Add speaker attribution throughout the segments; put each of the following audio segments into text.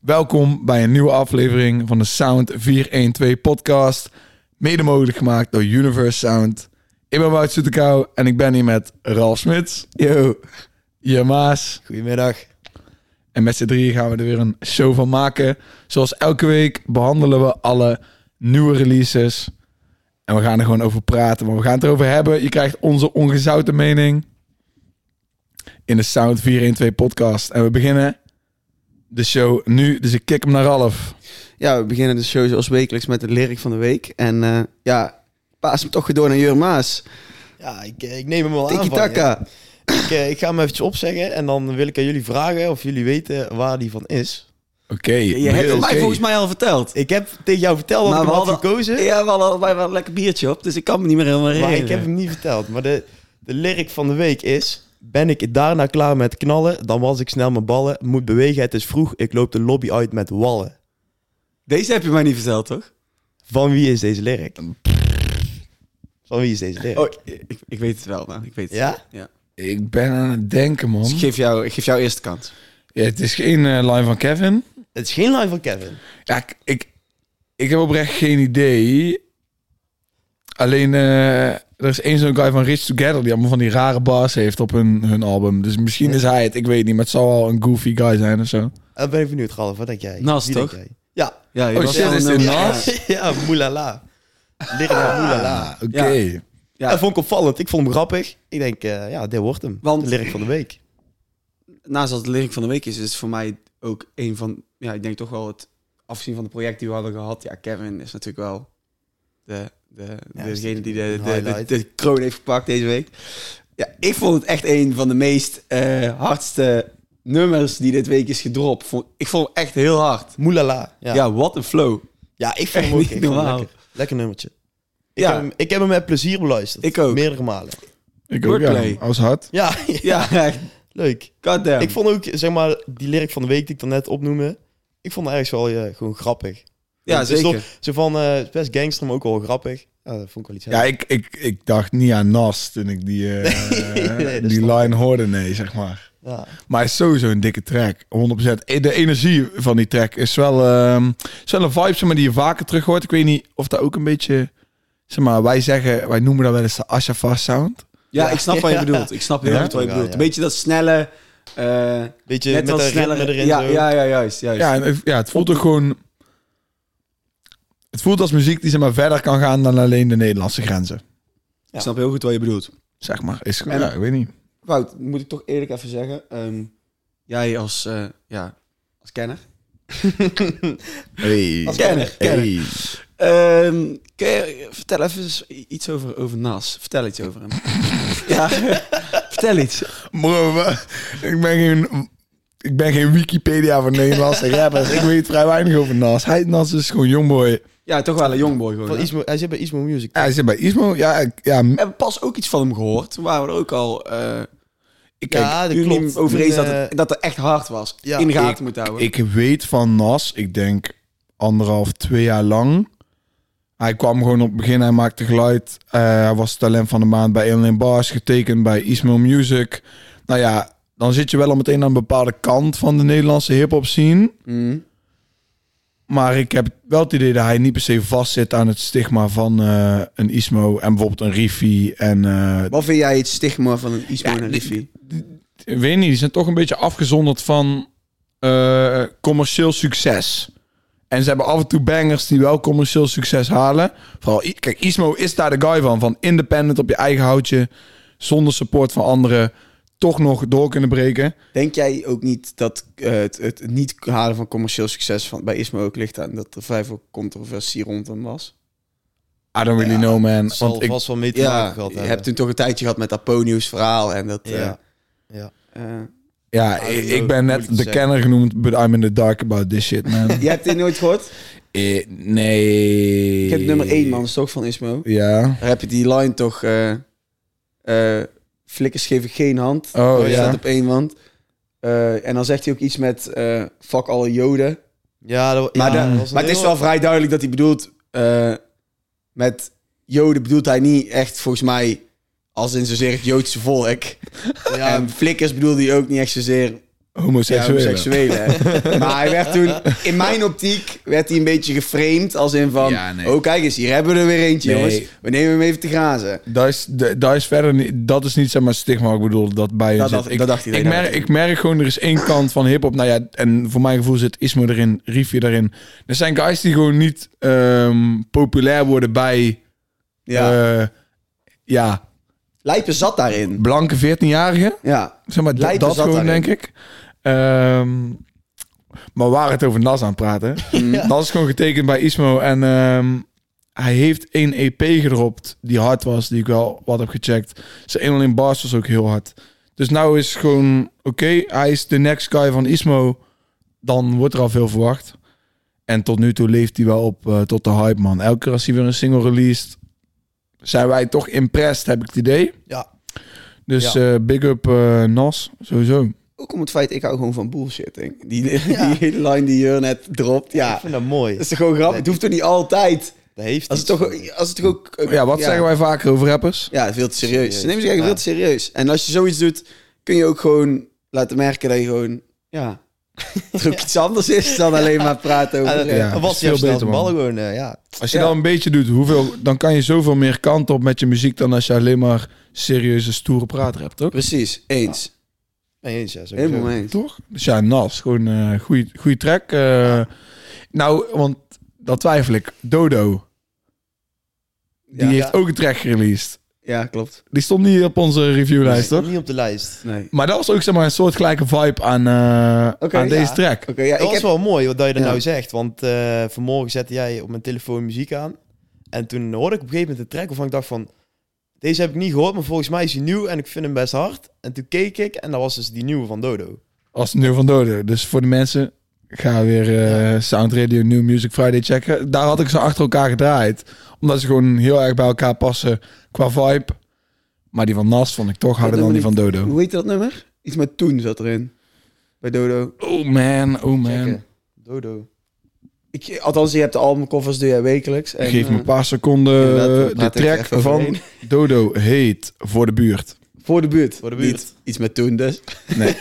Speaker 1: Welkom bij een nieuwe aflevering van de Sound 412 podcast. Mede mogelijk gemaakt door Universe Sound. Ik ben Wout Soetekou en ik ben hier met Ralf Smits,
Speaker 2: Yo,
Speaker 1: je Maas.
Speaker 2: goedemiddag.
Speaker 1: En met z'n drieën gaan we er weer een show van maken. Zoals elke week behandelen we alle nieuwe releases. En we gaan er gewoon over praten. Maar we gaan het erover hebben. Je krijgt onze ongezouten mening. In de Sound 412 podcast. En we beginnen de show nu. Dus ik kik hem naar Ralf.
Speaker 2: Ja, we beginnen de show zoals wekelijks met de lyric van de week. En eh, ja, paas hem toch door naar Jur Maas.
Speaker 3: Ja, ik, eh, ik neem hem wel aan.
Speaker 2: Tiki
Speaker 3: van je.
Speaker 2: taka.
Speaker 3: Ik, eh, ik ga hem eventjes opzeggen en dan wil ik aan jullie vragen of jullie weten waar die van is.
Speaker 1: Oké.
Speaker 2: Je hebt het
Speaker 1: heel
Speaker 2: mij
Speaker 1: oké.
Speaker 2: volgens mij al verteld.
Speaker 3: Ik heb tegen jou verteld dat
Speaker 2: Maar
Speaker 3: ik hem
Speaker 2: we
Speaker 3: had
Speaker 2: hadden-
Speaker 3: gekozen,
Speaker 2: Ja, we hadden allebei wel een lekker biertje op, dus ik kan me niet meer helemaal
Speaker 3: maar
Speaker 2: herinneren.
Speaker 3: ik heb hem niet verteld. Maar de, de lyric van de week is... Ben ik daarna klaar met knallen, dan was ik snel mijn ballen. Moet bewegen, het is vroeg, ik loop de lobby uit met wallen.
Speaker 2: Deze heb je mij niet verteld, toch?
Speaker 3: Van wie is deze lyric? Van wie is deze lyric?
Speaker 2: Oh, ik, ik weet het wel, man. Ik weet het.
Speaker 3: Ja?
Speaker 2: ja.
Speaker 1: Ik ben aan het denken, man.
Speaker 2: Dus ik geef jou, ik geef jou eerst de kans.
Speaker 1: Ja, het is geen eh, line van Kevin.
Speaker 3: Het is geen line van Kevin.
Speaker 1: Ja, ik, ik, ik heb oprecht geen idee. Alleen, eh, er is één zo'n guy van Rich Together die allemaal van die rare bars heeft op hun, hun album. Dus misschien is hij het, ik weet niet, maar het zal wel een goofy guy zijn of zo.
Speaker 3: Dan Eh, ben ik benieuwd, Ralf, wat denk jij?
Speaker 2: Nas,
Speaker 3: Wie denk
Speaker 2: toch?
Speaker 3: jij? Ja.
Speaker 2: Ja, je
Speaker 1: Oh,
Speaker 2: was
Speaker 1: shit,
Speaker 2: al
Speaker 1: is
Speaker 2: een
Speaker 1: dit
Speaker 2: nummer-
Speaker 1: Nas?
Speaker 2: Ja.
Speaker 3: Ja, moelala. Lyric van moelala.
Speaker 1: Oké.
Speaker 2: Ja.
Speaker 3: Dat vond ik opvallend. Ik vond hem grappig. Ik denk, eh, ja, dit wordt hem.
Speaker 2: Want-
Speaker 3: de lyric van de week.
Speaker 2: Naast dat het lyric van de week is, is het voor mij ook een van... Ja, ik denk toch wel het afzien van de project die we hadden gehad. Ja, Kevin is natuurlijk wel de, de,
Speaker 3: Ja,
Speaker 2: degene die de,
Speaker 3: een
Speaker 2: de, de,
Speaker 3: highlight.
Speaker 2: de kroon heeft gepakt deze week. Ja, ik vond het echt een van de meest eh, hardste nummers die dit week is gedropt. Vond- Ik vond het echt heel hard.
Speaker 3: Moelala.
Speaker 2: Ja,
Speaker 3: Ja. ja.
Speaker 2: wat een flow.
Speaker 3: ik vind hem
Speaker 2: Echt
Speaker 3: ook
Speaker 2: niet
Speaker 3: ik vond hem
Speaker 2: normaal.
Speaker 3: Lekker, lekker nummertje. Ik,
Speaker 2: Ja.
Speaker 3: heb hem, ik heb hem met plezier beluisterd.
Speaker 2: Ik ook.
Speaker 3: Meerdere malen.
Speaker 1: Ik ook, ja.
Speaker 2: Wordplay.
Speaker 1: Als hard.
Speaker 3: Ja,
Speaker 2: Ja, echt.
Speaker 3: leuk.
Speaker 2: Goddamn.
Speaker 3: Ik vond ook, zeg maar, die lyric van de week die ik daarnet opnoemde. Ik vond hem ergens wel eh, gewoon grappig.
Speaker 2: ja,
Speaker 3: Het is
Speaker 2: zeker.
Speaker 3: toch- Zo van, eh, het is best gangster, maar ook wel grappig. Ja, dat vond ik wel iets
Speaker 1: Ja, ik, ik, ik dacht niet aan Nas toen ik die, eh,
Speaker 3: Nee, dat
Speaker 1: die
Speaker 3: snap
Speaker 1: line hoorde, nee, zeg maar.
Speaker 3: Ja.
Speaker 1: Maar hij is sowieso een dikke track, 100%. E- De energie van die track is wel, ehm, is wel een vibe zeg maar, die je vaker terug hoort. Ik weet niet of dat ook een beetje... Zeg maar, wij zeggen, wij noemen dat wel eens de Ashafar sound.
Speaker 2: Ja, ik snap wat je
Speaker 3: Ja.
Speaker 2: bedoelt. Ik snap heel
Speaker 1: Ja?
Speaker 2: goed wat je
Speaker 3: Ja,
Speaker 2: bedoelt.
Speaker 3: ja.
Speaker 2: Een beetje dat snelle... eh
Speaker 3: Beetje
Speaker 2: net
Speaker 3: met
Speaker 2: wat
Speaker 3: een
Speaker 2: sneller
Speaker 3: ritme erin.
Speaker 2: Ja,
Speaker 3: zo.
Speaker 2: ja, ja, juist. juist.
Speaker 1: Ja, en, het- ja, het voelt ook gewoon... Het voelt als muziek die zeg maar, verder kan gaan dan alleen de Nederlandse grenzen.
Speaker 2: Ik snap heel goed wat je bedoelt.
Speaker 1: Zeg maar, is
Speaker 2: En-
Speaker 1: ja, ik weet niet.
Speaker 2: Wout, moet ik toch eerlijk even zeggen. ehm, jij als, eh, ja, als kenner.
Speaker 1: Hey.
Speaker 2: Als kenner, kenner.
Speaker 1: Hey.
Speaker 2: Ehm, kun je, vertel even eens iets over, over Nas. Vertel iets over hem. ja, vertel iets.
Speaker 1: Bro, wa- ik ben geen... Ik ben geen Wikipedia van Nederlandse rappers. Ik weet vrij weinig over Nas. Hij, Nas is gewoon jongboy.
Speaker 2: Ja, toch wel een jongboy gewoon.
Speaker 3: Van
Speaker 2: hè?
Speaker 3: Ismo, hij zit bij Ismo Music.
Speaker 1: Ja, hij zit bij Ismo. Ja, ik- ja m-
Speaker 2: We hebben pas ook iets van hem gehoord. Toen waren we er ook al eh
Speaker 1: ik, kijk,
Speaker 3: Ja, dat
Speaker 2: unaniem
Speaker 3: klopt.
Speaker 2: over eens
Speaker 3: Toen,
Speaker 2: dat,
Speaker 3: eh,
Speaker 2: het, dat het echt hard was.
Speaker 3: ja,
Speaker 2: in de gaten
Speaker 1: ik-
Speaker 2: moet houden.
Speaker 1: ik weet van Nas, ik denk anderhalf, twee jaar lang. Hij kwam gewoon op het begin, hij maakte geluid. Eh, hij was talent van de maand bij Alien Bars, getekend bij Ismo Music. Nou ja, dan zit je wel al meteen aan een bepaalde kant van de Nederlandse hip-hop scene.
Speaker 2: Mm.
Speaker 1: Maar ik heb wel het idee dat hij niet per se vastzit aan het stigma van eh, een Ismo en bijvoorbeeld een Riffy. En eh,
Speaker 2: Wat vind jij het stigma van een Ismo
Speaker 1: Ja,
Speaker 2: en een
Speaker 1: die-
Speaker 2: Riffy?
Speaker 1: ik weet niet, die zijn toch een beetje afgezonderd van eh, commercieel succes. En ze hebben af en toe bangers die wel commercieel succes halen. Vooral, I- kijk, Ismo is daar de guy van. Van independent op je eigen houtje, zonder support van anderen, toch nog door kunnen breken.
Speaker 2: Denk jij ook niet dat eh, het, het niet halen van commercieel succes van, bij Ismo ook ligt aan dat er vrij veel controversie rond hem was?
Speaker 1: I don't really know, man.
Speaker 3: zal
Speaker 1: Want ik,
Speaker 3: vast wel mee te maken
Speaker 2: Ja, eh,
Speaker 3: gehad
Speaker 2: je
Speaker 3: hebben.
Speaker 2: hebt toen toch een tijdje gehad met dat Ponius verhaal en dat...
Speaker 3: Ja.
Speaker 2: eh,
Speaker 3: Ja.
Speaker 2: eh,
Speaker 1: ja,
Speaker 3: I don't
Speaker 1: ik,
Speaker 3: know,
Speaker 1: ik ben
Speaker 3: moeilijk
Speaker 1: net
Speaker 3: te
Speaker 1: de
Speaker 3: zeggen.
Speaker 1: kenner genoemd, but I'm in the dark about this shit, man.
Speaker 2: je hebt dit nooit gehoord?
Speaker 1: Eh, nee.
Speaker 2: Ik heb nummer 1 man, is toch van Ismo?
Speaker 1: Ja.
Speaker 2: Daar heb je die line toch... eh, eh, flikkers geven geen hand.
Speaker 1: Oh,
Speaker 2: Dat
Speaker 1: ja.
Speaker 2: staat op één hand. Eh, en dan zegt hij ook iets met eh, fuck alle joden.
Speaker 3: Ja, dat,
Speaker 2: Maar,
Speaker 3: ja,
Speaker 2: de-
Speaker 3: dat was een
Speaker 2: maar het is
Speaker 3: heel-
Speaker 2: wel vrij duidelijk dat hij bedoelt... eh, met joden bedoelt hij niet echt volgens mij... als in zozeer het Joodse volk.
Speaker 3: Ja,
Speaker 2: en flikkers bedoelde hij ook niet echt zozeer
Speaker 1: homoseksuele.
Speaker 2: homoseksuele. maar hij werd toen, in mijn optiek, werd hij een beetje geframed als in van...
Speaker 1: Ja, nee.
Speaker 2: Oh, kijk eens, hier hebben we er weer eentje,
Speaker 1: Nee.
Speaker 2: jongens. We nemen hem even te grazen.
Speaker 1: Dat is, de- dat is verder niet, dat is niet zeg maar stigma. wat Ik bedoel dat bij
Speaker 2: Dat
Speaker 1: zit.
Speaker 2: dacht-
Speaker 1: ik,
Speaker 2: dat dacht hij,
Speaker 1: ik
Speaker 2: dat
Speaker 1: merk,
Speaker 2: dacht
Speaker 1: ik merk gewoon er is één kant van hip hop. Nou ja, en voor mijn gevoel zit Ismo erin, Riefje daarin. Er zijn guys die gewoon niet ehm, populair worden bij
Speaker 2: Ja.
Speaker 1: eh, ja
Speaker 2: Lijpen zat daarin.
Speaker 1: blanke 14-jarigen.
Speaker 2: Ja.
Speaker 1: Zeg maar dat,
Speaker 2: Lijpen
Speaker 1: dat
Speaker 2: zat
Speaker 1: gewoon
Speaker 2: daarin.
Speaker 1: denk ik. Ehm, maar waar het over Nas aan het praten.
Speaker 2: Mhm.
Speaker 1: Dat is gewoon getekend bij Ismo en ehm, hij heeft één EP gedropt die hard was, die ik wel wat heb gecheckt. Zijn 1 in bars was ook heel hard. Dus nou is het gewoon oké, hij is de next guy van Ismo. Dan wordt er al veel verwacht. En tot nu toe leeft hij wel op eh, tot de hype man. Elke keer als hij weer een single released, zijn wij toch impressed, heb ik het idee.
Speaker 3: Ja.
Speaker 1: Dus
Speaker 3: Ja.
Speaker 1: eh, big up eh, Nas, sowieso.
Speaker 2: Ook om het feit, ik hou gewoon van bullshitting. Die, die hele line die je net dropt,
Speaker 3: Ik
Speaker 2: ja.
Speaker 3: vind dat mooi.
Speaker 2: Dat is toch gewoon grappig? Het hoeft toch niet altijd?
Speaker 3: Dat heeft
Speaker 2: Als het toch, als het toch ook...
Speaker 1: Ja, wat zeggen wij vaker over rappers?
Speaker 2: Ja, veel te serieus.
Speaker 3: Serieus,
Speaker 2: Ze nemen zich eigenlijk
Speaker 3: ja.
Speaker 2: veel te serieus. En als je zoiets doet, kun je ook gewoon laten merken dat je gewoon... Ja, dat er ook iets anders is dan alleen maar praten over...
Speaker 1: Ja, dat is
Speaker 3: was je
Speaker 1: veel
Speaker 3: snel
Speaker 1: beter,
Speaker 3: de bal
Speaker 1: man.
Speaker 3: gewoon, eh, ja.
Speaker 1: Als je
Speaker 2: Ja.
Speaker 1: dat een beetje doet, hoeveel, dan kan je zoveel meer kant op met je muziek dan als je alleen maar serieuze, stoere praat hebt, toch?
Speaker 2: Precies, eens.
Speaker 3: Nee, eens, ja, sowieso.
Speaker 2: Helemaal eens.
Speaker 1: Toch? Dus ja, Nas, gewoon een goede track. eh. Nou, want dat twijfel ik. Dodo, die
Speaker 2: Ja,
Speaker 1: heeft ook een track gereleased.
Speaker 2: ja, klopt.
Speaker 1: Die stond niet op onze reviewlijst,
Speaker 3: Nee,
Speaker 1: toch?
Speaker 3: Niet op de lijst.
Speaker 2: Nee.
Speaker 1: Maar dat was ook zeg maar, een soortgelijke vibe aan, eh,
Speaker 2: Oké,
Speaker 1: aan
Speaker 3: ja.
Speaker 1: deze track.
Speaker 2: Oké, ja,
Speaker 3: dat
Speaker 2: ik
Speaker 3: was
Speaker 2: heb...
Speaker 3: wel mooi wat dat je dat
Speaker 2: Ja.
Speaker 3: nou zegt. Want eh, vanmorgen zette jij op mijn telefoon muziek aan. En toen hoorde ik op een gegeven moment de track waarvan ik dacht van... Deze heb ik niet gehoord, maar volgens mij is hij nieuw en ik vind hem best hard. En toen keek ik en dat was dus die nieuwe van Dodo.
Speaker 1: Als het nieuw van Dodo. Dus voor de mensen, ga weer eh, Sound Radio New Music Friday checken. Daar had ik ze achter elkaar gedraaid. Omdat ze gewoon heel erg bij elkaar passen qua vibe. Maar die van Nas vond ik toch harder dan die van Dodo.
Speaker 2: Hoe heet dat nummer? Iets met toen zat erin. Bij Dodo.
Speaker 1: Oh man, oh man.
Speaker 3: Checken. Dodo.
Speaker 2: Ik, althans, je hebt de albumcovers, doe jij wekelijks. En,
Speaker 1: Geef me
Speaker 2: eh,
Speaker 1: een paar seconden.
Speaker 2: inderdaad,
Speaker 1: de
Speaker 2: laat ik
Speaker 1: track
Speaker 2: even
Speaker 1: van
Speaker 2: overheen.
Speaker 1: Dodo heet Voor de Buurt.
Speaker 2: Voor de buurt.
Speaker 3: Voor de buurt.
Speaker 2: Niet iets met toen dus.
Speaker 1: Nee,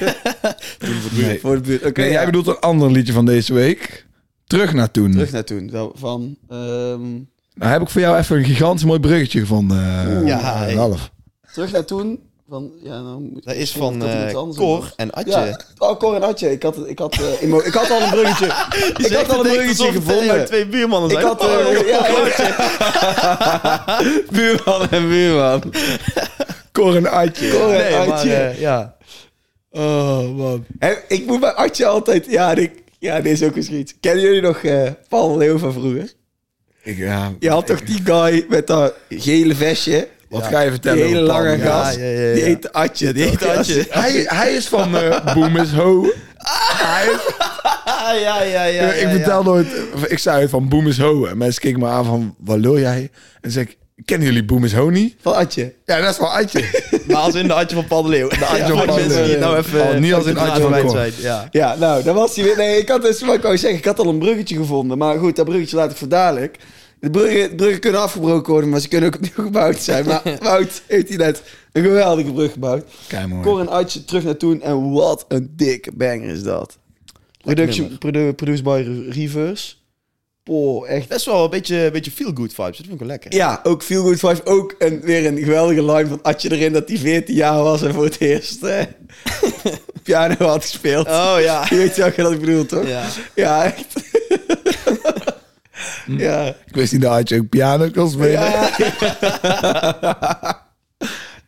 Speaker 2: Nee. Voor de buurt. Oké,
Speaker 1: Nee,
Speaker 2: ja.
Speaker 1: jij bedoelt een ander liedje van deze week. Terug naar
Speaker 3: Hm.
Speaker 1: toen.
Speaker 2: Terug naar toen. Wel Van, ehm,
Speaker 1: Nou heb ik voor jou even een gigantisch mooi bruggetje gevonden. eh,
Speaker 3: Ja, hey.
Speaker 1: Ralf.
Speaker 2: terug naar toen. Van, ja, nou, moet-
Speaker 3: Dat is
Speaker 2: misschien
Speaker 3: van
Speaker 2: dat iemand
Speaker 3: eh,
Speaker 2: anders
Speaker 3: Cor
Speaker 2: was.
Speaker 3: en Atje.
Speaker 2: Ja, oh, Cor en Atje. Ik had, ik had, eh, emo- ik had al een bruggetje. ik had al een bruggetje gevonden.
Speaker 3: twee buurmannen
Speaker 2: Ik
Speaker 3: zijn.
Speaker 2: had...
Speaker 3: Oh,
Speaker 2: eh, ja,
Speaker 3: buurman en buurman.
Speaker 1: Cor en Atje.
Speaker 2: Cor en
Speaker 3: Nee, maar
Speaker 2: Atje.
Speaker 3: eh, ja.
Speaker 1: Oh man.
Speaker 2: Hè, ik moet bij Atje altijd... Ja, en ik, ja, dit is ook eens iets. Kennen jullie nog eh, Paul Leeuw van vroeger?
Speaker 1: Ik, ja,
Speaker 2: Je had toch die guy met dat gele vestje?
Speaker 1: Wat ga je
Speaker 2: Die
Speaker 1: vertellen?
Speaker 2: hele
Speaker 1: over Paul?
Speaker 2: lange
Speaker 1: Ja.
Speaker 2: gast.
Speaker 3: ja, ja, ja.
Speaker 2: Die heette Atje. Die
Speaker 3: heette Atje.
Speaker 1: Hij, hij is van eh Boom is Ho. Hij is-
Speaker 3: Ah, ja, ja, ja.
Speaker 1: ik vertel nooit... Ik zei het van Boom is Ho. En mensen keken me aan van, wat lul jij? En dan zeg ik, kennen jullie Boom is Ho niet?
Speaker 2: Van Atje.
Speaker 1: Ja, dat is van Adje.
Speaker 3: Maar als in de Adje van Paddeleeuw. De Adje
Speaker 1: Ja,
Speaker 3: van
Speaker 1: van
Speaker 3: Paddeleeuw. Mensen die het nou even...
Speaker 1: Oh, niet als in Adje van
Speaker 3: Adje
Speaker 1: Cor.
Speaker 3: Ja.
Speaker 2: Ja, nou, dat was hij weer. Nee, ik had dus, wat ik wou zeggen, ik had al een bruggetje gevonden. Maar goed, dat bruggetje laat ik voor dadelijk. De bruggen, de bruggen kunnen afgebroken worden, maar ze kunnen ook opnieuw gebouwd zijn. Maar Wout heeft hij net een geweldige brug gebouwd.
Speaker 1: Kijk
Speaker 2: Cor en Atje terug naar toen. En wat een dikke banger is dat. Production, produ- produced by Re- Reverse. Poh, echt.
Speaker 3: Best wel een beetje, beetje feel-good vibes. Dat vind ik wel lekker.
Speaker 2: Ja, ook Feel Good Vibes. Ook een, weer een geweldige line van Atje erin dat hij 14 jaar was en voor het eerst eh, piano had gespeeld.
Speaker 3: Oh ja.
Speaker 2: Je weet welke dat ik bedoel, toch?
Speaker 3: Ja.
Speaker 2: Ja, echt. ja.
Speaker 1: Ik wist niet dat Adje ook piano kon spelen.
Speaker 2: ja.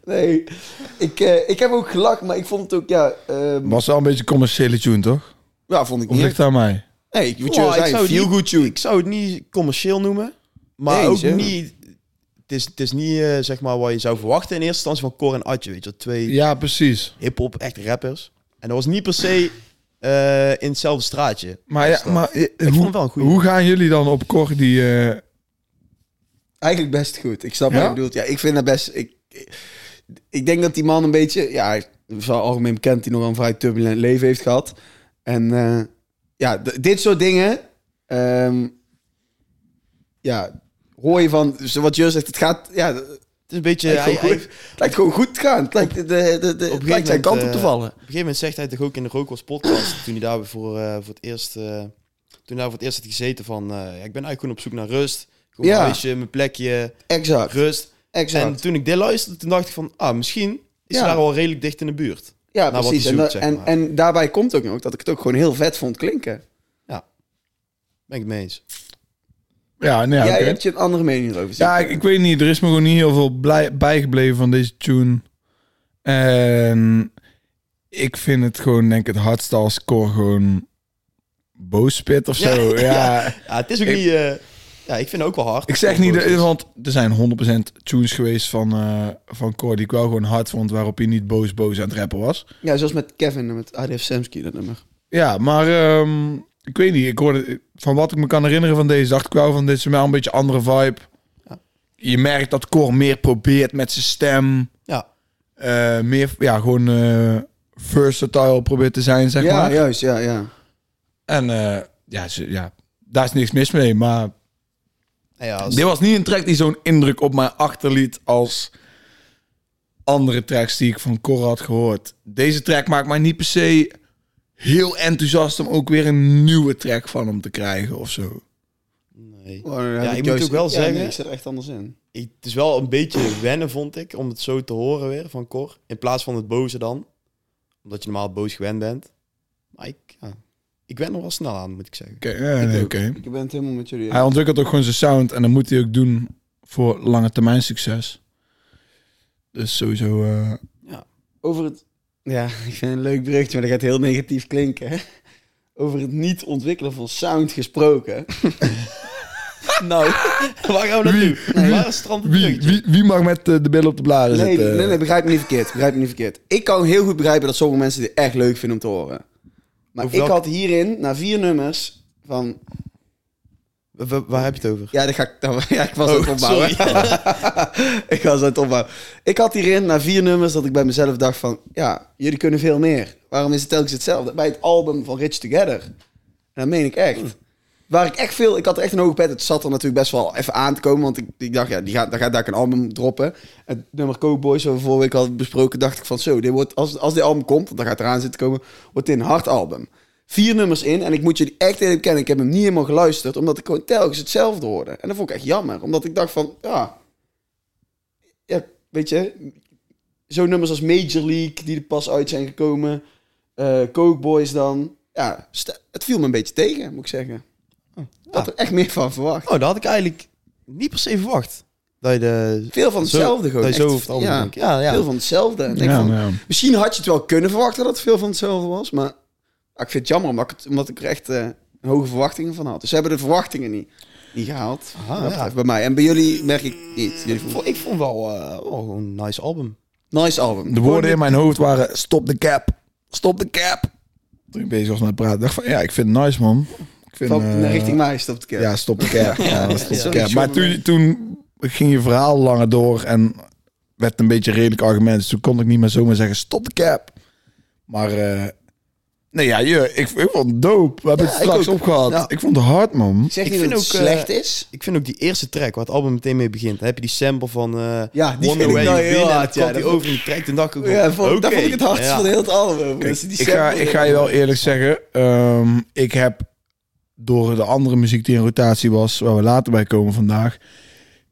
Speaker 2: nee, ik, eh, ik heb ook gelakt, maar ik vond het ook, ja... ehm,
Speaker 1: Was wel een beetje commerciële tune, toch?
Speaker 2: ja, vond ik
Speaker 1: Of
Speaker 2: niet.
Speaker 1: ligt het aan mij?
Speaker 2: Nee, ik moet je
Speaker 3: Oh,
Speaker 2: wel
Speaker 3: ik
Speaker 2: zeggen,
Speaker 3: zou
Speaker 2: Feel
Speaker 3: die-
Speaker 2: Good Tune.
Speaker 3: Ik zou het niet commercieel noemen. Maar
Speaker 2: Nee,
Speaker 3: ook
Speaker 2: zeker.
Speaker 3: niet... Het is, het is niet eh, zeg maar wat je zou verwachten in eerste instantie van Cor en Adje. Weet je wel. Twee
Speaker 1: Ja, precies.
Speaker 3: hip-hop, echt rappers. En dat was niet per se eh, in hetzelfde straatje.
Speaker 1: Maar, ja, maar eh,
Speaker 3: vond
Speaker 1: hoe,
Speaker 3: het wel een goeie.
Speaker 1: hoe gaan jullie dan op Cor die... eh,
Speaker 2: Eigenlijk best goed. Ik snap
Speaker 1: Ja?
Speaker 2: wat je bedoelt. Ja, ik vind dat best... Ik, ik denk dat die man een beetje... Ja, hij is wel algemeen bekend die nog een vrij turbulent leven heeft gehad. En eh, ja, d- dit soort dingen... ehm, ja, hoor je van... zo Wat Jur zegt, het gaat... Ja,
Speaker 3: Het is een beetje...
Speaker 2: Het lijkt,
Speaker 3: hij-
Speaker 2: gewoon
Speaker 3: hij-
Speaker 2: goed, het lijkt gewoon goed te gaan. Het lijkt, de, de, de, het
Speaker 3: gegeven
Speaker 2: lijkt zijn
Speaker 3: moment,
Speaker 2: kant op te
Speaker 3: eh,
Speaker 2: vallen.
Speaker 3: Op een gegeven moment zegt hij toch ook in de Rokos podcast, toen hij daar voor, eh, voor het eerst, eh, toen hij daar voor het eerst had gezeten van, eh, ja, ik ben eigenlijk gewoon op zoek naar rust. Gewoon
Speaker 2: Ja.
Speaker 3: een huisje, mijn plekje,
Speaker 2: Exact.
Speaker 3: rust.
Speaker 2: exact.
Speaker 3: En toen ik dit luisterde, toen dacht ik van, ah, misschien is
Speaker 2: Ja.
Speaker 3: hij daar al redelijk dicht in de buurt.
Speaker 2: ja,
Speaker 3: nou, wat
Speaker 2: precies.
Speaker 3: hij
Speaker 2: en,
Speaker 3: zoekt,
Speaker 2: da-
Speaker 3: zeg
Speaker 2: en,
Speaker 3: maar.
Speaker 2: en daarbij komt ook nog dat ik het ook gewoon heel vet vond klinken.
Speaker 3: Ben ik het mee eens.
Speaker 1: Ja, nee,
Speaker 2: Ja,
Speaker 1: ja,
Speaker 2: Jij
Speaker 1: oké.
Speaker 2: hebt je een andere mening erover. zie
Speaker 1: ja
Speaker 2: ik.
Speaker 1: ik, ik weet niet. Er is me gewoon niet heel veel blij, bijgebleven van deze tune. En ik vind het gewoon, denk ik, het hardst als score gewoon boospit of zo. ja.
Speaker 3: Ja, het is ook
Speaker 1: Ik-
Speaker 3: niet... eh, ja, ik vind het ook wel hard.
Speaker 1: Ik zeg niet, dat- want er zijn 100% tunes geweest van, eh van Cor die ik wel gewoon hard vond, waarop hij niet boos boos aan het rappen was.
Speaker 2: Ja, zoals met Kevin en met ADF Samsky, dat nummer.
Speaker 1: Ja, maar ehm, ik weet niet, ik hoorde, van wat ik me kan herinneren van deze, dacht ik wel van dit is wel een beetje andere vibe.
Speaker 3: Ja.
Speaker 1: Je merkt dat Cor meer probeert met zijn stem,
Speaker 3: Ja.
Speaker 1: eh, meer, ja, gewoon eh, versatile probeert te zijn, zeg
Speaker 2: ja,
Speaker 1: maar.
Speaker 2: juist, ja, ja.
Speaker 1: En eh, ja, ze- ja, daar is niks mis mee, maar
Speaker 3: Nou ja, als-
Speaker 1: Dit was niet een track die zo'n indruk op mij achterliet als andere tracks die ik van Cor had gehoord. Deze track maakt mij niet per se heel enthousiast om ook weer een nieuwe track van hem te krijgen of zo.
Speaker 3: nee.
Speaker 2: Oh, dan heb
Speaker 3: Ja, ik moet
Speaker 2: juist-
Speaker 3: ook wel
Speaker 2: Ja,
Speaker 3: zeggen-
Speaker 2: nee, ik zit er echt anders in.
Speaker 3: Ik- het is wel een beetje wennen, vond ik, om het zo te horen weer van Cor. In plaats van het boze dan. Omdat je normaal boos gewend bent. Maar ik, ja, ik wen er wel snel aan, moet ik zeggen.
Speaker 1: Oké, ja, nee,
Speaker 2: ook.
Speaker 1: oké.
Speaker 2: Ik ben het helemaal met jullie.
Speaker 1: Hij ontwikkelt ook gewoon zijn sound en dat moet hij ook doen voor lange termijn succes. Dus sowieso... eh,
Speaker 2: Over het... Ja, ik vind het een leuk berichtje, maar dat gaat heel negatief klinken. hè. Over het niet ontwikkelen van sound gesproken.
Speaker 3: Nou, waar gaan we naartoe? Nee, waar is Strand
Speaker 1: wie, wie, wie mag met eh, de billen op de blaren
Speaker 2: Nee,
Speaker 1: zitten?
Speaker 2: nee, nee, begrijp me niet verkeerd. Begrijp me niet verkeerd. Ik kan heel goed begrijpen dat sommige mensen dit echt leuk vinden om te horen. Maar
Speaker 3: Over
Speaker 2: ik
Speaker 3: welk-
Speaker 2: had hierin, na vier nummers, van...
Speaker 3: Waar heb je het over?
Speaker 2: Ja, dat ga ik, dan, ja ik was aan het opbouwen.
Speaker 3: sorry.
Speaker 2: ik was aan het opbouwen. Ik had hierin, na vier nummers, dat ik bij mezelf dacht van... Ja, jullie kunnen veel meer. Waarom is het telkens hetzelfde? Bij het album van Rich Together. En dat meen ik echt. Waar ik echt veel... Ik had er echt een hoge pet. Het zat er natuurlijk best wel even aan te komen. Want ik, ik dacht, ja, die gaat, daar gaat daar ook een album droppen. Het nummer Cowboys, wat we vorige week hadden besproken, dacht ik van... Zo, dit wordt, als, als dit album komt, want daar gaat eraan zitten komen... Wordt dit een hard album. Vier nummers in. En ik moet jullie echt eerlijk kennen. Ik heb hem niet helemaal geluisterd. Omdat ik gewoon telkens hetzelfde hoorde. En dat vond ik echt jammer. Omdat ik dacht van, ja... Ja, weet je... Zo'n nummers als Major League, die er pas uit zijn gekomen. eh Coke Boys dan. Ja, st- het viel me een beetje tegen, moet ik zeggen. Ik had er echt meer van verwacht.
Speaker 3: Oh, dat had ik eigenlijk niet per se verwacht. Dat je de...
Speaker 2: Veel van
Speaker 3: Zo-
Speaker 2: hetzelfde gewoon.
Speaker 3: dat je zo
Speaker 2: echt.
Speaker 3: over het album
Speaker 2: ja,
Speaker 3: denkt. Ja, ja.
Speaker 2: Veel van hetzelfde. En ik denk
Speaker 1: Ja,
Speaker 2: van,
Speaker 1: nou ja.
Speaker 2: Misschien had je het wel kunnen verwachten dat het veel van hetzelfde was. Maar ah, ik vind het jammer, omdat ik, het- omdat ik er echt eh, hoge verwachtingen van had. Dus ze hebben de verwachtingen niet, niet gehaald.
Speaker 3: Aha,
Speaker 2: Dat
Speaker 3: ja.
Speaker 2: betreft Bij mij. En bij jullie merk ik niet. Jullie vonden-
Speaker 3: Ik vond wel, eh, wel gewoon een nice album.
Speaker 2: Nice album.
Speaker 1: De woorden in mijn hoofd waren: stop de cap, stop de cap. Toen ik bezig was met praten, dacht ik van ja, ik vind het nice man. Ik vind,
Speaker 2: Van,
Speaker 1: eh,
Speaker 2: richting mij stopt het keer.
Speaker 1: Ja, stop de cap. ja, stop de
Speaker 2: ja.
Speaker 1: cap. Maar toen, toen ging je verhaal langer door en werd het een beetje een redelijk argument. Dus toen kon ik niet meer zomaar zeggen: stop de cap. Maar eh, nee, ja, je, ik, ik vond het dope. We hebben
Speaker 2: Ja,
Speaker 1: het
Speaker 2: ik
Speaker 1: straks
Speaker 2: ook.
Speaker 1: opgehad.
Speaker 2: Ja.
Speaker 1: Ik vond het hard man.
Speaker 2: Ik zeg
Speaker 3: Ik
Speaker 2: niet
Speaker 3: vind
Speaker 2: dat het
Speaker 3: ook, eh,
Speaker 2: slecht is.
Speaker 3: Ik vind ook die eerste track, waar het album meteen mee begint. Dan heb je die sample van eh
Speaker 2: Ja, die
Speaker 3: Wonder
Speaker 2: vind ik
Speaker 3: Where
Speaker 2: nou heel
Speaker 3: You've Been. En dan
Speaker 2: hard, ja,
Speaker 3: komt die
Speaker 2: dat-
Speaker 3: over die track. Dan dacht ik ook,
Speaker 2: Ja, vond, daar
Speaker 3: oké.
Speaker 2: vond ik het hardst
Speaker 3: Ja.
Speaker 2: van heel het album. over. Dat ze die eh,
Speaker 1: ik, ga,
Speaker 2: sample-
Speaker 1: ik ga je wel eerlijk zeggen, ehm, ik heb door de andere muziek die in rotatie was, waar we later bij komen vandaag,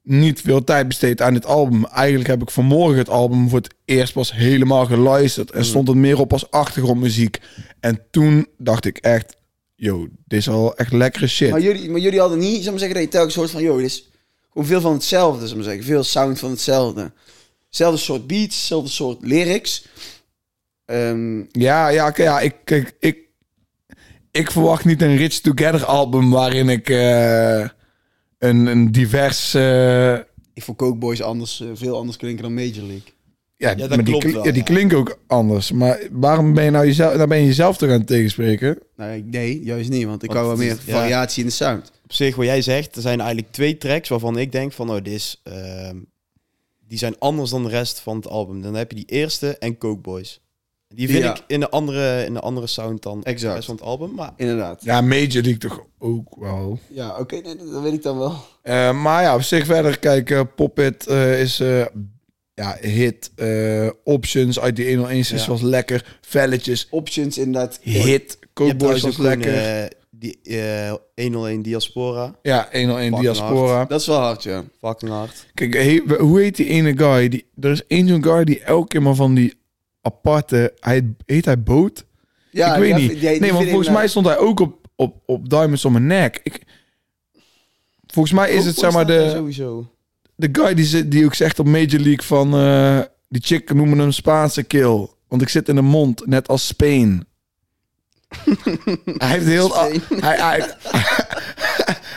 Speaker 1: niet veel tijd besteed aan dit album. Eigenlijk heb ik vanmorgen het album voor het eerst pas helemaal geluisterd
Speaker 2: Mm.
Speaker 1: en stond het meer op als achtergrondmuziek. En toen dacht ik echt, yo, dit is al echt lekkere
Speaker 2: Maar
Speaker 1: shit.
Speaker 2: jullie, maar jullie hadden niet, zou maar zeggen, dat je telkens hoort van, joh, dit is gewoon veel van hetzelfde, zou maar zeggen. Veel sound van hetzelfde. Zelfde soort beats, zelfde soort lyrics. Ehm,
Speaker 1: Ja, ja, oké, ja, ik, kijk, ik, ik verwacht niet een Rich Together album waarin ik eh, een, een divers... eh,
Speaker 2: ik vond Coke Boys anders, eh, veel anders klinken dan Major League.
Speaker 1: Ja,
Speaker 3: dat
Speaker 1: maar die,
Speaker 3: klopt
Speaker 1: kli-
Speaker 3: wel,
Speaker 1: ja, die
Speaker 3: ja.
Speaker 1: klinken ook anders. Maar waarom ben je nou jezelf, dan ben je jezelf toch aan het tegenspreken?
Speaker 2: Nou, ik- nee, juist niet, want ik
Speaker 3: Want
Speaker 2: hou wel
Speaker 3: het
Speaker 2: meer
Speaker 3: is- ja.
Speaker 2: variatie in de sound.
Speaker 3: op zich, wat jij zegt, er zijn eigenlijk twee tracks waarvan ik denk van, oh, dit is, ehm, die zijn anders dan de rest van het album. Dan heb je die eerste en Coke Boys. Die vind
Speaker 2: Ja.
Speaker 3: ik in de andere, in de andere sound dan
Speaker 2: Exact.
Speaker 3: best van het album. Maar
Speaker 2: Inderdaad.
Speaker 1: Ja, Major die ik toch ook wel.
Speaker 2: Ja, oké, nee, dat dat weet ik dan wel.
Speaker 1: Eh, maar ja, op zich verder kijken. Poppet eh, is eh, ja, hit. Eh, options uit die 101
Speaker 3: Ja.
Speaker 1: was lekker. Velletjes,
Speaker 2: Options inderdaad.
Speaker 1: hit.
Speaker 3: je hebt
Speaker 1: Cookboys
Speaker 3: trouwens
Speaker 1: was
Speaker 3: ook een,
Speaker 1: lekker.
Speaker 3: eh, die eh, 101 Diaspora.
Speaker 1: ja, 101
Speaker 3: fucking
Speaker 1: Diaspora.
Speaker 2: Dat is wel hard, ja.
Speaker 3: Fucking hard.
Speaker 1: Kijk, he- hoe heet die ene guy? Die, er is één zo'n guy die elke keer maar van die aparte... Hij, heet hij Boot?
Speaker 2: ja
Speaker 1: ik weet
Speaker 2: ja,
Speaker 1: niet.
Speaker 2: die- die
Speaker 1: nee,
Speaker 2: vind
Speaker 1: want
Speaker 2: ik
Speaker 1: volgens mij
Speaker 2: inderdaad-
Speaker 1: stond hij ook op, op, op Diamonds on my neck. Ik, volgens mij is het zeg maar de...
Speaker 3: Sowieso.
Speaker 1: de guy die, zit- die ook zegt op Major League van... eh, die chick noemen hem Spaanse kill. Want ik zit in de mond, net als Spain. hij heeft heel... het al- Hij, hij,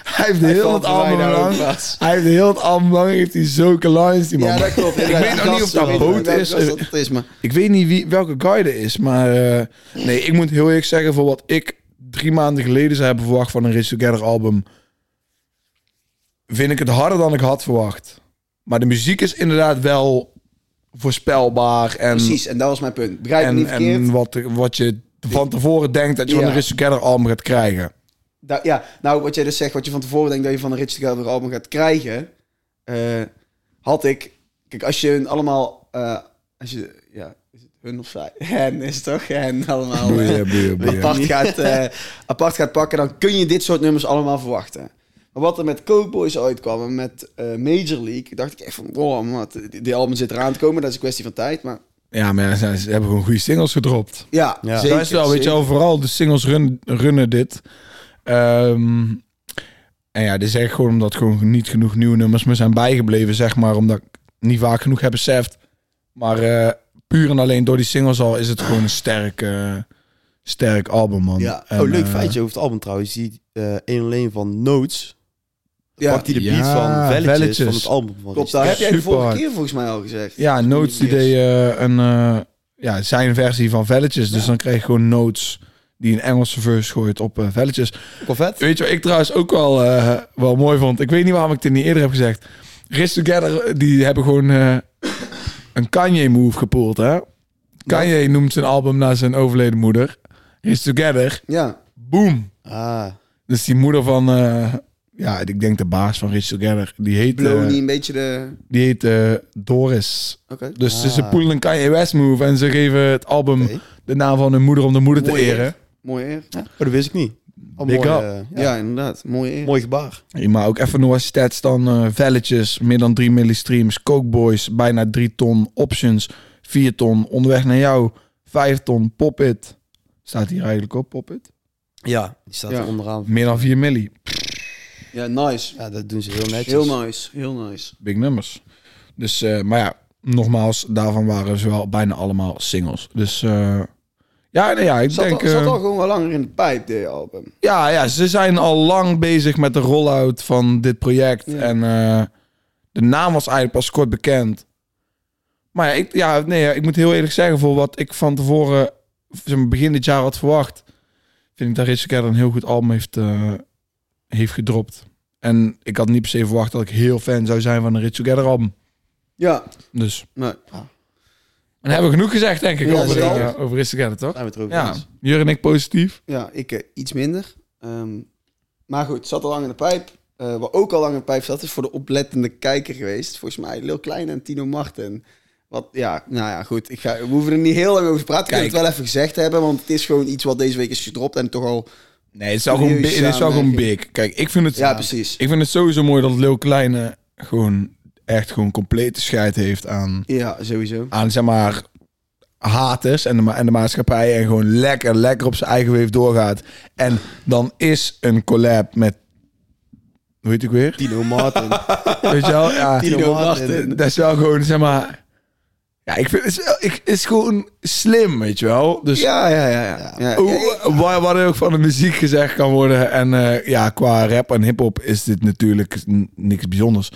Speaker 1: hij heeft heel
Speaker 2: valt
Speaker 1: het
Speaker 2: er bijna
Speaker 1: allemaal
Speaker 2: ook
Speaker 1: lang.
Speaker 2: pas.
Speaker 1: Hij heeft heel het album lang heeft hij zulke lines, die man.
Speaker 2: Ja, dat klopt.
Speaker 1: ik weet nog niet of dat boot is. Mm.
Speaker 2: Dat het is, maar...
Speaker 1: Ik weet niet wie, welke guy er is, maar... eh, nee, ik moet heel eerlijk zeggen, voor wat ik drie maanden geleden zou hebben verwacht van een Rich Together album... vind ik het harder dan ik had verwacht. Maar de muziek is inderdaad wel voorspelbaar en,
Speaker 2: Precies, en dat was mijn punt. Begrijp me
Speaker 1: en,
Speaker 2: niet verkeerd.
Speaker 1: en wat, wat je van tevoren denkt dat je van
Speaker 2: Ja.
Speaker 1: een Rich Together album gaat krijgen.
Speaker 2: Da- ja, nou, wat jij dus zegt, wat je van tevoren denkt dat je van een Rich Together album gaat krijgen, eh, had ik... Kijk, als je hun allemaal... eh, als je, ja, is het hun of zij? Hen is het toch? Hen allemaal. eh,
Speaker 1: Boeien, boeien, boeien.
Speaker 2: apart, gaat, eh, apart gaat pakken, dan kun je dit soort nummers allemaal verwachten. Maar wat er met Coke Boys uitkwam en met eh, Major League, dacht ik echt van, wow, man, die, die album zit eraan te komen, dat is een kwestie van tijd. Maar
Speaker 1: Ja, maar ja, ze, ze hebben gewoon goede singles gedropt.
Speaker 2: ja,
Speaker 3: Ja.
Speaker 2: zeker,
Speaker 1: dat is wel, weet je
Speaker 2: zeker.
Speaker 1: wel, vooral de singles run- runnen dit. Ehm, en ja, dit is echt gewoon omdat gewoon niet genoeg nieuwe nummers me zijn bijgebleven, zeg maar. Omdat ik niet vaak genoeg heb beseft. Maar eh, puur en alleen door die singles al is het gewoon een sterk, eh, sterk album, man.
Speaker 2: Ja.
Speaker 1: En,
Speaker 3: oh, leuk
Speaker 1: eh,
Speaker 3: feitje over het album trouwens. Die eh 101 van Notes.
Speaker 2: Ja,
Speaker 3: Pakt hij de
Speaker 1: Ja,
Speaker 3: beat van Velletjes,
Speaker 1: Velletjes.
Speaker 3: van het album. Van
Speaker 2: klopt,
Speaker 3: Rich.
Speaker 2: dat heb jij de
Speaker 1: Super
Speaker 2: vorige
Speaker 1: hard.
Speaker 2: keer volgens mij al gezegd.
Speaker 1: Ja, Notes die deed eh, een, eh, ja, zijn versie van Velletjes. Dus dan krijg je gewoon Notes die een Engelse verse gooit op eh, Velletjes.
Speaker 3: Wel vet.
Speaker 1: Weet je wat ik trouwens ook wel, eh, wel mooi vond? Ik weet niet waarom ik dit niet eerder heb gezegd. Rich Together, die hebben gewoon eh, een Kanye-move gepoeld, hè? Kanye noemt zijn album naar zijn overleden moeder. Rich Together,
Speaker 2: Ja,
Speaker 1: boom.
Speaker 3: Ah,
Speaker 1: Dus die moeder van, eh, ja, ik denk de baas van Rich Together, die heet, eh,
Speaker 2: Blow niet een beetje de...
Speaker 1: die heet eh, Doris.
Speaker 2: Oké.
Speaker 1: Dus ze- ze
Speaker 3: Ah.
Speaker 1: poelen een Kanye West move en ze geven het album
Speaker 3: Oké.
Speaker 1: de naam van hun moeder om de moeder
Speaker 2: Mooi,
Speaker 1: te
Speaker 2: hè?
Speaker 1: eren.
Speaker 2: Mooi eer. Ja,
Speaker 3: oh, dat wist ik niet. Oh,
Speaker 1: Big
Speaker 3: mooi,
Speaker 1: up.
Speaker 3: eh, ja.
Speaker 2: inderdaad. Mooi eer.
Speaker 3: mooi gebaar.
Speaker 1: Ja, maar ook even noise stats dan. eh, velletjes, meer dan 3 millistreams. Cokeboys, bijna 3 ton. Options, 4 ton. Onderweg naar jou, 5 ton. Poppit. Staat hier eigenlijk op, Poppit?
Speaker 3: Ja, die staat
Speaker 2: Ja.
Speaker 3: er onderaan.
Speaker 1: Meer dan 4 milli.
Speaker 2: Ja, nice.
Speaker 3: Ja, dat doen ze heel netjes.
Speaker 2: Heel nice. Heel nice.
Speaker 1: Big numbers. Dus, eh, maar ja, nogmaals, daarvan waren ze wel bijna allemaal singles. Dus, eh, ja, nee, ja, ik
Speaker 2: Zat,
Speaker 1: denk...
Speaker 2: al, zat
Speaker 1: eh,
Speaker 2: al gewoon wel langer in de pijp, dit album.
Speaker 1: Ja, ja, ze zijn al lang bezig met de rollout van dit project.
Speaker 2: Ja.
Speaker 1: En eh, de naam was eigenlijk pas kort bekend. Maar ja, ik, ja, nee, ja, ik moet heel eerlijk zeggen, voor wat ik van tevoren zeg maar, begin dit jaar had verwacht, vind ik dat Rich Together een heel goed album heeft, eh, heeft gedropt. En ik had niet per se verwacht dat ik heel fan zou zijn van een Rich Together album.
Speaker 2: Ja,
Speaker 1: Dus.
Speaker 2: nee.
Speaker 1: En hebben we genoeg gezegd, denk ik,
Speaker 2: Ja,
Speaker 1: over,
Speaker 2: zeker.
Speaker 1: eh, over Rich Together, toch?
Speaker 3: Zijn we het erover
Speaker 1: Ja,
Speaker 3: eens?
Speaker 1: Jur en ik positief.
Speaker 2: ja ik eh, iets minder. Ehm, maar goed, zat al lang in de pijp. Eh, wat ook al lang in de pijp zat, is voor de oplettende kijker geweest. Volgens mij Lil Kleine en Tino Martin. Wat, ja, nou ja, goed. Ik ga, we hoeven er niet heel lang over te praten. Ik kan
Speaker 1: Kijk.
Speaker 2: het wel even gezegd hebben, want het is gewoon iets wat deze week is gedropt en toch al...
Speaker 1: Nee, het is wel gewoon, bi-
Speaker 2: Serieus
Speaker 1: het is wel gewoon
Speaker 2: samenwerking.
Speaker 1: big. Kijk, ik vind het...
Speaker 2: Ja, precies.
Speaker 1: Ik vind het sowieso mooi dat Lil Kleine gewoon echt gewoon complete scheid heeft aan,
Speaker 2: Ja, sowieso.
Speaker 1: aan zeg maar haters en de, ma- en de maatschappij en gewoon lekker, lekker op zijn eigen weef doorgaat. En dan is een collab met, hoe heet ik weer?
Speaker 3: Tino Martin.
Speaker 1: Weet je wel? Ja,
Speaker 3: Tino Martin.
Speaker 1: dat is wel gewoon zeg maar, ja, ik vind het is, wel, ik, is gewoon slim, weet je wel? Dus
Speaker 2: Ja, ja, ja. ja. ja.
Speaker 1: hoe- waar, waar er ook van de muziek gezegd kan worden. En eh, ja, qua rap en hip-hop is dit natuurlijk n- niks bijzonders.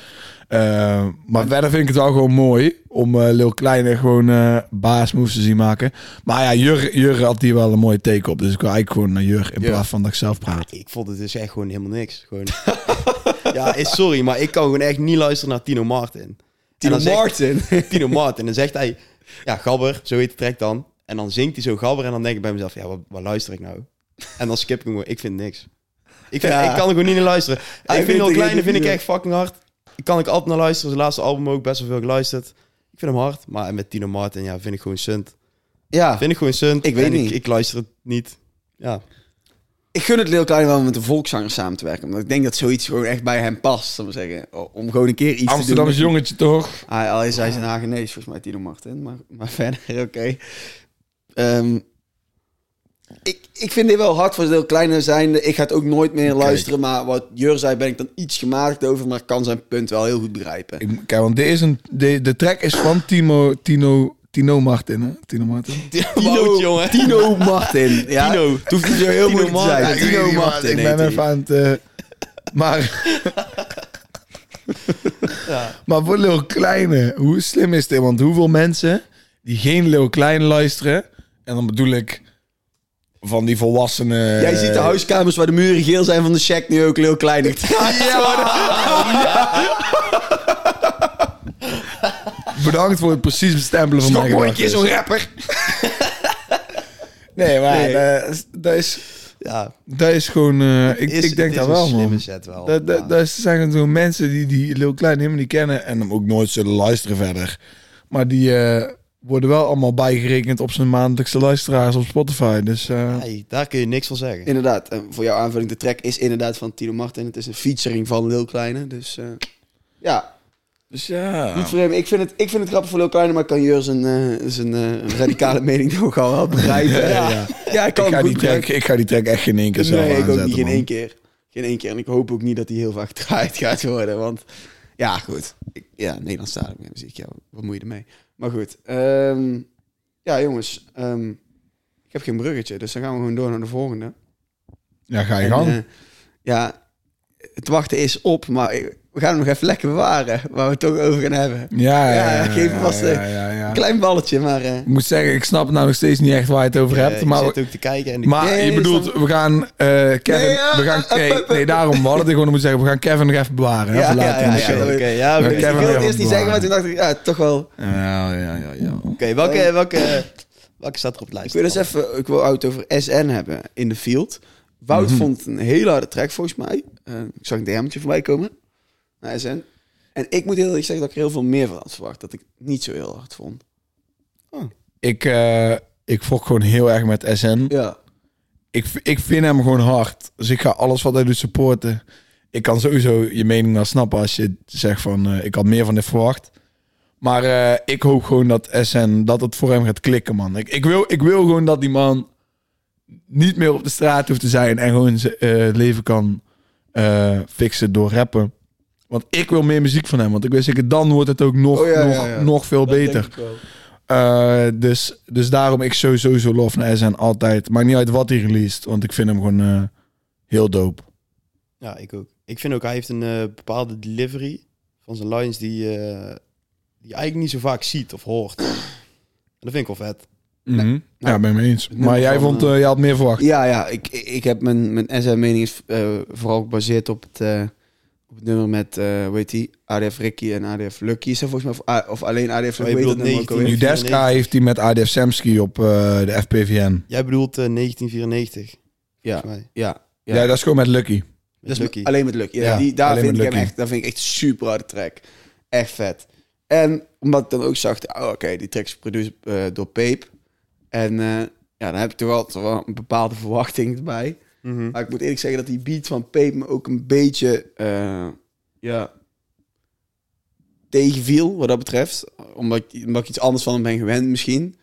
Speaker 1: Eh, maar verder vind ik het wel gewoon mooi om eh Lil Kleine gewoon eh baasmoves te zien maken. Maar ja, Jur, Jur had hier wel een mooie take op. Dus ik wil eigenlijk gewoon naar Jur in
Speaker 2: Ja.
Speaker 1: plaats van dat ik zelf praat.
Speaker 3: ik vond het dus echt gewoon helemaal niks. Gewoon. ja, eh, sorry, maar ik kan gewoon echt niet luisteren naar Tino Martin. En
Speaker 2: Tino
Speaker 3: dan zegt-
Speaker 2: Martin.
Speaker 3: Tino Martin. En dan zegt hij, ja, gabber, zo heet de track dan. En dan zingt hij zo gabber en dan denk ik bij mezelf, ja, wat, wat luister ik nou? En dan skip ik hem gewoon, ik vind niks. Ik, vind,
Speaker 2: Ja.
Speaker 3: ik kan er gewoon niet naar luisteren.
Speaker 2: Hij
Speaker 3: ik
Speaker 2: vindt
Speaker 3: vind heel
Speaker 2: het
Speaker 3: kleine,
Speaker 2: echt
Speaker 3: vind ik
Speaker 2: niet,
Speaker 3: echt fucking hard. Ik kan ik altijd naar luisteren. Zijn laatste album ook best wel veel geluisterd. Ik vind hem hard, maar met Tino Martin, ja, vind ik gewoon sunt.
Speaker 2: Ja,
Speaker 3: Vind ik gewoon sunt.
Speaker 2: Ik weet
Speaker 3: en
Speaker 2: niet.
Speaker 3: Ik, ik luister het niet. Ja,
Speaker 2: ik gun het Lil Kleine wel om met een volkszanger samen te werken. Omdat ik denk dat zoiets gewoon echt bij hem past, zal ik maar zeggen. O- Om gewoon een keer iets
Speaker 1: Amsterdams
Speaker 2: te doen.
Speaker 1: jongetje toch?
Speaker 2: Hij, hij is, hij is een Hagenees, volgens mij, Tino Martin. Maar, maar verder, oké. Ehm, ik, ik vind dit wel hard voor Lil Kleine zijnde. Ik ga het ook nooit meer luisteren. Maar wat Jur zei, ben ik dan iets gematigd over. Maar ik kan zijn punt wel heel goed begrijpen.
Speaker 1: Ik- Kijk, want dit is een, de, de track is van Timo, Tino, Tino Martin, hè? Tino Martin.
Speaker 3: Wout, jongen.
Speaker 2: Tino Martin. Ja,
Speaker 3: Tino.
Speaker 2: Het hoeft niet zo heel
Speaker 3: Tino
Speaker 2: moeilijk te
Speaker 3: Martin.
Speaker 2: zijn.
Speaker 3: Ja,
Speaker 2: Tino Martin.
Speaker 1: Ik
Speaker 2: heet
Speaker 1: ben
Speaker 2: hij.
Speaker 1: even aan het... eh, maar...
Speaker 3: Ja.
Speaker 1: Maar voor Lil Kleine, hoe slim is dit? Want hoeveel mensen die geen Lil Kleine luisteren... En dan bedoel ik van die volwassenen... eh,
Speaker 2: Jij ziet de huiskamers waar de muren geel zijn van de check nu ook heel klein.
Speaker 1: Bedankt voor het precies bestempelen van mijn gedachten.
Speaker 2: rapper.
Speaker 1: Nee, maar
Speaker 2: Nee.
Speaker 1: eh, dat, is,
Speaker 3: ja.
Speaker 1: dat is gewoon... eh, ik,
Speaker 3: Is-
Speaker 1: ik denk
Speaker 3: het
Speaker 1: dat
Speaker 3: is een
Speaker 1: wel,
Speaker 3: slimme
Speaker 1: man.
Speaker 3: Zet wel.
Speaker 1: Dat, dat, dat zijn gewoon mensen die, die Lil Kleine helemaal niet kennen... en hem ook nooit zullen luisteren verder. Maar die eh, worden wel allemaal bijgerekend op zijn maandelijkse luisteraars op Spotify. Dus eh,
Speaker 3: Hey, daar kun je niks van zeggen.
Speaker 2: Inderdaad, en voor jouw aanvulling, de track is inderdaad van Tino Martin. Het is een featuring van Lil Kleine, dus eh, ja,
Speaker 1: dus ja...
Speaker 2: niet voor hem. Ik vind het, ik vind het grappig voor Lil Kleine, maar ik kan Jur zijn, eh, zijn eh, radicale mening toch al wel begrijpen.
Speaker 1: Ja,
Speaker 2: Ja,
Speaker 1: ja.
Speaker 2: ja ik kan
Speaker 1: ik, ga
Speaker 2: hem
Speaker 1: die
Speaker 2: goed
Speaker 1: track,
Speaker 2: begrijpen.
Speaker 1: ik ga die track echt geen één keer zelf
Speaker 2: Nee, ik ook
Speaker 1: aanzetten,
Speaker 2: niet, geen
Speaker 1: man.
Speaker 2: één keer. Geen één keer, en ik hoop ook niet dat hij heel vaak gedraaid gaat worden, want ja, goed. Ik, ja, Nederlandstalig met muziek, ja, wat moet je ermee? Maar goed, ehm, ja jongens, ehm, ik heb geen bruggetje, dus dan gaan we gewoon door naar de volgende.
Speaker 1: Ja, ga je
Speaker 2: En,
Speaker 1: gang.
Speaker 2: eh, ja, het wachten is op, maar ik- we gaan hem nog even lekker bewaren. Waar we het toch over gaan hebben.
Speaker 1: ja,
Speaker 2: ja, geef vast, eh,
Speaker 1: ja, ja, ja.
Speaker 2: Klein balletje, maar... eh,
Speaker 1: Ik moet zeggen, ik snap nou nog steeds niet echt waar je het over hebt.
Speaker 3: Eh,
Speaker 1: maar
Speaker 3: ik zit ook te kijken en ik-
Speaker 1: maar
Speaker 2: Nee,
Speaker 1: je
Speaker 2: is
Speaker 1: bedoelt, we gaan eh, Kevin...
Speaker 2: Nee, ja,
Speaker 1: we gaan,
Speaker 2: eh,
Speaker 1: nee,
Speaker 2: eh, eh,
Speaker 1: nee, daarom. We hadden het gewoon moeten zeggen. We gaan Kevin nog even bewaren. hè,
Speaker 2: Ja,
Speaker 1: voor
Speaker 2: ja,
Speaker 1: later
Speaker 2: ja,
Speaker 1: in de
Speaker 2: ja,
Speaker 1: show.
Speaker 2: dat
Speaker 1: Ja,
Speaker 2: weet
Speaker 1: ja,
Speaker 3: Oké,
Speaker 2: ik.
Speaker 3: ja,
Speaker 1: Ja,
Speaker 3: oké.
Speaker 1: ik
Speaker 2: ik
Speaker 1: heb hem
Speaker 2: wilde
Speaker 1: even
Speaker 2: eerst niet zeggen, maar
Speaker 1: bewaren.
Speaker 2: toen dacht ik, ja, toch wel...
Speaker 1: ja, ja, ja.
Speaker 3: Oké, welke,
Speaker 2: Oké.
Speaker 3: welke, welke staat er op de lijst?
Speaker 2: Ik wil eens dus even, ik wil oud over SN hebben in de field. Wout
Speaker 1: Mhm.
Speaker 2: vond een hele harde track volgens mij. Eh, ik zag een DM'tje voorbij komen naar SN. En ik moet heel eerlijk zeggen dat ik er heel veel meer van had verwacht. Dat ik niet zo heel hard vond.
Speaker 1: Ik, eh, ik fok gewoon heel erg met SN.
Speaker 2: Ja.
Speaker 1: Ik, v- ik vind hem gewoon hard. Dus ik ga alles wat hij doet supporten. Ik kan sowieso je mening wel snappen als je zegt van... eh, ik had meer van dit verwacht. Maar eh, ik hoop gewoon dat SN... dat het voor hem gaat klikken, man. Ik, ik, wil, ik wil gewoon dat die man... niet meer op de straat hoeft te zijn... en gewoon zijn eh, leven kan eh, fixen door rappen. Want ik wil meer muziek van hem. Want ik weet zeker, dan wordt het ook nog,
Speaker 2: Oh, ja, ja,
Speaker 1: nog,
Speaker 2: ja.
Speaker 1: nog veel beter. Eh, dus, dus daarom ik sowieso zo lof naar SN altijd. Maakt niet uit wat hij released, want ik vind hem gewoon eh, heel dope.
Speaker 3: Ja, ik ook. Ik vind ook, hij heeft een eh, bepaalde delivery van zijn lines die, eh, die je eigenlijk niet zo vaak ziet of hoort. En dat vind ik wel vet.
Speaker 1: Mhm. ja, ben ik mee eens.
Speaker 2: nummer
Speaker 1: Maar jij
Speaker 2: van,
Speaker 1: vond,
Speaker 2: eh,
Speaker 1: eh, jij had meer verwacht.
Speaker 2: Ja, ja. Ik, ik heb mijn, mijn SM-mening is eh, vooral gebaseerd op het, eh, op het nummer met, eh hoe heet die? ADF Ricky en ADF Lucky. Is dat volgens mij, of, A- of alleen ADF
Speaker 3: Oh,
Speaker 2: Lucky?
Speaker 3: je
Speaker 2: Weet
Speaker 3: bedoelt
Speaker 2: dat nummer ook
Speaker 3: 19.
Speaker 2: alweer?
Speaker 1: Nu Deska heeft hij met ADF Samsky op eh, de FPVN.
Speaker 3: Jij bedoelt eh, 1994.
Speaker 2: Ja,
Speaker 3: volgens mij.
Speaker 2: ja.
Speaker 1: Ja. dat is gewoon met Lucky.
Speaker 3: Met
Speaker 2: Dus
Speaker 3: Lucky.
Speaker 2: Alleen met Lucky. Ja,
Speaker 1: Ja,
Speaker 2: die, daar
Speaker 1: alleen
Speaker 2: vind ik
Speaker 1: met
Speaker 2: hem
Speaker 1: Lucky.
Speaker 2: echt, daar vind ik echt een super harde track. Echt vet. En omdat ik dan ook zag, oh, oké, die track is geproduceerd eh, door Peep. En eh, ja, dan heb ik toch wel, toch wel een bepaalde verwachting bij.
Speaker 3: Mhm.
Speaker 2: Maar ik moet eerlijk zeggen dat die beat van Peep me ook een beetje eh, ja, tegenviel wat dat betreft. Omdat ik, omdat ik iets anders van hem ben gewend misschien.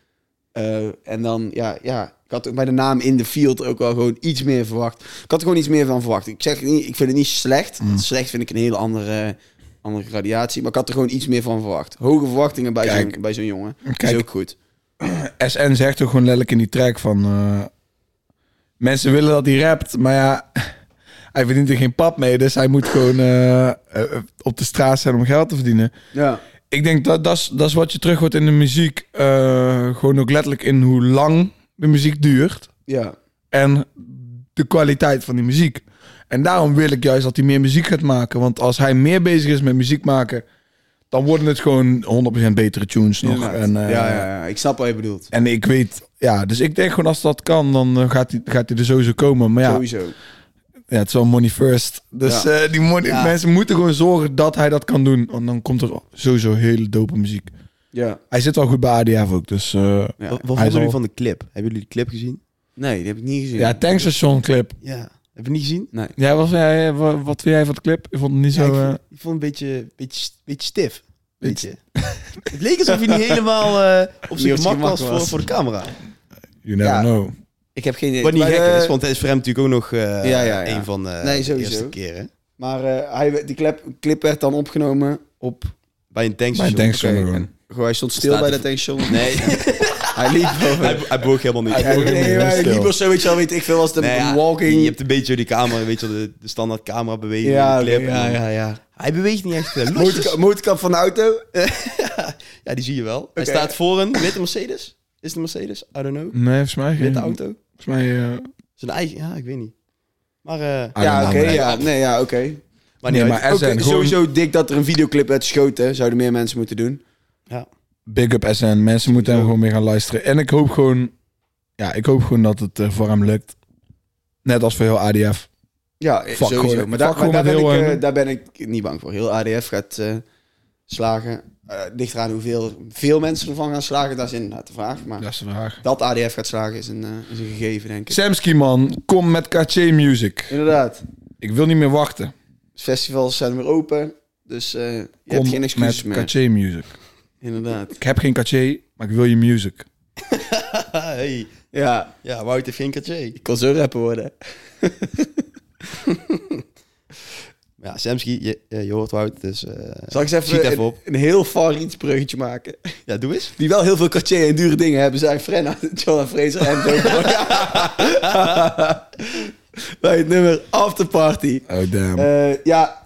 Speaker 2: Eh, en dan, ja, ja, ik had ook bij de naam in de field ook wel gewoon iets meer verwacht. Ik had er gewoon iets meer van verwacht. Ik zeg niet, ik vind het niet slecht.
Speaker 1: Mm.
Speaker 2: Slecht vind ik een hele andere, andere gradatie. Maar ik had er gewoon iets meer van verwacht. Hoge verwachtingen bij
Speaker 1: Kijk.
Speaker 2: zo'n bij zo'n jongen. Is
Speaker 1: Kijk,
Speaker 2: ook goed.
Speaker 1: SN zegt ook gewoon letterlijk in die track van... eh, mensen willen dat hij rapt, maar ja... Hij verdient er geen pap mee, dus hij moet gewoon eh, eh, op de straat zijn om geld te verdienen.
Speaker 2: Ja.
Speaker 1: ik denk dat dat is- dat is wat je terug hoort in de muziek. eh, gewoon ook letterlijk in hoe lang de muziek duurt.
Speaker 2: Ja.
Speaker 1: En de kwaliteit van die muziek. En daarom wil ik juist dat hij meer muziek gaat maken. Want als hij meer bezig is met muziek maken... dan worden het gewoon 100% betere tunes nog.
Speaker 2: Inderdaad.
Speaker 1: En, eh,
Speaker 2: ja, ja, ja, ik snap wat je bedoelt.
Speaker 1: en ik weet, ja, dus ik denk gewoon als dat kan, dan eh, gaat hij gaat die er sowieso komen. Maar ja,
Speaker 2: Sowieso.
Speaker 1: ja, het is wel money first. Dus eh, die money,
Speaker 2: Ja.
Speaker 1: mensen moeten gewoon zorgen dat hij dat kan doen. Want dan komt er sowieso hele dope muziek.
Speaker 2: Ja.
Speaker 1: Hij zit wel goed bij ADF ook, dus... eh,
Speaker 2: ja.
Speaker 3: Wat, wat
Speaker 1: Hij
Speaker 3: vonden
Speaker 1: is al-
Speaker 3: jullie van de clip? Hebben jullie de clip gezien?
Speaker 2: Nee, die heb ik niet gezien.
Speaker 1: ja, tankstation clip.
Speaker 3: Ja. Heb je niet gezien?
Speaker 2: Nee.
Speaker 1: Jij was, jij, wa- wat vind jij van de clip? Ik vond het niet
Speaker 3: Ja, ik,
Speaker 1: zo... eh,
Speaker 3: vond, ik vond het een beetje, beetje, beetje stif.
Speaker 1: Beetje-
Speaker 3: Beetje. het leek alsof hij niet helemaal eh, op
Speaker 2: Niet
Speaker 3: zijn
Speaker 2: op zijn
Speaker 3: gemak
Speaker 2: gemak
Speaker 3: was voor,
Speaker 2: was.
Speaker 3: voor de camera.
Speaker 1: you never
Speaker 2: Ja.
Speaker 1: know.
Speaker 2: Ik heb geen idee.
Speaker 3: Wat niet
Speaker 2: Maar,
Speaker 3: gek
Speaker 2: eh,
Speaker 3: is, want het is voor hem natuurlijk ook nog eh,
Speaker 2: ja, ja.
Speaker 3: een van eh,
Speaker 2: Nee,
Speaker 3: de
Speaker 2: sowieso.
Speaker 3: eerste keren.
Speaker 2: Maar eh, hij, die clip, clip werd dan opgenomen op...
Speaker 3: Bij een
Speaker 1: Mijn
Speaker 3: tankstation.
Speaker 1: tankstation
Speaker 2: oké.
Speaker 1: gewoon.
Speaker 2: Gewoon, hij stond stil
Speaker 3: Staat
Speaker 2: bij
Speaker 3: er-
Speaker 2: dat tankstation.
Speaker 3: Nee,
Speaker 2: Hij liep over.
Speaker 3: hij, hij boog helemaal niet.
Speaker 1: Hij-
Speaker 2: nee,
Speaker 1: heel
Speaker 2: maar hij
Speaker 1: stil.
Speaker 2: liep of zo, weet je wel, weet ik veel, als de
Speaker 3: Nee, ja,
Speaker 2: walking...
Speaker 3: Je hebt een beetje die camera, weet je wel, de, de standaard camera beweging
Speaker 2: ja,
Speaker 3: in de
Speaker 2: ja,
Speaker 3: clip.
Speaker 2: ja,
Speaker 3: En dan-
Speaker 2: ja,
Speaker 3: Hij beweegt niet echt. eh, losjes.
Speaker 2: Motorkap, motorkap van de auto.
Speaker 3: Ja, die zie je wel. Hij
Speaker 2: Oké.
Speaker 3: staat voor een witte Mercedes. Is het een Mercedes? I don't know.
Speaker 1: Nee, volgens mij geen.
Speaker 3: Witte auto.
Speaker 1: Volgens mij... eh,
Speaker 3: Zijn eigen, ja, ik weet niet. Maar, eh
Speaker 1: I
Speaker 2: ja,
Speaker 1: don't
Speaker 2: oké,
Speaker 1: know, man.
Speaker 2: ja, nee, ja, oké.
Speaker 3: maar
Speaker 1: Nee,
Speaker 3: niet
Speaker 1: maar
Speaker 3: uit.
Speaker 1: er
Speaker 2: Oké,
Speaker 1: zijn gewoon...
Speaker 2: Sowieso dik dat er een videoclip werd geschoten. Zouden meer mensen moeten doen.
Speaker 1: Big up SN. Mensen moeten hem
Speaker 2: Zo.
Speaker 1: gewoon mee gaan luisteren. En ik hoop gewoon... Ja, ik hoop gewoon dat het eh, voor hem lukt. Net als voor heel ADF.
Speaker 2: Ja, eh,
Speaker 1: Fuck
Speaker 2: sowieso.
Speaker 1: gewoon-
Speaker 2: maar daar,
Speaker 1: fuck gewoon
Speaker 2: maar daar
Speaker 1: met
Speaker 2: ben
Speaker 1: heel,
Speaker 2: ik, eh,
Speaker 1: eh,
Speaker 2: daar ben ik niet bang voor. Heel ADF gaat eh, slagen. Eh ligt eraan hoeveel veel mensen ervan gaan slagen. Dat is inderdaad de vraag. Maar
Speaker 1: Dat is de vraag.
Speaker 2: dat ADF gaat slagen is een, eh, is een gegeven, denk ik.
Speaker 1: Samsky, man. Kom met KC Music.
Speaker 2: Inderdaad.
Speaker 1: Ik wil niet meer wachten.
Speaker 2: Festivals zijn weer open. Dus eh, je
Speaker 1: Kom
Speaker 2: hebt geen excuses
Speaker 1: met
Speaker 2: meer.
Speaker 1: KC Music.
Speaker 2: Inderdaad.
Speaker 1: Ik heb geen KC, maar ik wil je music.
Speaker 3: Ah, hey.
Speaker 2: Ja,
Speaker 3: Ja, Wout heeft geen caché.
Speaker 2: ik kon zo rapper worden.
Speaker 3: Ja, Samsky, je, eh, je hoort Wout, dus... eh,
Speaker 2: Zal ik eens
Speaker 3: Schiet
Speaker 2: even,
Speaker 3: even
Speaker 2: een,
Speaker 3: op.
Speaker 2: een heel far iets bruggetje maken?
Speaker 3: ja, doe eens.
Speaker 2: Die wel heel veel Cartier en dure dingen hebben. Zijn Frenna, John Fraser en Dope Bij het nummer After Party.
Speaker 1: Oh, damn.
Speaker 2: Eh, ja,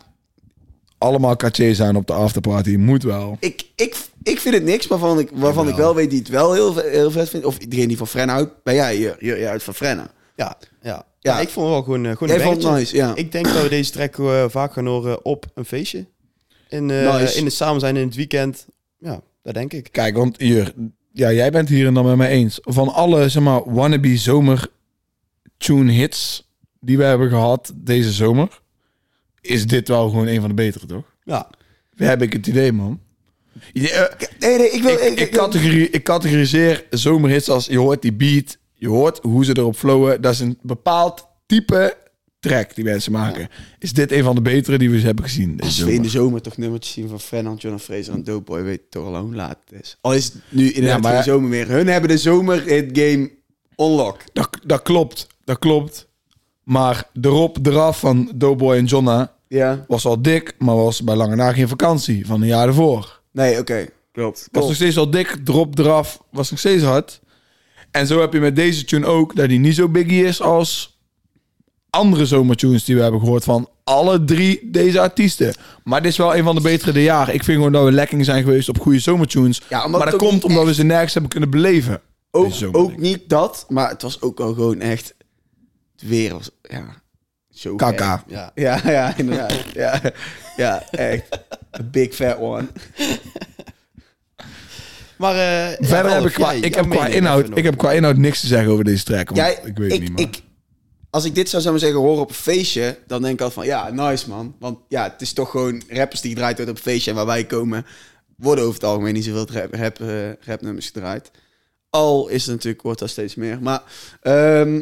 Speaker 1: Allemaal KC zijn op de afterparty. Moet wel.
Speaker 2: ik, ik, ik vind het niks, maar waarvan ik, waarvan ik wel weet die het wel heel, ve- heel vet vindt. Of iedereen die van Frenna houdt. Ben jij, je, je, je houdt van Frenna.
Speaker 3: Ja, ja.
Speaker 2: Ja.
Speaker 3: ja. ik vond het wel gewoon, eh, gewoon
Speaker 2: Jij
Speaker 3: een
Speaker 2: vond het
Speaker 3: banger.
Speaker 2: nice, ja.
Speaker 3: Ik denk dat we deze track eh, vaak gaan horen op een feestje. In, eh,
Speaker 2: Nice.
Speaker 3: in het samen zijn in het weekend. Ja, dat denk ik.
Speaker 1: Kijk, want hier, ja, jij bent hier en dan met mij eens. Van alle, zeg maar, wannabe zomer tune hits die we hebben gehad deze zomer, is dit wel gewoon een van de betere, toch?
Speaker 3: Ja.
Speaker 1: Heb ik het idee, man. Ja, eh,
Speaker 2: Nee, nee, ik wil...
Speaker 1: ik, ik,
Speaker 2: ik-
Speaker 1: categorie, ik categoriseer zomerhits als je hoort die beat, je hoort hoe ze erop flowen. Dat is een bepaald type track die mensen maken. Is dit een van de betere die we eens hebben gezien deze
Speaker 2: Als Dus we in
Speaker 1: zomer?
Speaker 2: de zomer toch nummertjes zien van Frenna, John Fraser en Doughboy, weet je toch al hoe laat het is. Al is het nu inderdaad
Speaker 1: Ja, maar-
Speaker 2: geen zomer meer. Hun hebben de zomer het game unlock.
Speaker 1: Dat, dat klopt, dat klopt. Maar erop, eraf van Doughboy en Jonna
Speaker 2: Ja.
Speaker 1: was al dik, maar was bij lange na geen vakantie van een jaar ervoor.
Speaker 2: Nee, oké. Klopt.
Speaker 1: Was nog steeds al dik, drop eraf, was nog steeds hard. En zo heb je met deze tune ook dat die niet zo biggie is als andere zomertunes die we hebben gehoord van alle drie deze artiesten. Maar dit is wel een van de betere de jaren. Ik vind gewoon dat we lekking zijn geweest op goede zomertunes.
Speaker 2: Ja, omdat
Speaker 1: maar
Speaker 2: het
Speaker 1: dat
Speaker 2: ook
Speaker 1: komt
Speaker 2: niet
Speaker 1: omdat we ze nergens hebben kunnen beleven.
Speaker 2: Ook,
Speaker 1: Deze zomer,
Speaker 2: ook
Speaker 1: denk ik.
Speaker 2: niet dat, maar het was ook al gewoon echt... Het weer was... Ja, zo
Speaker 1: Kaka.
Speaker 3: Ja.
Speaker 2: gek. Ja, ja, inderdaad. ja, ja, echt. A big fat one.
Speaker 3: Maar eh, ja,
Speaker 1: Verder heb
Speaker 3: Ralf,
Speaker 1: ik qua,
Speaker 3: jij-
Speaker 1: ik
Speaker 3: jouw
Speaker 1: heb qua,
Speaker 3: mening even
Speaker 1: inhoud,
Speaker 3: nog.
Speaker 1: ik heb qua inhoud niks te zeggen over deze track. want
Speaker 2: Jij,
Speaker 1: ik weet het niet, maar...
Speaker 2: als ik dit zou zeg maar zeggen horen op een feestje, dan denk ik altijd van ja, nice man. Want ja, het is toch gewoon rappers die gedraaid worden op een feestje en waar wij komen, worden over het algemeen niet zoveel rap, rap, eh, rapnummers gedraaid. Al is het natuurlijk, wordt dat steeds meer. Maar ehm,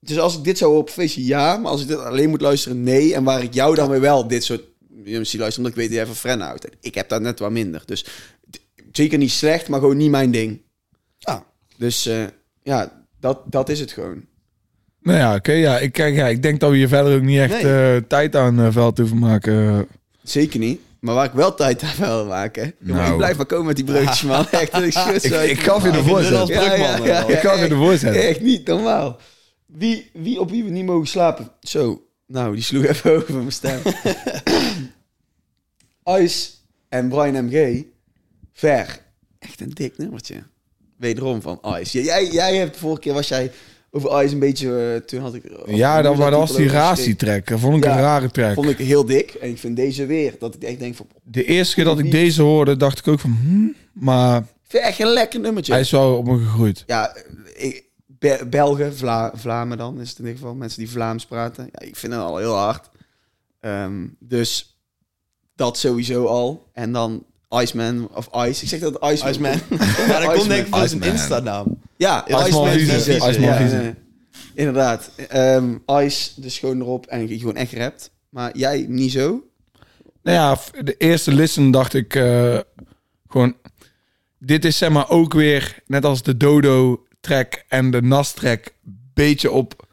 Speaker 2: dus als ik dit zou horen op een feestje, ja. Maar als ik dit alleen moet luisteren, nee. En waar ik jou dan weer wel dit soort nummers zie luisteren, omdat ik weet dat jij van Frenna houdt. En ik heb dat net wat minder. Dus d- zeker niet slecht, maar gewoon niet mijn ding.
Speaker 1: Ah.
Speaker 3: Ja.
Speaker 2: Dus eh, ja, dat, dat is het gewoon.
Speaker 1: Nou ja, oké. ja, ik, kijk, ja, ik denk dat we hier verder ook niet echt
Speaker 3: Nee.
Speaker 1: eh, tijd aan eh, veld hoeven maken.
Speaker 2: Zeker niet. Maar waar ik wel tijd aan wil maken.
Speaker 1: Nou.
Speaker 2: Ik blijf maar komen met die broodjes, man. Echt, ik, schud
Speaker 1: ik,
Speaker 2: zo uit
Speaker 1: ik
Speaker 2: de
Speaker 1: gaf je de
Speaker 2: maag.
Speaker 3: vind het
Speaker 1: voorzet.
Speaker 3: wel-
Speaker 2: Ja, ja,
Speaker 3: Druk, man,
Speaker 2: ja,
Speaker 3: man.
Speaker 2: ja,
Speaker 1: Ik gaf je de
Speaker 2: echt-
Speaker 1: voorzet.
Speaker 2: Echt niet normaal. Wie, wie op wie we niet mogen slapen. Zo. Nou, die sloeg even over mijn stem. Ice en Brian MG. Ver. Echt een dik nummertje. Wederom van Ice. Jij, jij hebt de vorige keer was jij over Eyes een beetje... eh, toen had ik...
Speaker 1: Ja, dan, maar dat was die
Speaker 2: ratie.
Speaker 1: Razi-track. Dat vond ik
Speaker 2: Ja,
Speaker 1: een rare track.
Speaker 2: Vond ik heel dik. En ik vind deze weer. Dat ik echt denk van...
Speaker 1: De eerste keer dat ik
Speaker 2: niet.
Speaker 1: deze hoorde, dacht ik ook van... hm, maar
Speaker 2: Ik vind echt een lekker nummertje.
Speaker 1: hij is wel op me gegroeid.
Speaker 2: Ja, ik, Be- Belgen, Vla, Vlamen dan is het in ieder geval. Mensen die Vlaams praten. Ja, ik vind het al heel hard. Ehm, dus dat sowieso al. En dan Iceman of Ice. Ik zeg dat Iceman.
Speaker 3: Iceman. Maar dat
Speaker 2: Iceman.
Speaker 3: komt denk ik van zijn
Speaker 1: Iceman.
Speaker 3: Insta-naam.
Speaker 2: Ja,
Speaker 3: Iceman
Speaker 1: Viezen.
Speaker 2: Viezen.
Speaker 1: Iceman
Speaker 2: Ja,
Speaker 1: Viezen.
Speaker 2: eh, Inderdaad. Ehm, ice, dus gewoon erop. En je gewoon echt rapt. Maar jij niet zo.
Speaker 1: Nou ja, f- de eerste listen dacht ik eh, gewoon... Dit is zeg maar ook weer, net als de Dodo-track en de Nas-track... beetje op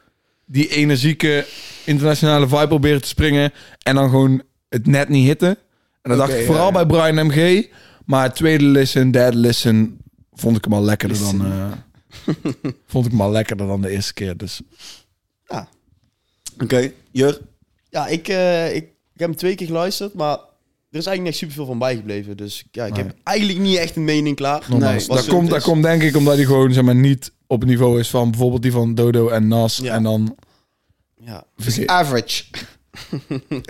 Speaker 1: die energieke internationale vibe proberen te springen... en dan gewoon het net niet hitten. En dat dacht
Speaker 2: Oké,
Speaker 1: ik vooral bij
Speaker 2: ja.
Speaker 1: Brian MG. Maar tweede listen, derde listen... vond ik hem al lekkerder dan... eh, vond ik hem al lekkerder dan de eerste keer, dus...
Speaker 2: Oké, Jur.
Speaker 3: Ja, ik, eh, ik, ik heb hem twee keer geluisterd, maar er is eigenlijk niet echt superveel van bijgebleven. Dus ja, ik
Speaker 1: Nee.
Speaker 3: heb eigenlijk niet echt een mening klaar.
Speaker 1: Nogmaals,
Speaker 2: Nee,
Speaker 1: dat,
Speaker 3: was-
Speaker 1: komt, dat
Speaker 3: is-
Speaker 1: komt denk ik omdat hij gewoon zeg maar, niet op het niveau is van bijvoorbeeld die van Dodo en Nas.
Speaker 3: Ja.
Speaker 1: En dan
Speaker 3: Ja.
Speaker 1: vergeet-
Speaker 2: Average.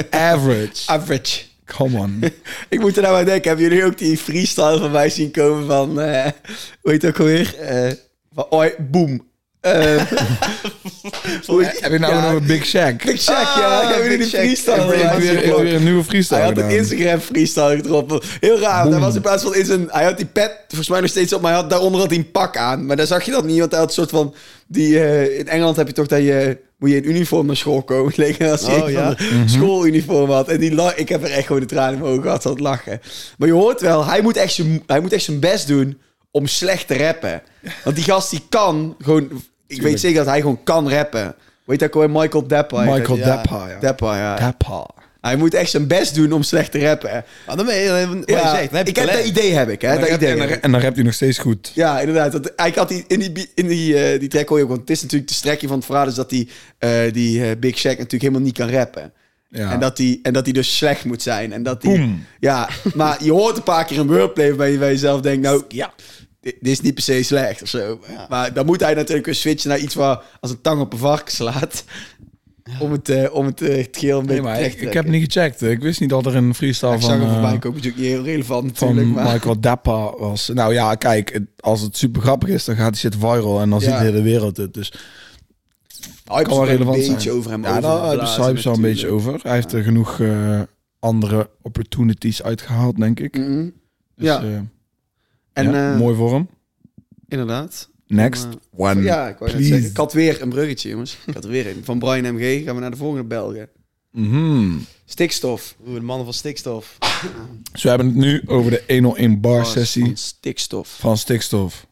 Speaker 1: average.
Speaker 2: Average.
Speaker 1: Come on.
Speaker 2: Ik moet er nou aan denken. Hebben jullie ook die freestyle van mij zien komen van... eh, hoe heet het ook alweer? Eh, van Oi, boom. Eh, hoe heet-
Speaker 1: Heb je nou
Speaker 2: ja,
Speaker 1: nog een Big Shack?
Speaker 2: Big Shack,
Speaker 3: Ah,
Speaker 2: ja. Hebben jullie die
Speaker 3: Big Shack.
Speaker 2: freestyle
Speaker 1: Ik
Speaker 2: van
Speaker 1: heb weer,
Speaker 2: mij zien
Speaker 1: ik heb
Speaker 2: komen?
Speaker 1: weer een nieuwe freestyle
Speaker 2: Hij had een
Speaker 1: gedaan.
Speaker 2: Instagram freestyle getroffen. Heel raar. want Hij
Speaker 1: Boom.
Speaker 2: was in plaats van in zijn... Hij had die pet volgens mij nog steeds op, maar hij had, daaronder had hij een pak aan. Maar daar zag je dat niet, want hij had een soort van... Die, eh, in Engeland heb je toch dat je... Moet je in uniform naar school komen? Lekker als je
Speaker 3: Oh,
Speaker 2: een
Speaker 3: ja.
Speaker 2: van de
Speaker 1: Mhm.
Speaker 2: schooluniform had. En die la- ik heb er echt gewoon de tranen in mijn ogen gehad van het lachen. Maar je hoort wel, hij moet echt zijn, hij moet echt zijn best doen om slecht te rappen. Want die gast die kan gewoon... Ik weet zeker dat hij gewoon kan rappen. Weet je dat ook alweer? Michael Dapper.
Speaker 1: Michael
Speaker 3: Ja.
Speaker 1: Dappa. Ja.
Speaker 2: Dapper, ja.
Speaker 1: Dappa.
Speaker 2: Hij moet echt zijn best doen om slecht te rappen.
Speaker 3: Maar Ah, dan ben je, dan, wat je
Speaker 2: Ja,
Speaker 3: zegt, dan heb je
Speaker 2: ik heb dat
Speaker 3: talent.
Speaker 2: idee heb ik, hè?
Speaker 1: En dan
Speaker 2: Dat
Speaker 1: rapt-
Speaker 2: idee.
Speaker 1: en dan-
Speaker 2: heb ik.
Speaker 1: En dan rapt hij nog steeds goed.
Speaker 2: Ja, inderdaad. Want eigenlijk had die, in die, bi- in die, eh, die track hoor je ook, want het is natuurlijk de strekje van het verhaal is dat die, eh, die eh, Big Shaq natuurlijk helemaal niet kan rappen.
Speaker 1: Ja.
Speaker 2: En dat die en dat die dus slecht moet zijn. En dat die,
Speaker 1: Boom.
Speaker 2: Ja, maar je hoort een paar keer een wordplay waarbij je bij jezelf denkt, nou ja, dit, dit is niet per se slecht of zo. Maar dan moet hij natuurlijk weer switchen naar iets waar als een tang op een varken slaat. Om het, eh, om het, eh, het geel een
Speaker 1: Nee,
Speaker 2: beetje
Speaker 1: maar
Speaker 2: terecht
Speaker 1: ik,
Speaker 2: te
Speaker 1: ik heb
Speaker 2: trekken.
Speaker 1: niet gecheckt. Ik wist niet dat er een freestyle
Speaker 2: Ik
Speaker 1: van...
Speaker 2: zag hem
Speaker 1: eh,
Speaker 2: voorbij komen, is ook niet heel relevant
Speaker 1: van
Speaker 2: natuurlijk. maar...
Speaker 1: Michael Dappa was. Nou ja, kijk, het- als het super grappig is, dan gaat die shit viral en dan
Speaker 2: Ja.
Speaker 1: ziet de hele wereld het. Dus
Speaker 2: Hype
Speaker 1: kan wel
Speaker 2: is er
Speaker 1: relevant
Speaker 2: een beetje
Speaker 1: zijn.
Speaker 2: over hem
Speaker 1: ja, daar hebben ze hype wel een beetje over. Hij heeft er genoeg eh, andere opportunities uitgehaald, denk ik. Dus,
Speaker 2: Mm. Ja,
Speaker 1: eh,
Speaker 2: Mm-hmm. en
Speaker 1: ja,
Speaker 2: eh,
Speaker 1: mooi voor hem.
Speaker 2: inderdaad. eh,
Speaker 1: Next one.
Speaker 2: ja, ik wou net
Speaker 1: please.
Speaker 2: zeggen. Ik had weer een bruggetje, jongens. Ik had er weer een. Van Brian MG gaan we naar de volgende Belgen.
Speaker 1: Mhm.
Speaker 2: Stikstof.
Speaker 3: Oeh, de mannen van stikstof.
Speaker 1: Dus we hebben het nu over de 101
Speaker 2: Oh,
Speaker 1: bar sessie
Speaker 2: Van Stikstof.
Speaker 1: van Stikstof.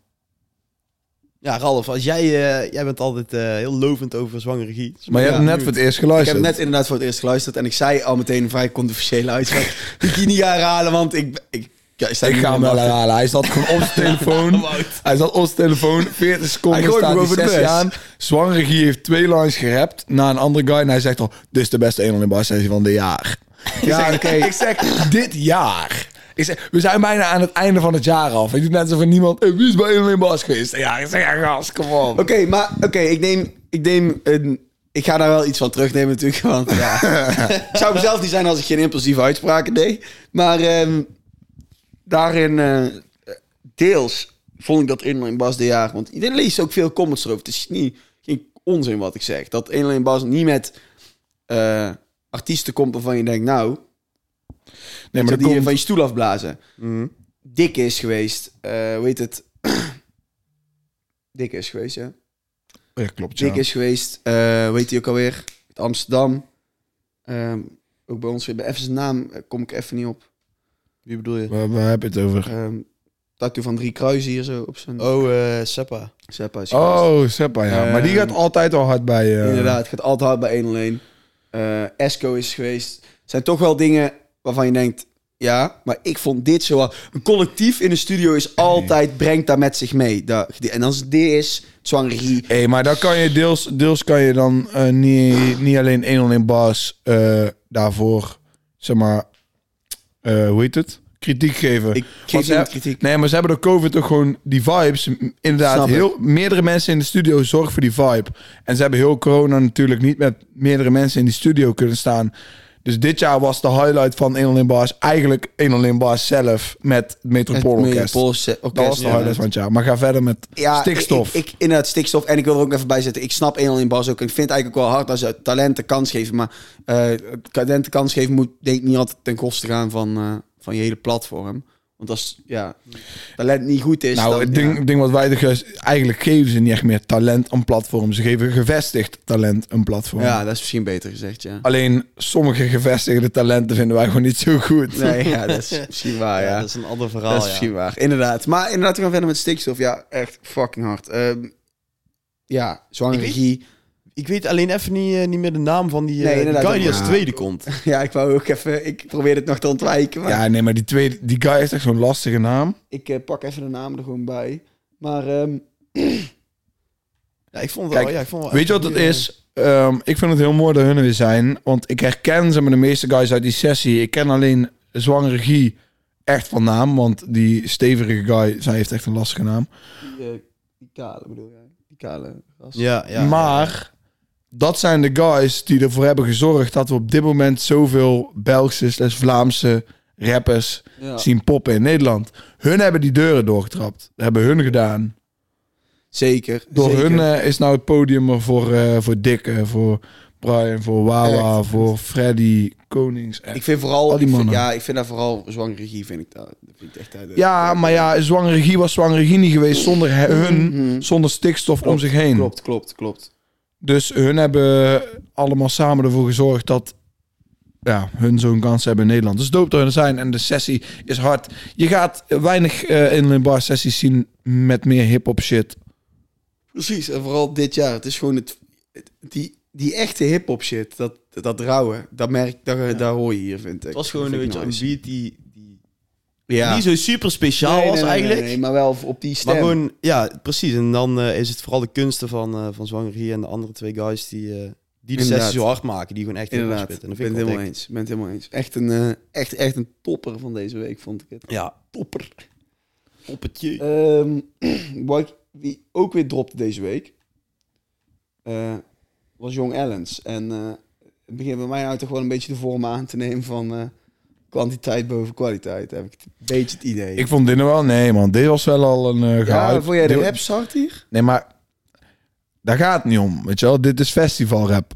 Speaker 3: Ja, Ralf, als jij, eh, jij bent altijd eh, heel lovend over zwangere giet.
Speaker 1: Maar je
Speaker 2: Ja,
Speaker 1: hebt net
Speaker 2: nu.
Speaker 1: voor het eerst
Speaker 2: Ik heb
Speaker 1: geluisterd.
Speaker 2: net inderdaad voor het eerst geluisterd en ik zei al meteen een vrij controversiële uitspraak. Die kan ik niet herhalen, want ik... ik ja, sta
Speaker 1: Ik
Speaker 2: niet
Speaker 1: ga hem
Speaker 2: meer
Speaker 1: wel
Speaker 2: achter.
Speaker 1: herhalen. Hij zat gewoon op zijn telefoon. Hij zat op zijn telefoon. 40 seconden
Speaker 2: Hij gooit
Speaker 1: staat
Speaker 2: me
Speaker 1: die
Speaker 2: over de
Speaker 1: sessie
Speaker 2: bus.
Speaker 1: aan. Zwangere Guy heeft twee lines gerapt na een andere guy. En hij zegt al, dit is de beste 101 bar sessie van dit jaar. Ja, oké.
Speaker 2: Ik zeg...
Speaker 1: dit jaar. Ik zeg, we zijn bijna aan het einde van het jaar af. Ik doe net alsof er niemand... eh, wie is bij Alien Bas geweest? Ja, ik zeg, ja, gast, kom op.
Speaker 2: Oké, maar oké, ik neem... Ik neem een... Ik ga daar wel iets van terugnemen natuurlijk, want ja... ik zou mezelf niet zijn als ik geen impulsieve uitspraken deed. Maar ehm, daarin... eh, deels vond ik dat 1-1 Bas de jaar... Want iedereen leest ook veel comments erover. Het is niet, geen onzin wat ik zeg. Dat 1-1 Bas niet met eh, artiesten komt waarvan je denkt... Nou,
Speaker 1: Nee, maar
Speaker 2: maar
Speaker 1: dat
Speaker 2: die je
Speaker 1: komt...
Speaker 2: van je stoel afblazen. Dik is geweest. eh hoe heet het? Dik is geweest, ja.
Speaker 1: Ja, klopt, ja.
Speaker 2: Dik is geweest. eh weet hij ook alweer? Uit Amsterdam. Ehm, ook bij ons weer. Even zijn naam eh, kom ik even niet op.
Speaker 3: Wie bedoel je?
Speaker 1: Waar, waar heb je het over?
Speaker 2: Ehm tattoo van drie kruisen hier zo op zijn...
Speaker 3: Oh, eh Seppa.
Speaker 2: Seppa is geweest.
Speaker 1: Oh, Seppa, ja. maar die gaat
Speaker 2: Ehm,
Speaker 1: altijd al hard bij... eh,
Speaker 2: Inderdaad, het gaat altijd hard bij 1-1. Eh, Esco is geweest. Het zijn toch wel dingen waarvan je denkt... Ja, maar ik vond dit zo... hard. Een collectief in de studio is altijd... Brengt daar met zich mee. Dat- en als het dit is, zwangerie...
Speaker 1: Hé, maar dan kan je deels, deels kan je dan eh, niet, niet alleen 101 bars eh, daarvoor, zeg maar, eh, hoe heet het? kritiek geven.
Speaker 2: Ik
Speaker 1: Want
Speaker 2: geef
Speaker 1: ze
Speaker 2: ze
Speaker 1: heb-
Speaker 2: kritiek.
Speaker 1: Nee, maar ze hebben door COVID toch gewoon die vibes. m- Inderdaad,
Speaker 2: Snap ik.
Speaker 1: heel, meerdere mensen in de studio zorgen voor die vibe. En ze hebben heel corona natuurlijk niet met meerdere mensen in die studio kunnen staan. Dus dit jaar was de highlight van 101 Bars eigenlijk 101 Bars zelf met het Metropool Orkest.
Speaker 2: Metropoolse
Speaker 1: Dat was
Speaker 2: orkest.
Speaker 1: de highlight van het jaar. Maar ga verder met
Speaker 2: Ja,
Speaker 1: stikstof.
Speaker 2: Ik, ik, inderdaad, stikstof. En ik wil er ook even bij zetten. Ik snap 1 in Bas ook. Ik vind het eigenlijk ook wel hard als ze talenten kans geven. Maar eh talenten kans geven moet denk ik niet altijd ten koste gaan van, eh, van je hele platform. Want als ja, talent niet goed is...
Speaker 1: nou,
Speaker 2: dan-
Speaker 1: het ding,
Speaker 2: ja.
Speaker 1: het ding wat wij er juist- eigenlijk geven ze niet echt meer talent een platform. Ze geven gevestigd talent een platform.
Speaker 2: Ja, dat is misschien beter gezegd, ja.
Speaker 1: Alleen sommige gevestigde talenten vinden wij gewoon niet zo goed.
Speaker 2: Nee, ja, dat is misschien waar, ja.
Speaker 3: dat is een ander verhaal.
Speaker 2: Dat is
Speaker 3: ja.
Speaker 2: misschien waar. Inderdaad. Maar inderdaad, we gaan verder met stikstof. Ja, echt fucking hard. Ehm, ja, zwangere
Speaker 3: Ik weet-
Speaker 2: regie.
Speaker 3: Ik weet alleen even niet, eh, niet meer de naam van die, eh
Speaker 2: Nee,
Speaker 3: die
Speaker 2: inderdaad,
Speaker 3: guy die
Speaker 2: dat-
Speaker 3: als
Speaker 2: ja.
Speaker 3: tweede komt.
Speaker 2: Ja, ik wou ook even... Ik probeer het nog te ontwijken, maar...
Speaker 1: Ja, nee, maar die, twee, die guy heeft echt zo'n lastige naam.
Speaker 2: Ik eh, pak even de naam er gewoon bij. Maar ehm,
Speaker 3: Ja, ik vond het
Speaker 1: Kijk,
Speaker 3: wel, ja, ik vond wel
Speaker 1: Weet je wat het is? Ehm, ik vind het heel mooi dat hun er weer zijn. Want ik herken ze met de meeste guys uit die sessie. Ik ken alleen zwangere Guy echt van naam. Want die stevige guy, zij heeft echt een lastige naam.
Speaker 2: die, eh, die kale bedoel jij? Die kale gast.
Speaker 3: eh, Ja, ja.
Speaker 1: maar dat zijn de guys die ervoor hebben gezorgd... dat we op dit moment zoveel Belgische slash Vlaamse rappers
Speaker 2: Ja.
Speaker 1: zien poppen in Nederland. Hun hebben die deuren doorgetrapt. Dat hebben hun gedaan.
Speaker 2: Zeker.
Speaker 1: Door
Speaker 2: zeker.
Speaker 1: hun eh, is nou het podium er voor, eh, voor Dikke, voor Brian, voor Wawa, voor Freddy, Konings.
Speaker 2: Ik vind vooral...
Speaker 1: Al die
Speaker 2: ik vind-
Speaker 1: mannen.
Speaker 2: ja, ik vind daar vooral zwangere regie vind ik daar. Dat vind ik echt uit.
Speaker 1: Ja, maar ja, zwangere regie was zwangere regie niet geweest zonder he- hun,
Speaker 2: Mhm.
Speaker 1: zonder stikstof om zich heen.
Speaker 2: Klopt, klopt, klopt.
Speaker 1: Dus hun hebben allemaal samen ervoor gezorgd dat ja, hun zo'n kans hebben in Nederland. Dus doop dat hun er zijn en de sessie is hard. Je gaat weinig eh in bar sessies zien met meer hip-hop shit.
Speaker 2: Precies. En vooral dit jaar. Het is gewoon het, het- die, die echte hip-hop shit. Dat, dat rauwe. Dat merk dat, daar hoor je hier, vind ik.
Speaker 3: Het was gewoon een
Speaker 2: Dat vind ik
Speaker 3: beetje een
Speaker 2: nice.
Speaker 3: beat die, die
Speaker 2: Ja.
Speaker 3: niet zo super speciaal
Speaker 2: Nee, nee,
Speaker 3: was
Speaker 2: nee, nee,
Speaker 3: eigenlijk.
Speaker 2: nee, maar wel op die stem.
Speaker 3: Maar gewoon, ja, precies. En dan eh, is het vooral de kunsten van, eh van Zwanger hier en de andere twee guys die, eh, die de
Speaker 2: Inderdaad.
Speaker 3: sessie zo hard maken. Die gewoon echt heel goed
Speaker 2: Inderdaad, ik
Speaker 3: spitten.
Speaker 2: ben
Speaker 3: En dat
Speaker 2: het
Speaker 3: vind ik wel
Speaker 2: helemaal
Speaker 3: dik.
Speaker 2: eens. Ben het helemaal eens. Echt een, eh, echt, echt een topper van deze week, vond ik het.
Speaker 3: Ja,
Speaker 2: Topper.
Speaker 3: poppetje.
Speaker 2: Ehm, wat ik- wie ook weer dropte deze week, eh, was Jong Ellens. En eh, het begint bij mij uit toch wel een beetje de vorm aan te nemen van eh, kwantiteit boven kwaliteit, heb ik het- een beetje het idee.
Speaker 1: Ik vond dit nou wel, nee man, dit was wel al een eh
Speaker 2: ja,
Speaker 1: gehyped.
Speaker 2: vond jij de
Speaker 1: Dit-
Speaker 2: rap hard hier?
Speaker 1: Nee, maar daar gaat het niet om, weet je wel. Dit is festivalrap.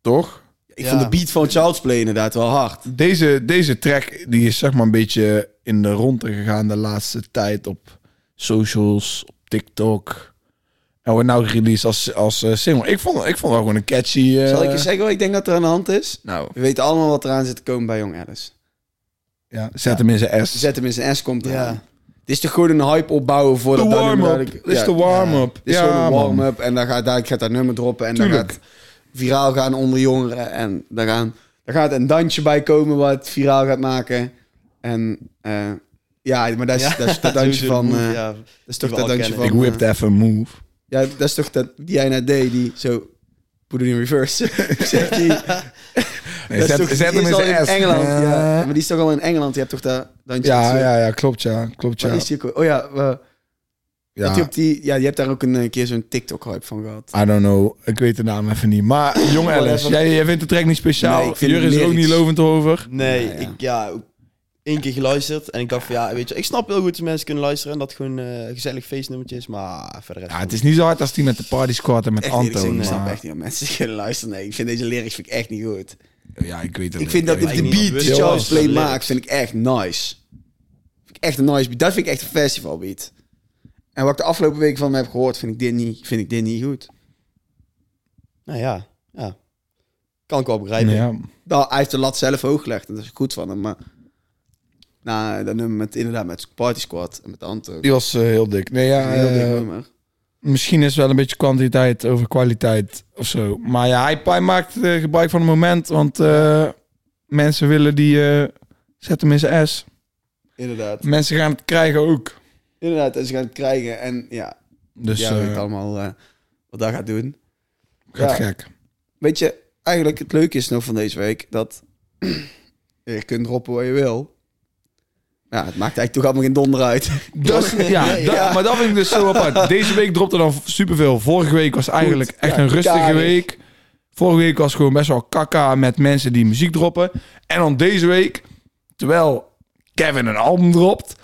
Speaker 1: Toch?
Speaker 2: Ik
Speaker 3: Ja.
Speaker 2: vond de beat van Child's Play inderdaad wel hard.
Speaker 1: Deze, deze track die is zeg maar een beetje in de ronde gegaan de laatste tijd op socials, op TikTok. En wordt nou gereleased als, als eh, single. Ik vond, ik vond wel gewoon een catchy... eh,
Speaker 2: Zal ik je zeggen wat ik denk dat er aan de hand is?
Speaker 1: Nou,
Speaker 2: We weten allemaal wat eraan zit te komen bij Jong Ellens.
Speaker 1: ja, zet hem in zijn S.
Speaker 2: Zet hem in zijn S, komt eraan.
Speaker 3: Ja.
Speaker 2: Het is toch gewoon een hype opbouwen voor
Speaker 1: De
Speaker 2: dat dat nummer
Speaker 1: warm-up.
Speaker 2: dadelijk-
Speaker 1: Dit is
Speaker 2: ja,
Speaker 1: de warm-up.
Speaker 2: Dit is gewoon
Speaker 1: Ja,
Speaker 2: een
Speaker 1: man.
Speaker 2: warm-up en dan gaat, dadelijk gaat dat nummer droppen en
Speaker 1: Tuurlijk.
Speaker 2: dan gaat viraal gaan onder jongeren en daar, gaan, daar gaat een dansje bij komen wat viraal gaat maken. En eh, ja, maar dat is, dat is dat dansje van... eh, dat
Speaker 3: ja,
Speaker 2: is toch
Speaker 3: we
Speaker 2: dat
Speaker 3: al
Speaker 2: dansje
Speaker 3: kennen.
Speaker 2: van...
Speaker 1: Ik whipped
Speaker 2: eh,
Speaker 1: even move.
Speaker 2: Ja, dat is toch dat die jij net deed, die zo... Put it in reverse, zegt die.
Speaker 1: Nee,
Speaker 2: Dat is
Speaker 1: zet zet
Speaker 2: toch- die
Speaker 1: hem
Speaker 2: is
Speaker 1: in
Speaker 2: al
Speaker 1: zijn
Speaker 2: in
Speaker 1: S.
Speaker 2: Engeland, ja.
Speaker 1: Eh,
Speaker 2: Maar die is toch al in Engeland, je hebt toch dat dansje... dat
Speaker 1: Ja,
Speaker 2: zo-
Speaker 1: ja, ja, klopt ja. Klopt
Speaker 2: Waar
Speaker 1: ja.
Speaker 2: is die ook- Oh ja, eh,
Speaker 1: ja.
Speaker 2: Dat die op die, ja, je hebt daar ook een eh, keer zo'n TikTok-hype van gehad.
Speaker 1: I don't know. Ik weet de naam even niet. Maar jong Alice,
Speaker 2: Whatever.
Speaker 1: jij, jij vindt de track niet speciaal.
Speaker 2: Nee, ik vind
Speaker 1: Jur
Speaker 2: het
Speaker 1: is er ook
Speaker 2: lyrics.
Speaker 1: niet lovend over.
Speaker 3: Nee,
Speaker 2: Ja, ja.
Speaker 3: ik ja, ook één keer geluisterd en ik dacht van ja, weet je, ik snap heel goed dat mensen kunnen luisteren en dat het gewoon eh, een gezellig feestnummertje is, maar verder
Speaker 1: Ja, het is niet zo hard als die met de Party Squad en met
Speaker 2: Echt
Speaker 1: Anto.
Speaker 2: eerlijk gezegd,
Speaker 1: maar-
Speaker 2: ik snap echt niet aan mensen die kunnen luisteren. Nee, ik vind deze lyrics vind ik echt niet goed.
Speaker 1: Ja, ik weet het
Speaker 2: Ik vind dat de,
Speaker 3: weet
Speaker 2: de
Speaker 3: niet.
Speaker 2: beat die
Speaker 3: Heel
Speaker 2: Charles
Speaker 3: erg.
Speaker 2: Play
Speaker 3: De lyrics.
Speaker 2: maakt, vind ik echt nice. Vind ik echt een nice beat. Dat vind ik echt een festivalbeat. En wat ik de afgelopen weken van hem heb gehoord, vind ik dit niet, vind ik dit niet goed.
Speaker 3: Nou ja, ja. Kan ik wel begrijpen.
Speaker 1: Ja,
Speaker 2: Nou, hij heeft de lat zelf hoog gelegd en dat is goed van hem, maar... Nou, dat nummer met, inderdaad met Party Squad en met Anto.
Speaker 1: die was eh, heel dik. Nee, ja,
Speaker 2: Heel dik
Speaker 1: eh,
Speaker 2: nummer.
Speaker 1: misschien is wel een beetje kwantiteit over kwaliteit of zo. Maar ja, hij, hij maakt eh, gebruik van het moment. Want eh, mensen willen die... eh, zet hem in zijn S.
Speaker 2: Inderdaad.
Speaker 1: Mensen gaan het krijgen ook.
Speaker 2: Inderdaad, en ze gaan het krijgen. En ja,
Speaker 1: Dus
Speaker 2: ja,
Speaker 1: eh,
Speaker 2: weet allemaal eh, wat dat gaat doen.
Speaker 1: gaat
Speaker 2: Ja.
Speaker 1: gek.
Speaker 2: Weet je, eigenlijk het leuke is nog van deze week dat je kunt droppen wat je wil. Ja, het maakt eigenlijk toch allemaal geen donder uit.
Speaker 1: Dat, is- ja, dat-
Speaker 2: Ja.
Speaker 1: maar dat vind ik dus zo apart. Deze week dropte dan superveel. Vorige week was eigenlijk echt
Speaker 2: ja,
Speaker 1: een rustige
Speaker 2: karig.
Speaker 1: week. Vorige week was gewoon best wel kakka met mensen die muziek droppen. En dan deze week, terwijl Kevin een album dropt,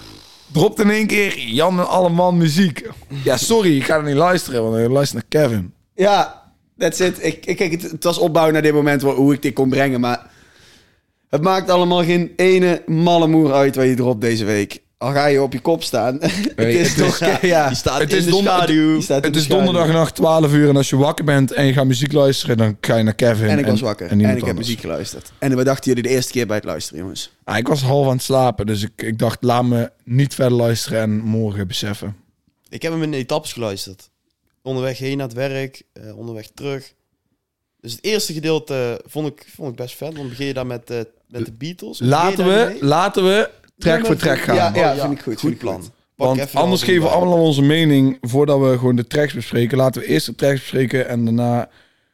Speaker 1: dropt in één keer Jan en Alleman muziek. Ja, sorry, ik ga er niet luisteren, want ik luister naar Kevin.
Speaker 2: Ja, that's it. Ik, ik, kijk, het, het was opbouw naar dit moment wel hoe ik dit kon brengen, maar het maakt allemaal geen ene malle moer uit wat je dropt deze week. Al ga je op je kop staan. het is toch... Ja,
Speaker 3: Die staat
Speaker 1: Het
Speaker 3: in
Speaker 1: is
Speaker 3: de
Speaker 1: donder-
Speaker 3: schaduw.
Speaker 2: Die staat in
Speaker 1: Het
Speaker 2: de
Speaker 1: is
Speaker 2: schaduw.
Speaker 1: donderdagnacht 12 uur en als je wakker bent en je gaat muziek luisteren, dan ga je naar Kevin.
Speaker 2: En ik was wakker. En, ik
Speaker 1: niemand
Speaker 2: heb
Speaker 1: anders.
Speaker 2: muziek geluisterd. En wat dachten jullie de eerste keer bij het luisteren, jongens?
Speaker 1: Ah, ik was half aan het slapen, dus ik, ik dacht, laat me niet verder luisteren en morgen beseffen.
Speaker 3: Ik heb hem in etappes geluisterd. Onderweg heen naar het werk, eh, onderweg terug. Dus het eerste gedeelte eh, vond ik, vond ik best vet. Want begin je daar met, eh, met de Beatles. Begin je
Speaker 1: Laten
Speaker 3: daar
Speaker 1: we,
Speaker 3: mee?
Speaker 1: laten we track voor track gaan.
Speaker 2: Ja, ja,
Speaker 3: Oh, ja.
Speaker 2: vind ik goed. vind
Speaker 3: Goed
Speaker 2: ik
Speaker 3: plan.
Speaker 2: goed.
Speaker 3: Pak
Speaker 1: Want
Speaker 3: even
Speaker 1: anders
Speaker 3: een
Speaker 1: geven we
Speaker 3: album
Speaker 1: allemaal onze mening voordat we gewoon de tracks bespreken. Laten we eerst de tracks bespreken en daarna...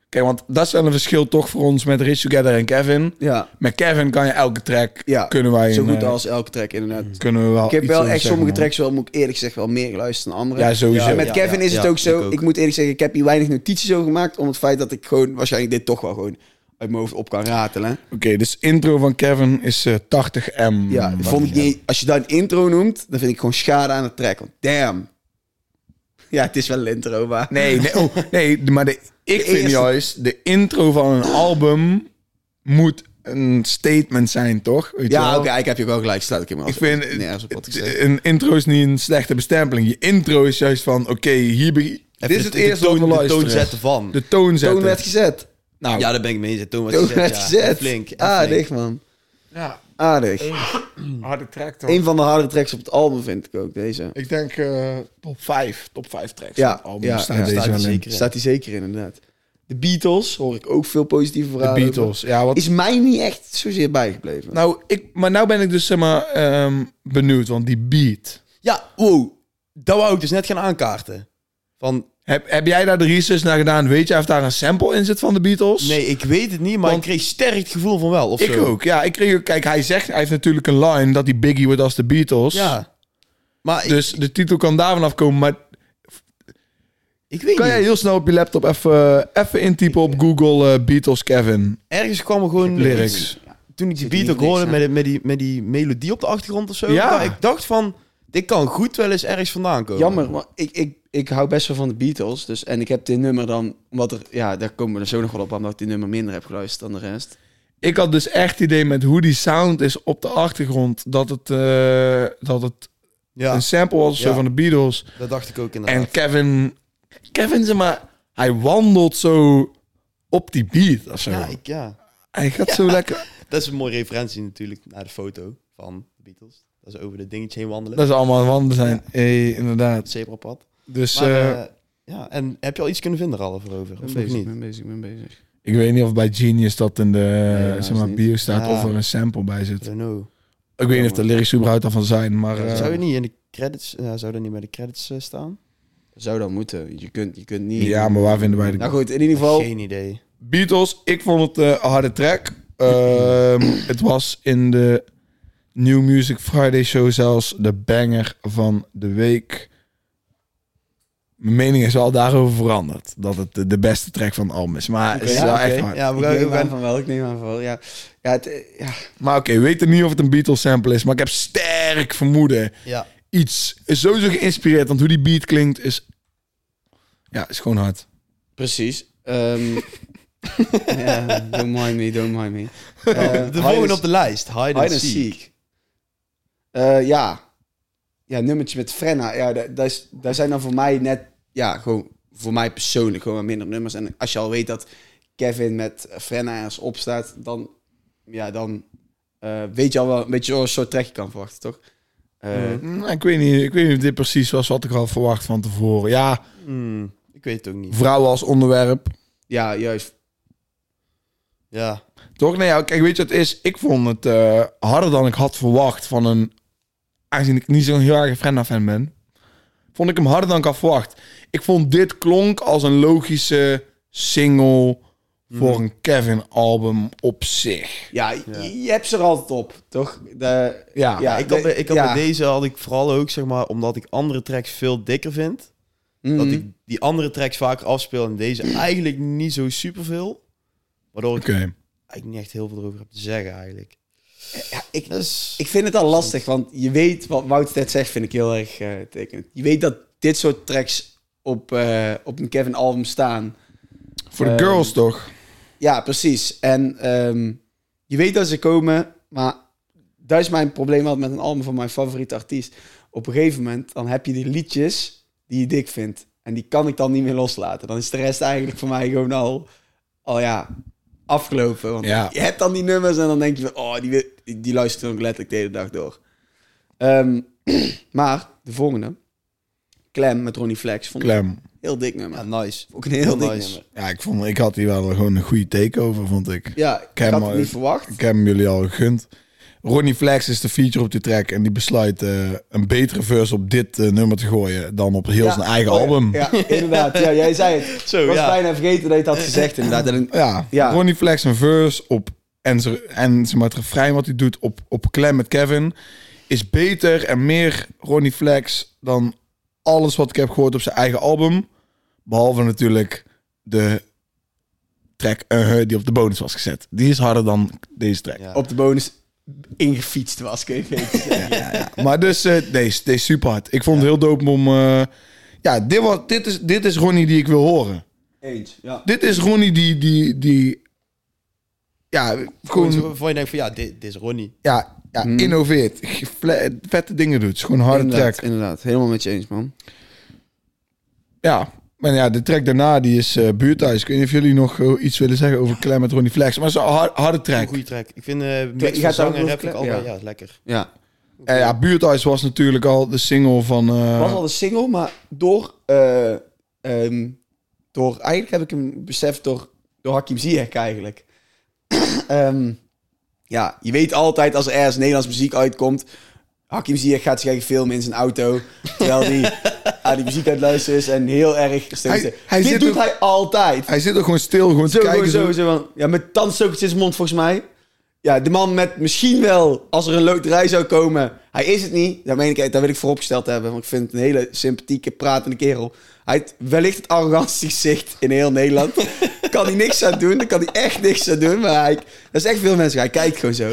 Speaker 1: Kijk, want dat is wel een verschil toch voor ons met Rich Together en Kevin.
Speaker 2: Ja,
Speaker 1: Met Kevin kan je elke track,
Speaker 2: Ja,
Speaker 1: kunnen wij...
Speaker 2: zo
Speaker 1: een,
Speaker 2: goed
Speaker 1: eh,
Speaker 2: als elke track inderdaad.
Speaker 1: Kunnen we wel
Speaker 2: Ik heb
Speaker 1: Oh, iets
Speaker 2: wel
Speaker 1: over
Speaker 2: echt
Speaker 1: zeggen,
Speaker 2: sommige
Speaker 1: man.
Speaker 2: tracks wel, moet ik eerlijk zeggen, wel meer geluisterd dan andere.
Speaker 1: Ja, sowieso.
Speaker 3: Ja,
Speaker 2: En met Kevin is het
Speaker 3: ja,
Speaker 2: ook zo.
Speaker 3: ik
Speaker 2: Ik,
Speaker 3: ook.
Speaker 2: moet eerlijk zeggen, ik heb hier weinig notities over gemaakt. Om het feit dat ik gewoon waarschijnlijk dit toch wel gewoon uit mijn hoofd op kan ratelen.
Speaker 1: Oké, dus intro van Kevin is eh, 80M.
Speaker 2: Ja, vond ik niet, als je dat een intro noemt, dan vind ik gewoon schade aan het track. Want damn. Ja, het is wel een intro, maar...
Speaker 1: Nee, nee, oh, nee de- maar de, ik vind
Speaker 2: eerste-
Speaker 1: juist, de intro van een album moet een statement zijn, toch? Weet je
Speaker 2: Ja,
Speaker 1: wel?
Speaker 2: oké, ik heb je wel gelijk. Staat ik helemaal
Speaker 1: Ik vind,
Speaker 2: nergens op wat ik zeg.
Speaker 1: een intro is niet een slechte bestempeling. Je intro is juist van, oké, hier begin-
Speaker 3: bij.
Speaker 1: Dit
Speaker 3: Even
Speaker 1: is het
Speaker 3: de- de
Speaker 1: eerste
Speaker 3: toon-
Speaker 1: wat we
Speaker 3: De toon
Speaker 1: luisteren.
Speaker 3: zetten van.
Speaker 1: De toon zetten.
Speaker 2: Toon werd gezet.
Speaker 1: nou,
Speaker 3: Ja, daar ben ik mee eens. Toon werd
Speaker 2: Toon
Speaker 3: gezet.
Speaker 2: werd
Speaker 3: ja.
Speaker 2: gezet.
Speaker 3: Flink. en
Speaker 1: Ah,
Speaker 2: Aardig,
Speaker 3: flink.
Speaker 2: man.
Speaker 1: ja,
Speaker 2: Aardig.
Speaker 1: harde track toch.
Speaker 2: Een van de harde tracks op het album vind ik ook, deze.
Speaker 1: Ik denk eh, top 5, top 5 tracks.
Speaker 2: Ja,
Speaker 1: van het album
Speaker 2: ja,
Speaker 1: oh, staat
Speaker 2: ja.
Speaker 1: deze
Speaker 3: Staat
Speaker 1: wel
Speaker 3: hij
Speaker 1: in.
Speaker 3: zeker.
Speaker 2: Staat die zeker in, inderdaad. De Beatles hoor ik ook veel positieve
Speaker 1: De
Speaker 2: verhalen over.
Speaker 1: Beatles. Ja, wat,
Speaker 2: Is mij niet echt zozeer bijgebleven.
Speaker 1: nou, ik, maar nou ben ik dus zeg maar ehm, benieuwd, want die beat...
Speaker 3: Ja, wow. Dat wou ik dus net gaan aankaarten. Van,
Speaker 1: Heb, heb jij daar de research naar gedaan? Weet jij of daar een sample in zit van de Beatles?
Speaker 3: nee, ik weet het niet, maar
Speaker 1: Want-
Speaker 3: ik kreeg sterk het gevoel van wel. Of
Speaker 1: Ik
Speaker 3: zo.
Speaker 1: ook, ja. Ik kreeg, ook- kijk, hij zegt, hij heeft natuurlijk een line dat hij Biggie wordt als de Beatles.
Speaker 3: Ja. Maar ik,
Speaker 1: Dus de titel kan daarvan afkomen. Maar
Speaker 3: ik weet
Speaker 1: kan
Speaker 3: niet.
Speaker 1: jij heel snel op je laptop even, even intypen op Google eh, Beatles Kevin
Speaker 3: Ergens kwam er gewoon...
Speaker 1: lyrics?
Speaker 3: toen ik die
Speaker 2: Zit
Speaker 3: beat
Speaker 2: niet
Speaker 3: ook
Speaker 2: niks
Speaker 3: hoorde
Speaker 2: aan.
Speaker 3: met, die- met, die, met die melodie op de achtergrond of zo.
Speaker 1: Ja.
Speaker 3: dacht- Ik dacht van, dit kan goed wel eens ergens vandaan
Speaker 1: eh,
Speaker 3: komen.
Speaker 2: Jammer, maar ik, ik, ik hou best wel van de Beatles. Dus, en ik heb dit nummer dan... Omdat er, ja, daar komen we er zo nog wel op, omdat ik dit nummer minder heb geluisterd dan de rest.
Speaker 1: Ik had dus echt het idee met hoe die sound is op de achtergrond. Dat het, eh, dat het
Speaker 3: Ja,
Speaker 1: een sample was of zo
Speaker 3: Ja.
Speaker 1: van de Beatles.
Speaker 3: dat dacht ik ook inderdaad.
Speaker 1: Dus- En Kevin, Kevin zeg maar, hij wandelt zo op die beat of zo.
Speaker 3: ja, ik, ja,
Speaker 1: Hij gaat zo lekker.
Speaker 3: dat is een mooie referentie natuurlijk naar de foto van de Beatles. Dat ze over de dingetje heen wandelen.
Speaker 1: Dat is allemaal aan het wandelen zijn. Hey, inderdaad.
Speaker 3: Het zebrapad.
Speaker 1: Dus
Speaker 3: Maar,
Speaker 1: eh,
Speaker 3: eh, ja, en heb je al iets kunnen vinden, Ralf, erover? Of nog niet?
Speaker 2: ben bezig, ben bezig.
Speaker 1: ik weet niet of bij Genius dat in de eh,
Speaker 2: dat is
Speaker 1: zeg maar,
Speaker 2: niet.
Speaker 1: bio staat
Speaker 3: Ja.
Speaker 1: of er een sample bij zit.
Speaker 3: I don't know.
Speaker 1: Ik weet niet of de lyrics überhaupt daarvan zijn, maar... eh,
Speaker 3: Zou je niet in de credits... ja, zou dat niet bij de credits eh, staan?
Speaker 2: Zou dan moeten. Je kunt, je kunt niet...
Speaker 1: ja, maar waar vinden wij de...
Speaker 2: Nou goed, in ieder geval...
Speaker 3: Geen idee.
Speaker 1: Beatles, ik vond het eh, een harde track. Ehm, het was in de New Music Friday show zelfs de banger van de week. Mijn mening is wel daarover veranderd. Dat het de, de beste track van het album is. Maar het is
Speaker 2: Oké,
Speaker 1: wel
Speaker 2: ja,
Speaker 1: echt
Speaker 2: oké.
Speaker 1: hard.
Speaker 3: Ja,
Speaker 2: Ik
Speaker 3: we gaan...
Speaker 2: neem
Speaker 3: we gaan-
Speaker 2: aan van wel, ik neem aan van wel, ja. Ja, het, eh, ja.
Speaker 1: Maar oké, we weten niet of het een Beatles sample is. Maar ik heb sterk vermoeden
Speaker 3: Ja,
Speaker 1: iets is sowieso geïnspireerd. Want hoe die beat klinkt is... Ja, is gewoon hard.
Speaker 2: Precies. Ehm, ja, don't mind me, don't mind me. Eh,
Speaker 3: de
Speaker 2: hide and-
Speaker 3: volgende op de lijst. Hide and,
Speaker 2: Hide and
Speaker 3: seek.
Speaker 2: Seek. Eh, ja. Ja, nummertje met Frenna. Ja, da- daar is- daar zijn dan voor mij net... Ja, gewoon voor mij persoonlijk gewoon wat minder nummers. En als je al weet dat Kevin met Frenna ergens op staat, dan... Ja, dan eh, weet je al wel een beetje zo'n soort trekje kan verwachten, toch? Eh,
Speaker 3: Mhm.
Speaker 1: Nou, ik, weet niet, ik weet niet of dit precies was wat ik had verwacht van tevoren. Ja,
Speaker 3: Hmm, ik weet het ook niet.
Speaker 1: vrouwen als onderwerp.
Speaker 2: Ja, juist.
Speaker 3: Ja.
Speaker 1: Toch? Nee, ja, kijk, weet je wat het is? Ik vond het eh, harder dan ik had verwacht van een... Aangezien ik niet zo'n heel erg Frenna-fan ben... Vond ik hem harder dan ik had verwacht. Ik vond dit klonk als een logische single voor een Kevin-album op zich.
Speaker 2: Ja, Je, je hebt ze er altijd op, toch? De,
Speaker 1: Ja,
Speaker 3: Ja, ik had, bij- ik had
Speaker 2: ja.
Speaker 3: bij deze had ik vooral ook, zeg maar, omdat ik andere tracks veel dikker vind.
Speaker 2: Mhm.
Speaker 3: Dat ik die andere tracks vaker afspeel en deze eigenlijk niet zo superveel. Waardoor ik
Speaker 1: oké.
Speaker 3: eigenlijk niet echt heel veel erover heb te zeggen eigenlijk.
Speaker 2: Ja, ik,
Speaker 3: Dus
Speaker 2: ik vind het al lastig, want je weet wat Wout net zegt, vind ik heel erg eh tekenend. Je weet dat dit soort tracks op, eh, op een Kevin-album staan.
Speaker 1: Voor de
Speaker 2: Ehm,
Speaker 1: girls toch?
Speaker 2: Ja, precies. En ehm, je weet dat ze komen, maar dat is mijn probleem altijd met een album van mijn favoriete artiest. Op een gegeven moment dan heb je die liedjes die je dik vindt. En die kan ik dan niet meer loslaten. Dan is de rest eigenlijk voor mij gewoon al, al ja, afgelopen. Want
Speaker 1: Ja.
Speaker 2: je hebt dan die nummers en dan denk je van, oh, die, wil- die, die luistert ook letterlijk de hele dag door. Ehm, maar de volgende, Clem met Ronnie Flex, vond ik een
Speaker 1: Klem.
Speaker 2: heel dik nummer.
Speaker 3: ja, nice.
Speaker 2: Ook een heel dik
Speaker 3: nice.
Speaker 2: nummer.
Speaker 1: Ja, ik, vond, ik had hier wel gewoon een goede take over, vond ik.
Speaker 2: Ja, ik
Speaker 1: Clem,
Speaker 2: had het
Speaker 1: eh,
Speaker 2: niet verwacht.
Speaker 1: Ik heb hem jullie al gegund. Ronnie Flex is de feature op die track en die besluit eh, een betere verse op dit eh, nummer te gooien dan op heel
Speaker 2: Ja.
Speaker 1: zijn eigen
Speaker 2: Oh,
Speaker 1: album. Ja.
Speaker 2: Ja, inderdaad. Ja, jij zei het.
Speaker 3: Zo,
Speaker 2: Ik was
Speaker 3: ja.
Speaker 2: bijna vergeten dat je het had gezegd inderdaad. En, Ja.
Speaker 1: Ronnie Flex een verse op en, ze, en ze maar het refrein wat hij doet op, op Clem met Kevin is beter en meer Ronnie Flex dan alles wat ik heb gehoord op zijn eigen album. Behalve natuurlijk de track eh, eh, die op de bonus was gezet. Die is harder dan deze track.
Speaker 3: Ja.
Speaker 2: op de bonus ingefietst was, kun je weten.
Speaker 1: Maar dus, eh deze, deze is super hard. Ik vond het heel dope om... eh, ja, dit, was, dit, is, dit is Ronnie die ik wil horen.
Speaker 2: Eens, ja.
Speaker 1: Dit is Ronnie die... die, die ja,
Speaker 3: Gewoon zo
Speaker 1: gewoon
Speaker 3: waarvan je denkt van ja, dit, dit is Ronnie.
Speaker 1: ja, ja, innoveert. Ge- fle- Vette dingen doet. Het is gewoon een harde
Speaker 2: Mhm. Inderdaad,
Speaker 1: track.
Speaker 2: inderdaad. Helemaal met je eens, man.
Speaker 1: Ja. Maar ja, de track daarna die is eh buurthuis. Ik weet niet of jullie nog eh, iets willen zeggen over Clem met Ronnie Flex. Maar het is een har- harde
Speaker 3: Een
Speaker 1: track.
Speaker 3: goede track. Ik vind eh
Speaker 2: Je
Speaker 3: mix van
Speaker 2: gaat
Speaker 3: zang
Speaker 2: daar
Speaker 3: en
Speaker 2: ook
Speaker 3: rap vind ik
Speaker 2: over-
Speaker 3: allebei, ja. is lekker.
Speaker 2: Ja.
Speaker 1: En ja, buurthuis was natuurlijk al de single van... eh,
Speaker 2: was al een single, maar door, eh, ehm, door... Eigenlijk heb ik hem beseft door, door Hakim Ziyech eigenlijk. Ehm, ja, je weet altijd als er ergens Nederlands muziek uitkomt... Hakim Ziyech gaat zich eigenlijk filmen in zijn auto... terwijl hij aan die muziek aan het luisteren is en heel erg...
Speaker 1: Hij-
Speaker 2: Hij,
Speaker 1: hij
Speaker 2: Dit
Speaker 1: zit
Speaker 2: doet
Speaker 1: ook-
Speaker 2: hij altijd.
Speaker 1: Hij zit er gewoon stil, gewoon te
Speaker 2: Zo,
Speaker 1: kijken.
Speaker 2: gewoon
Speaker 1: zo.
Speaker 2: zo, zo van, ja, met tandstokjes in zijn mond volgens mij. Ja, de man met misschien wel, als er een loterij zou komen. Hij is het niet, dat, meen ik, dat wil ik vooropgesteld hebben. Want ik vind het een hele sympathieke, pratende kerel. Hij heeft wellicht het arrogantste gezicht in heel Nederland. kan hij niks aan doen, daar kan hij echt niks aan doen. Maar hij, dat is echt veel mensen, hij kijkt gewoon zo.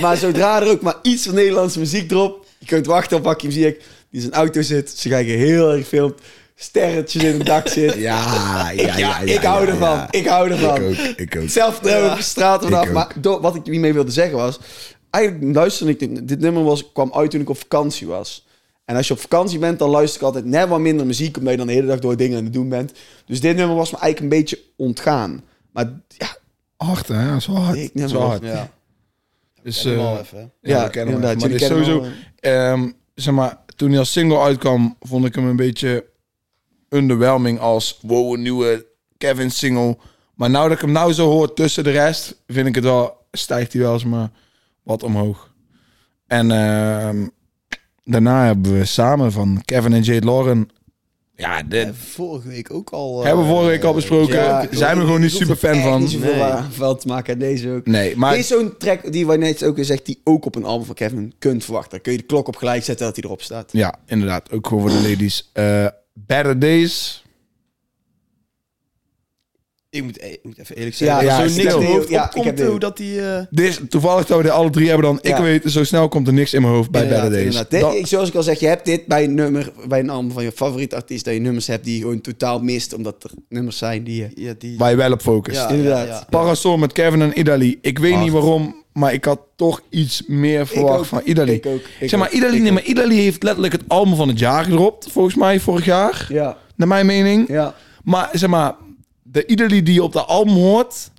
Speaker 2: Maar zodra er ook maar iets van Nederlandse muziek drop... Je kunt wachten op Hakim Ziyech, die in zijn auto zit. Ze kijken heel erg veel sterretjes in het dak zitten.
Speaker 1: Ja, ja, ja,
Speaker 2: Ja,
Speaker 1: ja,
Speaker 2: ik hou
Speaker 1: ja,
Speaker 2: ervan.
Speaker 1: ja.
Speaker 2: Ik hou ervan.
Speaker 1: Ik ook, ik ook.
Speaker 2: Zelf droog op de straat vanaf.
Speaker 1: Ik ook.
Speaker 2: Maar door, wat ik hiermee wilde zeggen was... Eigenlijk luisterde ik... Dit, dit nummer was, kwam uit toen ik op vakantie was. En als je op vakantie bent, dan luister ik altijd net wat minder muziek... omdat je dan de hele dag door dingen aan het doen bent. Dus dit nummer was me eigenlijk een beetje ontgaan. Maar ja,
Speaker 1: Hard, hè? Dat is wel hard.
Speaker 2: Ik
Speaker 1: Dat is
Speaker 2: neem
Speaker 1: wel
Speaker 2: het.
Speaker 1: hard.
Speaker 3: Ja,
Speaker 1: Dus,
Speaker 3: helemaal
Speaker 1: eh,
Speaker 3: even. hè.
Speaker 1: ja,
Speaker 2: Ja,
Speaker 1: we kennen hem even.
Speaker 2: inderdaad,
Speaker 1: Maar
Speaker 2: jullie
Speaker 1: dit is
Speaker 2: kennen
Speaker 1: sowieso...
Speaker 2: hem
Speaker 1: ehm, zeg maar, toen hij als single uitkwam, vond ik hem een beetje underwhelming als... Wow, een nieuwe Kevin single. Maar nou dat ik hem nou zo hoor tussen de rest, vind ik het wel... Stijgt hij wel eens maar wat omhoog. En ehm, daarna hebben we samen van Kevin en Jade Lauren... Ja, dit
Speaker 3: En vorige week ook al... eh,
Speaker 1: hebben we vorige week al
Speaker 3: eh,
Speaker 1: besproken.
Speaker 2: ja, ik-
Speaker 1: zijn we gewoon niet super fan
Speaker 2: echt
Speaker 1: van.
Speaker 2: niet zoveel
Speaker 3: Nee.
Speaker 2: waar- van te maken aan deze ook.
Speaker 1: Nee, maar...
Speaker 2: Dit is zo'n track die wij net ook weer zegt... die ook op een album van Kevin kunt verwachten. Dan kun je de klok op gelijk zetten dat hij erop staat.
Speaker 1: Ja, inderdaad. Ook gewoon voor de ladies. Eh, Better Days.
Speaker 3: Ik moet, ik moet even eerlijk zeggen.
Speaker 2: Ja,
Speaker 3: dat
Speaker 1: ja,
Speaker 3: er zo niks
Speaker 1: stil.
Speaker 3: in mijn hoofd
Speaker 2: Ja, ik
Speaker 3: opkomt,
Speaker 2: heb dit.
Speaker 3: hoe dat die... eh,
Speaker 1: Dit is toevallig dat we dit alle drie hebben dan.
Speaker 2: Ja.
Speaker 1: Ik weet, zo snel komt er niks in mijn hoofd bij
Speaker 2: Inderdaad,
Speaker 1: Better Days.
Speaker 2: inderdaad. Dit-
Speaker 1: Dat-
Speaker 2: ik- zoals ik al zeg, je hebt dit bij een nummer, bij een album van je favoriete artiest, dat je nummers hebt die je gewoon totaal mist, omdat er nummers zijn die je...
Speaker 3: ja, die...
Speaker 1: waar je wel op focust.
Speaker 3: ja,
Speaker 2: inderdaad.
Speaker 3: ja, ja.
Speaker 1: Parasol met Kevin en Idali. Ik weet
Speaker 3: Hard.
Speaker 1: niet waarom, maar ik had toch iets meer verwacht
Speaker 2: Ah. ook,
Speaker 1: van Idali.
Speaker 2: ik ook, ik
Speaker 1: zeg maar,
Speaker 2: ook,
Speaker 1: Idali,
Speaker 2: ik
Speaker 1: nee, maar Idali heeft letterlijk het album van het jaar gedropt. Volgens mij vorig jaar,
Speaker 2: Ja,
Speaker 1: naar mijn mening.
Speaker 2: ja.
Speaker 1: Maar zeg maar, de Idali die je op dat album hoort,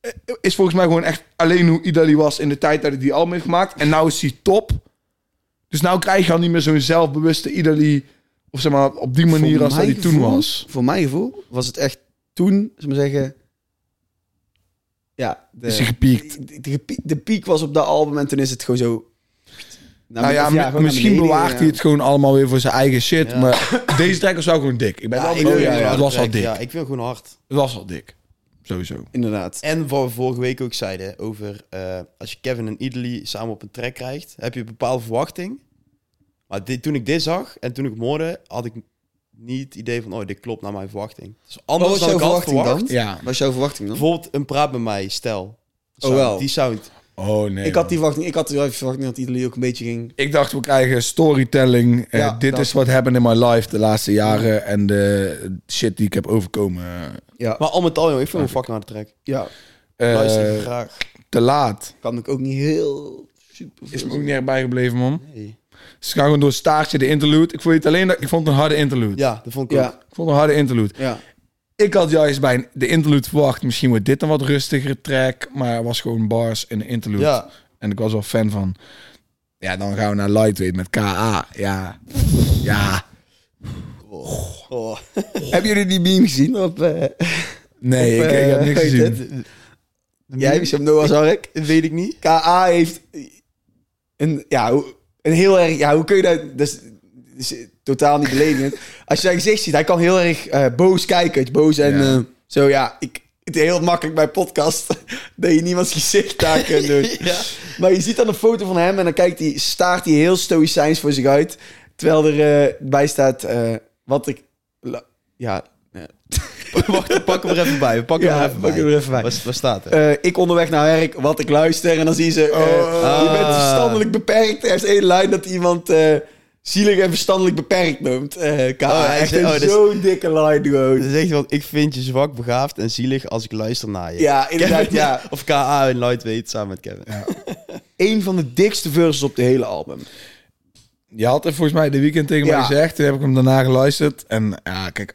Speaker 1: eh, is volgens mij gewoon echt alleen hoe Idali was in de tijd dat hij die album heeft gemaakt. En nou is hij top. Dus nou krijg je al niet meer zo'n zelfbewuste Idali, of zeg maar op die manier
Speaker 2: Voor
Speaker 1: als dat
Speaker 2: mijn
Speaker 1: hij toen
Speaker 2: gevoel-
Speaker 1: was.
Speaker 2: Voor mijn gevoel was het echt toen, zullen we zeggen... Ja, de,
Speaker 1: Is hij gepiekt.
Speaker 2: de, de gepie- de piek was op dat album en toen is het gewoon zo...
Speaker 1: Nou ja,
Speaker 2: of
Speaker 1: mi-
Speaker 2: gewoon
Speaker 1: misschien
Speaker 2: naar beneden
Speaker 1: bewaart hij
Speaker 2: gegaan.
Speaker 1: het gewoon allemaal weer voor zijn eigen shit.
Speaker 3: Ja.
Speaker 1: Maar deze track was wel gewoon dik. Ik ben
Speaker 2: Ja,
Speaker 1: wel
Speaker 2: ik
Speaker 1: blij
Speaker 2: ook,
Speaker 1: mee,
Speaker 2: ja,
Speaker 1: maar
Speaker 2: ja.
Speaker 1: het was al
Speaker 3: Track,
Speaker 1: dik.
Speaker 3: Ja, ik wil gewoon hard.
Speaker 1: Het was al dik. Sowieso.
Speaker 2: Inderdaad.
Speaker 3: En wat we vorige week ook zeiden over eh, als je Kevin en Idley samen op een track krijgt, heb je een bepaalde verwachting. Maar dit, toen ik dit zag en toen ik hem hoorde, had ik niet het idee van, oh, dit klopt naar mijn verwachting. Dus anders
Speaker 2: was
Speaker 3: dan
Speaker 2: jouw
Speaker 3: ik had
Speaker 2: verwachting
Speaker 3: verwacht.
Speaker 2: dan?
Speaker 1: Ja.
Speaker 2: Wat is jouw verwachting dan?
Speaker 3: Bijvoorbeeld een praat met mij, stel.
Speaker 2: Oh, wel.
Speaker 3: Die sound.
Speaker 1: Oh nee.
Speaker 2: ik had die verwachting, ik had die verwachting dat Italië ook een beetje ging.
Speaker 1: Ik dacht, we krijgen storytelling. Eh,
Speaker 2: Ja,
Speaker 1: dit
Speaker 2: dat.
Speaker 1: is wat happened in my life de laatste jaren. En de shit die ik heb overkomen.
Speaker 2: Ja,
Speaker 3: Maar al met al, joh, ik vind hem fucking harde track.
Speaker 2: ja.
Speaker 1: Eh,
Speaker 3: Luister ik graag.
Speaker 1: te laat.
Speaker 2: kan ik ook niet heel super.
Speaker 1: Is me ook niet erg bijgebleven, man.
Speaker 3: Nee.
Speaker 1: Ze gaan gewoon door staartje de interlude. Ik vond het alleen dat ik vond het een harde interlude.
Speaker 3: Ja, dat vond ik ook.
Speaker 2: Ja,
Speaker 1: Ik vond het een harde interlude.
Speaker 2: ja.
Speaker 1: Ik had juist bij de interlude verwacht, misschien wordt dit een wat rustigere track, maar het was gewoon bars in de interlude.
Speaker 3: Ja.
Speaker 1: En ik was wel fan van. Ja, dan gaan we naar Lightweight met KA. Ja. Ja.
Speaker 3: Oh.
Speaker 2: Hebben jullie die meme gezien op... eh,
Speaker 1: Nee,
Speaker 2: op,
Speaker 1: ik,
Speaker 2: eh,
Speaker 1: ik heb niks
Speaker 2: hoe heet
Speaker 1: gezien.
Speaker 2: het? Jij hebt op Noah's Ark.
Speaker 3: Weet ik niet.
Speaker 2: KA heeft een, ja, hoe- een heel erg... Ja, hoe kun je dat... Dat is, dat is totaal niet beledigend. Als je zijn gezicht ziet, hij kan heel erg eh, boos kijken. weet je, Boos en
Speaker 1: Ja.
Speaker 2: eh, zo, ja. Ik, het is heel makkelijk bij podcast dat je niemands gezicht daar kunt doen.
Speaker 3: Ja.
Speaker 2: Maar je ziet dan een foto van hem en dan kijkt hij, staart hij heel stoïcijns voor zich uit. Terwijl er eh, bij staat eh, wat ik... la- ja,
Speaker 3: Wacht, we pakken hem er even bij. We pakken
Speaker 2: Ja,
Speaker 3: hem er even
Speaker 2: pak hem
Speaker 3: bij.
Speaker 2: er even bij.
Speaker 3: Waar, waar staat er?
Speaker 2: Eh, ik onderweg naar werk, wat ik luister. En dan zien ze, eh,
Speaker 1: Oh.
Speaker 2: je bent verstandelijk beperkt. Er is één lijn dat iemand eh, zielig en verstandelijk beperkt noemt. Eh K.A.
Speaker 3: Oh, hij
Speaker 2: echt
Speaker 3: zei-
Speaker 2: een
Speaker 3: oh, Dus- dat is-
Speaker 2: zo'n dikke lijn
Speaker 3: Ze
Speaker 2: gewoon.
Speaker 3: zegt wel, ik vind je zwak, begaafd en zielig als ik luister naar je.
Speaker 2: Ja, inderdaad,
Speaker 3: Kevin-
Speaker 2: ja.
Speaker 3: Of K.A. en Lightweight samen met Kevin.
Speaker 2: Eén van de dikste verses op de hele album.
Speaker 1: Je had er volgens mij de weekend tegen
Speaker 2: Ja.
Speaker 1: mij gezegd. Toen heb ik hem daarna geluisterd. En ja, kijk.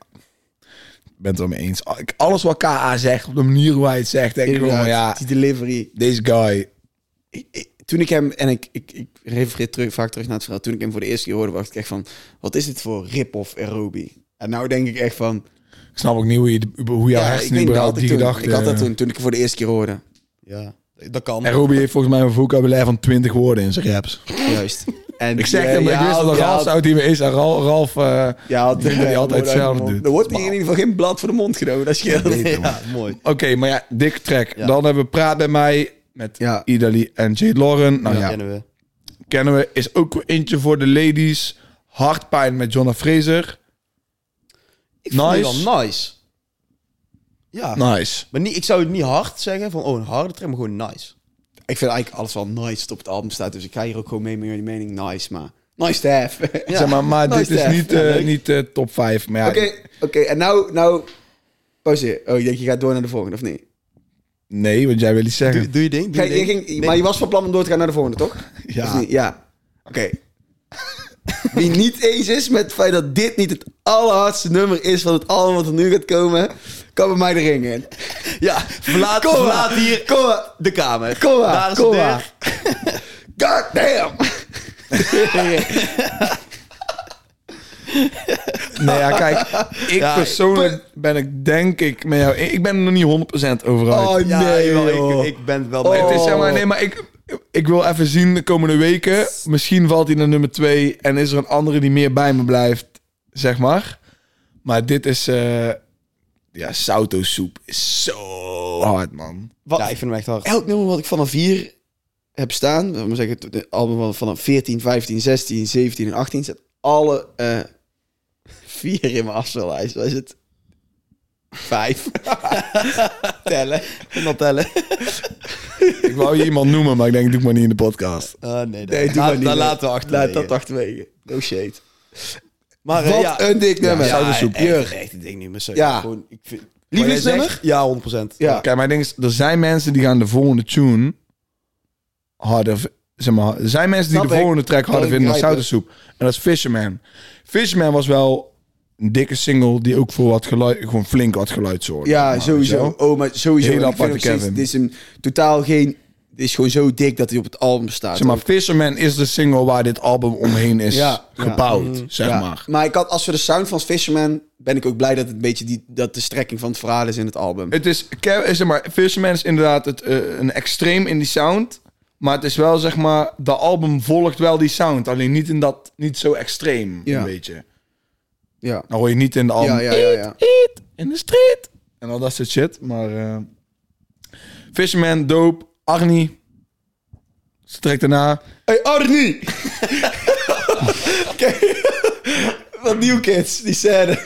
Speaker 1: Ik ben het wel mee eens. Al- ik- Alles wat KA zegt, op de manier hoe hij het zegt, denk ik gewoon, van,
Speaker 2: Inderdaad,
Speaker 1: ja,
Speaker 2: die delivery.
Speaker 1: deze guy.
Speaker 2: Ik- ik- toen ik hem, en ik, ik, ik refereer terug, vaak terug naar het verhaal. Toen ik hem voor de eerste keer hoorde, dacht ik echt van... Wat is dit voor rip-off aerobie? En nou denk ik echt van...
Speaker 1: Ik snap ook niet hoe, je, de- hoe jouw
Speaker 2: ik
Speaker 1: hersenen
Speaker 2: weet niet, dat
Speaker 1: überhaupt
Speaker 2: had
Speaker 1: die
Speaker 2: ik toen.
Speaker 1: gedachten...
Speaker 2: Ik had dat toen, toen ik hem voor de eerste keer hoorde.
Speaker 3: Ja, dat kan.
Speaker 1: En Robbie heeft volgens mij een vocabulaire van 20 woorden in zijn raps.
Speaker 2: Juist. En
Speaker 1: Ik zeg
Speaker 2: die,
Speaker 1: hem,
Speaker 2: eh,
Speaker 1: maar ik
Speaker 2: ja,
Speaker 1: wist dat
Speaker 2: ja,
Speaker 1: Ralf zou die weer is. En Ralf, Ralf eh,
Speaker 2: Ja, dat
Speaker 1: Die doen die altijd zelf, dude.
Speaker 2: Er wordt hier in ieder geval geen blad voor de mond genomen, dat scheelt.
Speaker 3: Ja, mooi.
Speaker 1: Oké, maar ja, dik track.
Speaker 3: Ja.
Speaker 1: Dan hebben we Praat bij mij met
Speaker 2: Ja.
Speaker 1: Idali en Jade Lauren. Nou ja,
Speaker 3: Kennen we.
Speaker 1: kennen we. Is ook weer eentje voor de ladies. Hartpijn met Jonna Fraser.
Speaker 3: Ik
Speaker 1: Nice.
Speaker 3: vond het wel nice. Ja.
Speaker 1: Nice.
Speaker 3: Maar niet, ik zou het niet hard zeggen, van oh, een harde track, maar gewoon nice.
Speaker 2: Ik vind eigenlijk alles wel nice dat op het album staat, dus ik ga hier ook gewoon mee met jullie mening. Nice, maar... Nice to have.
Speaker 3: Ja.
Speaker 1: zeg maar, maar
Speaker 2: nice
Speaker 1: dit
Speaker 2: to
Speaker 1: is
Speaker 2: have.
Speaker 1: niet,
Speaker 2: Ja,
Speaker 1: eh,
Speaker 2: leuk.
Speaker 1: niet eh, top 5. Maar ja,
Speaker 2: Oké, oké, en nou, nou... Pauze. Oh, ik denk, je gaat door naar de volgende, of niet?
Speaker 1: nee, want jij wil iets zeggen.
Speaker 3: Doe, doe je ding, doe
Speaker 2: Kijk,
Speaker 3: je
Speaker 2: je
Speaker 3: ding.
Speaker 2: ging, Maar je was van plan om door te gaan naar de volgende, toch?
Speaker 1: Ja.
Speaker 2: Of niet? Ja. Oké. Wie niet eens is met het feit dat dit niet het allerhardste nummer is van het album wat er nu gaat komen, kan bij mij de ring in.
Speaker 3: Ja, verlaat,
Speaker 2: Kom maar.
Speaker 3: verlaat hier
Speaker 2: Kom maar.
Speaker 3: de kamer.
Speaker 2: Kom maar,
Speaker 3: Daar is
Speaker 2: kom
Speaker 3: de deur.
Speaker 2: maar. God damn!
Speaker 1: Nee, ja, kijk. Ik
Speaker 3: Ja,
Speaker 1: persoonlijk ben ik denk ik met jou... Ik ben er nog niet 100% over uit.
Speaker 2: Oh
Speaker 3: Ja,
Speaker 2: nee,
Speaker 3: jawel,
Speaker 2: joh.
Speaker 3: ik, ik ben wel
Speaker 1: Het
Speaker 3: bij.
Speaker 1: is zeg maar, nee, maar ik, ik wil even zien de komende weken. Misschien valt hij naar nummer twee en is er een andere die meer bij me blijft, zeg maar. Maar dit is, eh ja, Sauto soep is zo hard, man.
Speaker 3: Wat? Ja, ik vind hem echt hard.
Speaker 2: Elk nummer wat ik vanaf hier heb staan, laten we maar zeggen, het album van- vanaf 14, 15, 16, 17 en 18, zet alle eh, vier in mijn afspeellijst. Waar is het? Vijf.
Speaker 3: Tellen. En dan tellen.
Speaker 1: Ik wou je iemand noemen, maar ik denk, doe ik maar niet in de podcast.
Speaker 3: Ah, nee, dat
Speaker 2: Nee, doe
Speaker 3: laat-
Speaker 2: maar niet.
Speaker 3: dat laten we achterwege.
Speaker 2: Laat dat achterwege. No shade.
Speaker 3: Maar, eh,
Speaker 2: Wat
Speaker 3: ja.
Speaker 2: een dik nummer.
Speaker 1: Ja, Zoute soep.
Speaker 3: echt,
Speaker 2: Jurg.
Speaker 3: echt, ik denk niet meer zo.
Speaker 2: Ja.
Speaker 3: Gewoon, ik vind...
Speaker 2: Lievelingsnummer?
Speaker 3: Wat jij zegt, Ja, 100%.
Speaker 2: Ja.
Speaker 1: Kijk, maar ik denk, er zijn mensen die gaan de volgende tune harder... v- Zeg maar, er zijn mensen die
Speaker 2: Snap
Speaker 1: de
Speaker 2: ik.
Speaker 1: volgende track harder
Speaker 2: Kan ik
Speaker 1: vinden dan
Speaker 2: begrijpen.
Speaker 1: Soutersoep. En dat is Fisherman. Fisherman was wel een dikke single die ook voor wat geluid... Gewoon flink wat geluid zorgde.
Speaker 2: Ja,
Speaker 1: Maar, weet je
Speaker 2: sowieso.
Speaker 1: wel?
Speaker 2: Oh, maar sowieso.
Speaker 1: Hele
Speaker 2: Ik vind
Speaker 1: aparte
Speaker 2: nog steeds,
Speaker 1: Kevin.
Speaker 2: Dit is een totaal geen... Dit is gewoon zo dik dat hij op het album staat.
Speaker 1: Zeg maar, Fisherman is de single waar dit album omheen is
Speaker 2: Ja, ja.
Speaker 1: gebouwd, zeg
Speaker 2: Ja,
Speaker 1: maar.
Speaker 2: Maar ik had, als we de sound van Fisherman, ben ik ook blij dat het een beetje die, dat de strekking van het verhaal is in het album.
Speaker 1: Het is, Ke- eh, zeg maar, Fisherman is inderdaad het, eh, een extreem in die sound. Maar het is wel, zeg maar, de album volgt wel die sound. Alleen niet in dat, niet zo extreem,
Speaker 2: Ja.
Speaker 1: een beetje.
Speaker 2: ja.
Speaker 1: Dan hoor je niet in de album,
Speaker 2: Ja, ja, ja, ja.
Speaker 1: "Eat in de street. En en al dat soort shit. Maar eh, Fisherman, Dope, Arnie. Strek daarna.
Speaker 2: Hey Arnie! Kijk, wat New Kids, die scène.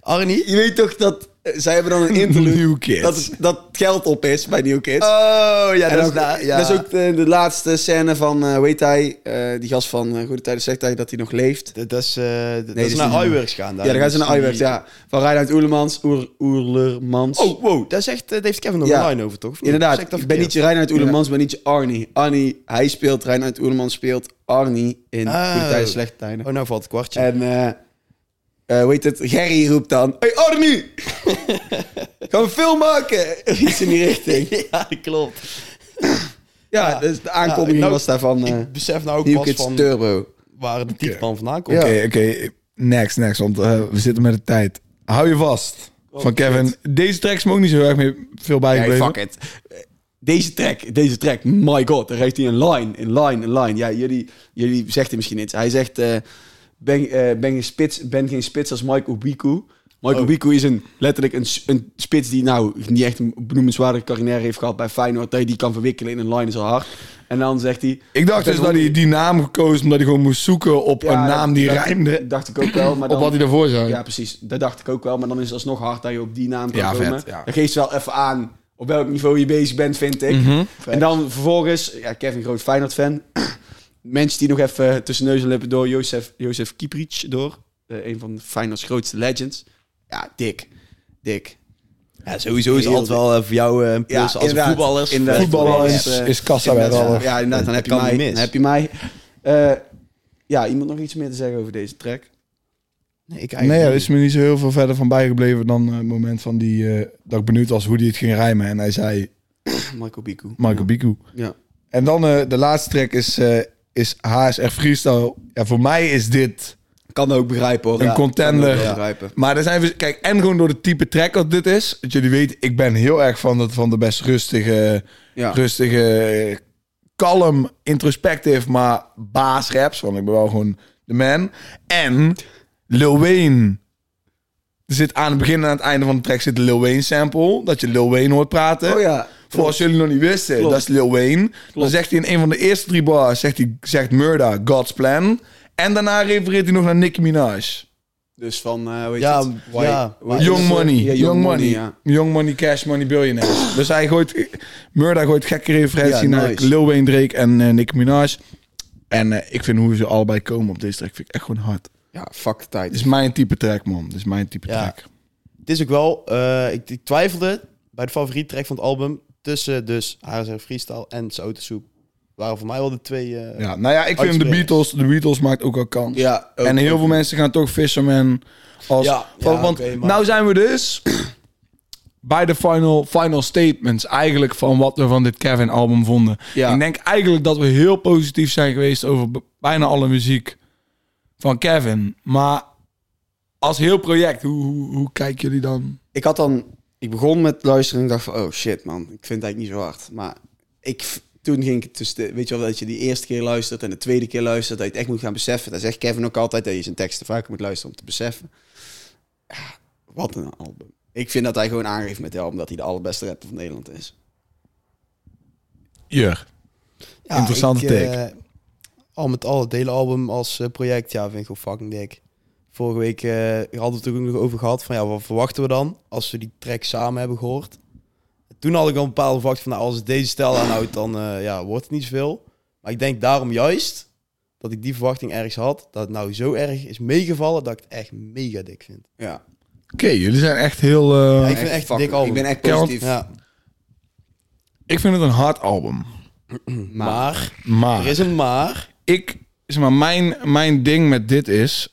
Speaker 3: Arnie?
Speaker 2: Je weet toch dat eh, zij hebben dan een interlude
Speaker 1: New Kids.
Speaker 2: dat, het- dat het geld op is bij New Kids.
Speaker 3: Oh, ja,
Speaker 2: En
Speaker 3: dat is,
Speaker 2: ook-
Speaker 3: na- ja.
Speaker 2: dat is ook de, de laatste scène van, eh weet hij, eh, die gast van eh Goede Tijden zegt hij dat hij nog leeft.
Speaker 3: Dat dat is, eh, dat
Speaker 2: dat
Speaker 3: is
Speaker 2: is
Speaker 3: naar
Speaker 2: niet-
Speaker 3: Iwerks gaan.
Speaker 2: Ja, dan gaan ze naar
Speaker 3: Dus
Speaker 2: Iwerks,
Speaker 3: die-
Speaker 2: ja. Van Reinhard Oerlemans, Oer, Oerlermans.
Speaker 3: Oh, wow, daar zegt, eh, daar heeft Kevin nog
Speaker 2: Ja.
Speaker 3: online over, toch? Of niet? Zeg ik
Speaker 2: Inderdaad,
Speaker 3: dat
Speaker 2: ik ben niet
Speaker 3: verkeerd?
Speaker 2: je Reinhard Oerlemans, ben niet je Arnie. Arnie, hij speelt, Reinhard Oerlemans speelt Arnie in
Speaker 3: Oh.
Speaker 2: Goede Tijden, Slechte Tijden.
Speaker 3: Oh, nou valt het kwartje.
Speaker 2: En eh eh, hoe heet het? Gerry roept dan: Hey Arnie! Gaan we film maken? Of Iets in die richting.
Speaker 3: ja, dat klopt.
Speaker 2: Ja, dus de aankondiging
Speaker 3: Ja, nou,
Speaker 2: was daarvan. eh
Speaker 3: ik besef nou ook
Speaker 2: New
Speaker 3: pas
Speaker 2: Kids
Speaker 3: van
Speaker 2: Turbo.
Speaker 3: waar de titel van vandaan komt.
Speaker 1: Oké, oké. Next, next. Want eh, we zitten met de tijd. Hou je vast.
Speaker 2: Oh,
Speaker 1: van Kevin. Deze tracks mogen niet zo erg meer veel
Speaker 2: Hey,
Speaker 1: bijgebleven.
Speaker 2: fuck it. Deze track, deze track, my god, daar heeft hij een line, een line, een line. Ja, jullie, jullie zegt hij misschien iets. Hij zegt, eh, ben, eh, ben, geen spits, ben geen spits als Mike Obiku. Mike
Speaker 1: Oh.
Speaker 2: Obiku is een, letterlijk een, s- een spits die nou niet echt een benoemenswaardige carrière heeft gehad bij Feyenoord. Dat je die kan verwikkelen in een line is al hard. En dan zegt hij...
Speaker 1: ik dacht dus dat hij die naam gekozen omdat hij gewoon moest zoeken op
Speaker 2: Ja,
Speaker 1: een naam die
Speaker 2: dat-
Speaker 1: rijmde
Speaker 2: Dacht ik ook wel, maar dan...
Speaker 1: op wat hij daarvoor zou.
Speaker 2: Ja, precies. Dat dacht ik ook wel. Maar dan is het alsnog hard dat je op die naam kan
Speaker 1: Oh, Ja,
Speaker 2: komen.
Speaker 1: vet, ja.
Speaker 2: Dat geeft wel even aan op welk niveau je bezig bent, vind ik. En dan vervolgens, ja, Kevin, groot Feyenoord-fan. Mensen die nog even tussen neus en lippen door. Jozef, Jozef Kieprits door. Eh, een van de Feyenoord's grootste legends. Ja, dik. Dik.
Speaker 3: Ja, sowieso is
Speaker 2: Heel
Speaker 3: altijd wel eh, voor jou eh, een
Speaker 2: Ja,
Speaker 3: plus als
Speaker 2: inderdaad.
Speaker 3: voetballer.
Speaker 2: Inderdaad.
Speaker 1: Voetballer
Speaker 2: Voetballer
Speaker 1: is,
Speaker 2: is, eh,
Speaker 1: is kassa bij het
Speaker 2: Inderdaad,
Speaker 1: half.
Speaker 2: Ja, inderdaad. Dan heb je
Speaker 3: Dat kan
Speaker 2: mij.
Speaker 3: niet mis.
Speaker 2: Dan heb je mij. Eh, ja, iemand nog iets meer te zeggen over deze track?
Speaker 3: Nee, ik
Speaker 1: Nee,
Speaker 3: eigenlijk
Speaker 1: er is me niet zo heel veel verder van bijgebleven dan eh, het moment van die, eh, dat ik benieuwd was hoe die het ging rijmen. En hij zei
Speaker 2: Michael Biku.
Speaker 1: Michael Biku.
Speaker 2: Ja.
Speaker 1: En dan eh, de laatste track is, eh, is HSR Freestyle. Ja, voor mij is dit...
Speaker 2: Kan ook begrijpen hoor.
Speaker 1: Een
Speaker 2: Ja,
Speaker 1: contender.
Speaker 2: Kan ook wel
Speaker 1: Ja.
Speaker 2: begrijpen.
Speaker 1: Maar er zijn... vers- Kijk, en gewoon door het type track wat dit is. Want jullie weten, ik ben heel erg van, dat, van de best rustige...
Speaker 2: Ja.
Speaker 1: Rustige, kalm, introspective, maar baas raps. Want ik ben wel gewoon de man. En Lil Wayne. Er zit aan het begin en aan het einde van de track zit een Lil Wayne sample. Dat je Lil Wayne hoort praten.
Speaker 2: Oh ja.
Speaker 1: Voor als jullie nog niet wisten,
Speaker 2: Klopt.
Speaker 1: dat is Lil Wayne. Dan zegt hij in een van de eerste drie bars, zegt hij zegt Murder, God's Plan. En daarna refereert hij nog naar Nicki Minaj.
Speaker 2: Dus van, eh weet
Speaker 3: Ja,
Speaker 2: je het?
Speaker 3: why-
Speaker 2: Ja,
Speaker 3: why-
Speaker 2: why-
Speaker 1: Young
Speaker 2: dus, eh,
Speaker 1: Money,
Speaker 2: ja,
Speaker 1: Young, Money,
Speaker 2: ja. Ah.
Speaker 1: Young Money, Cash Money, Billionaires. dus hij gooit, Murda gooit gekke referentie
Speaker 2: Ja,
Speaker 1: naar
Speaker 2: nice.
Speaker 1: Lil Wayne, Drake en eh Nicki Minaj. En eh, ik vind hoe ze allebei komen op deze track, vind ik echt gewoon hard.
Speaker 2: ja, fuck de tijd.
Speaker 1: Dit is mijn type track, man. Dit is mijn type
Speaker 3: Ja.
Speaker 1: track.
Speaker 3: Het is ook wel, eh, ik, ik twijfelde bij de favoriete track van het album tussen dus HSR Freestyle en Soep. Waren voor mij wel de twee. eh,
Speaker 1: Ja, nou ja, ik vind de
Speaker 3: Uitspreken.
Speaker 1: Beatles, de Beatles maakt ook wel kans.
Speaker 2: ja, ook-
Speaker 1: en heel veel mensen gaan toch Fisherman als...
Speaker 3: Ja,
Speaker 1: van-
Speaker 3: ja,
Speaker 1: want
Speaker 3: oké, maar-
Speaker 1: nou zijn we dus bij de final, final statements eigenlijk van wat we van dit Kevin-album vonden.
Speaker 2: Ja.
Speaker 1: Ik denk eigenlijk dat we heel positief zijn geweest over b- bijna alle muziek van Kevin. Maar als heel project, hoe, hoe, hoe kijken jullie dan?
Speaker 2: Ik had dan, ik begon met luisteren en ik dacht van, oh shit man, ik vind het eigenlijk niet zo hard. Maar ik, f- toen ging ik het tussen, de- weet je wel, dat je die eerste keer luistert en de tweede keer luistert, dat je het echt moet gaan beseffen. Dat zegt Kevin ook altijd, dat je zijn teksten vaker moet luisteren om te beseffen. Ja, wat een album. Ik vind dat hij gewoon aangeeft met dit album dat hij de allerbeste rapper van Nederland is.
Speaker 1: Jur.
Speaker 3: ja,
Speaker 1: Interessante
Speaker 3: ik, eh, al met al, het hele album als eh, project, ja, vind ik gewoon fucking dik. Vorige week eh, hadden we het er ook nog over gehad van ja, wat verwachten we dan als we die track samen hebben gehoord. Toen had ik al een bepaalde verwachting van nou, als het deze stijl aanhoudt, dan eh, ja, wordt het niet zoveel. Maar ik denk daarom juist dat ik die verwachting ergens had, dat het nou zo erg is meegevallen dat ik het echt mega dik vind.
Speaker 2: Ja,
Speaker 1: Oké, jullie zijn echt heel... eh,
Speaker 3: Ja, ik- vind echt een
Speaker 2: fucking-
Speaker 3: dik album.
Speaker 2: Ik ben echt
Speaker 1: Ja, want-
Speaker 2: positief.
Speaker 3: Ja,
Speaker 1: ik vind het een hard album.
Speaker 2: Maar-
Speaker 3: maar,
Speaker 2: Ah.
Speaker 1: Maar...
Speaker 3: er is een maar.
Speaker 1: ik, zeg maar, mijn, mijn ding met dit is.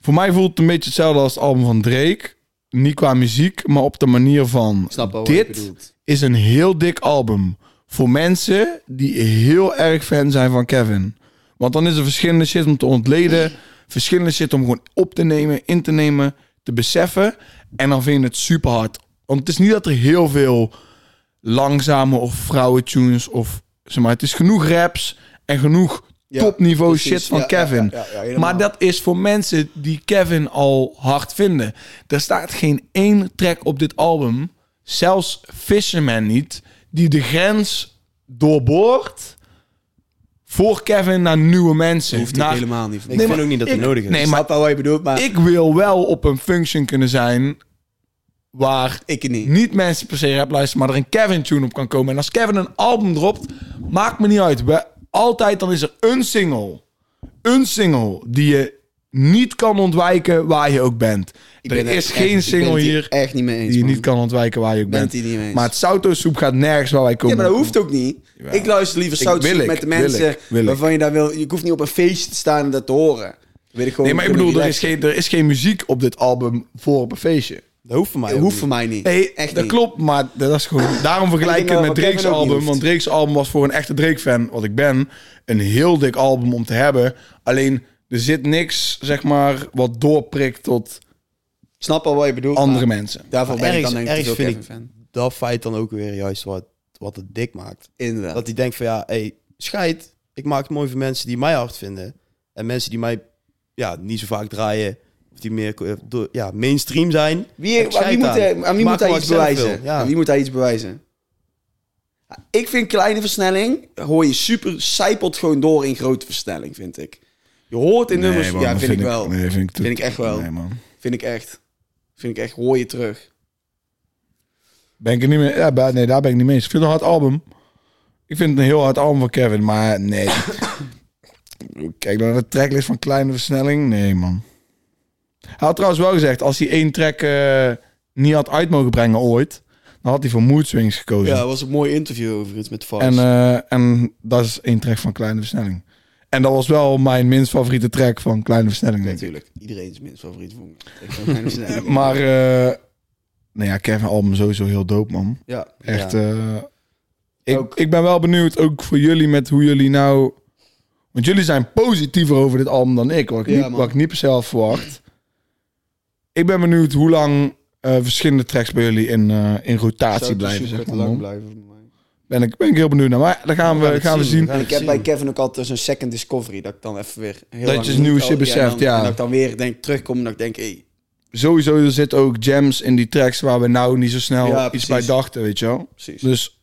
Speaker 1: Voor mij voelt het een beetje hetzelfde als het album van Drake. Niet qua muziek, maar op de manier van.
Speaker 2: Ik snap wel wat je
Speaker 1: dit
Speaker 2: bedoelt.
Speaker 1: is een heel dik album. Voor mensen die heel erg fan zijn van Kevin. Want dan is er verschillende shit om te ontleden. Verschillende shit om gewoon op te nemen, in te nemen, te beseffen. En dan vind je het super hard. Want het is niet dat er heel veel langzame of vrouwentunes of zeg maar, het is genoeg raps en genoeg topniveau
Speaker 2: precies.
Speaker 1: shit van
Speaker 2: Ja, ja,
Speaker 1: Kevin.
Speaker 2: ja, ja, ja, helemaal.
Speaker 1: maar dat is voor mensen die Kevin al hard vinden. Er staat geen één track op dit album, zelfs Fisherman niet, die de grens doorboort voor Kevin naar nieuwe mensen.
Speaker 2: hoeft
Speaker 1: Naar-
Speaker 2: ik helemaal niet.
Speaker 3: Ik
Speaker 2: ik
Speaker 1: Nee,
Speaker 3: vind
Speaker 1: maar
Speaker 3: ook niet dat
Speaker 1: ik-
Speaker 3: het nodig is.
Speaker 1: nee,
Speaker 2: snap wel wat je bedoelt, maar ik,
Speaker 1: Ik wil wel op een function kunnen zijn waar
Speaker 2: ik niet.
Speaker 1: niet mensen per se rap luisteren, maar er een Kevin tune op kan komen. En als Kevin een album dropt, maakt me niet uit. We, altijd dan is er een single. Een single die je niet kan ontwijken waar je ook bent.
Speaker 2: Ik
Speaker 1: er
Speaker 2: ben
Speaker 1: is
Speaker 2: echt-
Speaker 1: geen
Speaker 2: ik ben
Speaker 1: single
Speaker 2: het
Speaker 1: hier
Speaker 2: echt niet mee eens.
Speaker 1: die je
Speaker 2: man.
Speaker 1: niet kan ontwijken waar je ook
Speaker 2: Ben het
Speaker 1: bent.
Speaker 2: hier niet mee eens.
Speaker 1: Maar het Sautosoep gaat nergens waar wij
Speaker 2: Ja,
Speaker 1: komen.
Speaker 2: maar dat hoeft ook niet. Ik luister liever
Speaker 1: Ik-
Speaker 2: zout
Speaker 1: wil ik,
Speaker 2: met de
Speaker 1: wil
Speaker 2: mensen
Speaker 1: ik, wil ik.
Speaker 2: waarvan je daar wil. Je hoeft niet op een feestje te staan en dat te horen. Dat Weet ik gewoon,
Speaker 1: Nee, maar ik
Speaker 2: kunnen
Speaker 1: bedoel, er is,
Speaker 2: relaxen.
Speaker 1: geen, er is geen muziek op dit album voor op een feestje.
Speaker 3: Dat hoeft voor mij
Speaker 2: Dat
Speaker 3: ook
Speaker 2: hoeft
Speaker 3: niet.
Speaker 2: voor mij niet.
Speaker 1: Nee,
Speaker 2: echt
Speaker 1: dat
Speaker 2: niet.
Speaker 1: klopt, maar dat is gewoon... Daarom vergelijk
Speaker 2: Ik
Speaker 1: ik het
Speaker 2: denk dat
Speaker 1: met
Speaker 2: wat
Speaker 1: Drake's
Speaker 2: Kevin ook niet
Speaker 1: album.
Speaker 2: hoeft.
Speaker 1: Want Drake's album was voor een echte Drake-fan, wat ik ben, een heel dik album om te hebben. Alleen, er zit niks, zeg maar, wat doorprikt tot
Speaker 2: Ik snap al wat je bedoelt.
Speaker 1: andere
Speaker 2: maar
Speaker 1: mensen.
Speaker 2: Daarvoor
Speaker 3: Maar
Speaker 2: ben ik dan
Speaker 3: ergens-
Speaker 2: denk ik
Speaker 3: ergens
Speaker 2: veel
Speaker 3: vind
Speaker 2: Kevin
Speaker 3: ik-
Speaker 2: fan.
Speaker 3: Dat feit dan ook weer juist wat, wat het dik maakt.
Speaker 2: Inderdaad.
Speaker 3: Dat hij denkt van ja, hey, scheid. Ik maak het mooi voor mensen die mij hard vinden. En mensen die mij ja, niet zo vaak draaien. Of die meer eh, door- ja, mainstream zijn.
Speaker 2: Wie,
Speaker 3: Ik
Speaker 2: aan,
Speaker 3: scheid
Speaker 2: wie moet,
Speaker 3: aan.
Speaker 2: hij- aan wie
Speaker 3: Maak
Speaker 2: moet hij
Speaker 3: maar
Speaker 2: iets
Speaker 3: wat ik zelf
Speaker 2: bewijzen?
Speaker 3: wil, ja.
Speaker 2: Aan wie moet hij iets bewijzen? Ik vind kleine versnelling, hoor je super, zijpelt gewoon door in grote versnelling, vind ik. Je hoort in nummers, ja, vind, ik wel.
Speaker 1: Nee, vind ik,
Speaker 2: Vind ik echt wel.
Speaker 1: Nee, man.
Speaker 2: Vind ik echt. Vind ik echt, hoor je terug.
Speaker 1: Ben ik er niet mee... Ja, ba- nee, daar ben ik niet mee eens. Ik vind het een hard album. Ik vind het een heel hard album van Kevin, maar nee. Kijk dan naar de tracklist van Kleine Versnelling. Nee, man. Hij had trouwens wel gezegd, als hij één track eh, niet had uit mogen brengen ooit, dan had hij voor Mood Swings gekozen.
Speaker 2: Ja, dat was een mooi interview over iets met Vars.
Speaker 1: en, eh, en dat is één track van Kleine Versnelling. En dat was wel mijn minst favoriete track van Kleine Versnelling, denk ik.
Speaker 2: Natuurlijk, iedereen is minst favoriet voor me. Ik vind het mijn versnelling.
Speaker 1: Maar, eh nou ja, Kevin album sowieso heel dope, man.
Speaker 2: ja,
Speaker 1: Echt.
Speaker 3: Ja.
Speaker 1: eh, ik,
Speaker 2: Ook.
Speaker 1: ik ben wel benieuwd ook voor jullie met hoe jullie nou. Want jullie zijn positiever over dit album dan ik, wat ik,
Speaker 2: Ja,
Speaker 1: niet,
Speaker 2: man.
Speaker 1: wat ik niet per se had verwacht. Ik ben benieuwd hoe lang eh, verschillende tracks bij jullie in, eh, in rotatie
Speaker 2: zou
Speaker 1: blijven.
Speaker 2: super
Speaker 1: Zeg
Speaker 2: te
Speaker 1: maar,
Speaker 2: lang
Speaker 1: man.
Speaker 2: blijven voor mij.
Speaker 1: ben, ik, ben ik heel benieuwd naar. Maar dan gaan we,
Speaker 3: het
Speaker 1: gaan we
Speaker 3: zien,
Speaker 1: zien.
Speaker 3: we gaan
Speaker 2: Ik heb
Speaker 3: zien.
Speaker 2: bij Kevin ook altijd zo'n second discovery, dat ik dan even weer... Heel
Speaker 1: Dat
Speaker 2: lang
Speaker 1: je eens nieuwe
Speaker 2: moet-
Speaker 1: shit
Speaker 2: en dan-
Speaker 1: beseft, ja.
Speaker 2: en dat ik dan weer denk, terugkom en dat ik denk, hé, hey,
Speaker 1: Sowieso er zitten ook jams in die tracks waar we nou niet zo snel
Speaker 2: Ja,
Speaker 1: iets
Speaker 2: precies.
Speaker 1: bij dachten, weet je wel.
Speaker 2: precies.
Speaker 1: Dus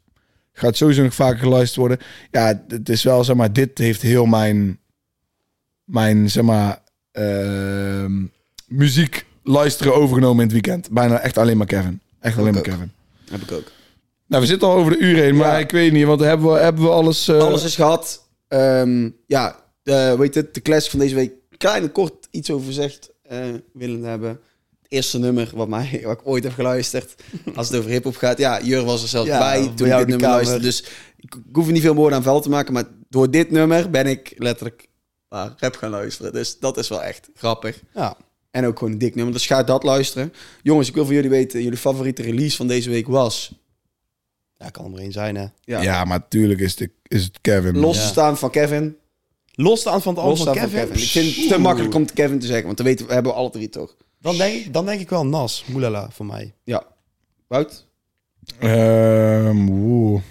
Speaker 1: gaat sowieso nog vaker geluisterd worden. Ja, het is wel, zeg maar, dit heeft heel mijn, mijn zeg maar, ehm, muziek luisteren overgenomen in het weekend. Bijna echt alleen maar Kevin. Echt alleen maar
Speaker 2: ook.
Speaker 1: Kevin.
Speaker 2: Heb ik ook.
Speaker 1: Nou, we zitten al over de uur heen, maar
Speaker 2: Ja.
Speaker 1: ik weet niet, want hebben we, hebben we alles... eh,
Speaker 2: Alles is gehad. Ehm, ja, de, weet het, de classic van deze week. Klein en kort iets over gezegd eh, willen hebben. Het eerste nummer wat, mij, wat ik ooit heb geluisterd. Als het over hip-hop gaat. Ja, Jur was er zelf
Speaker 3: Ja,
Speaker 2: bij
Speaker 3: bij
Speaker 2: toen ik dit
Speaker 3: jou in de
Speaker 2: nummer
Speaker 3: kamer.
Speaker 2: luisterde. Dus ik, ik hoef er niet veel woorden aan vuil te maken. Maar door dit nummer ben ik letterlijk naar rap gaan luisteren. Dus dat is wel echt grappig.
Speaker 3: Ja.
Speaker 2: En ook gewoon een dik nummer. Dus ga dat luisteren. Jongens, ik wil van jullie weten. Jullie favoriete release van deze week was.
Speaker 3: ja, kan er maar één zijn hè.
Speaker 1: ja. maar tuurlijk is, de, is het Kevin.
Speaker 2: Los
Speaker 3: Ja.
Speaker 2: te staan van Kevin.
Speaker 3: Losstaan van het album van
Speaker 2: Losstaan
Speaker 3: Kevin.
Speaker 2: Ik vind het te
Speaker 3: Oeh.
Speaker 2: makkelijk om het Kevin te zeggen, want dan weten we, hebben we alle drie toch.
Speaker 3: Dan denk, dan denk ik wel Nas, Moelala, voor mij.
Speaker 2: Ja. Wout?
Speaker 1: Ehm, oeh.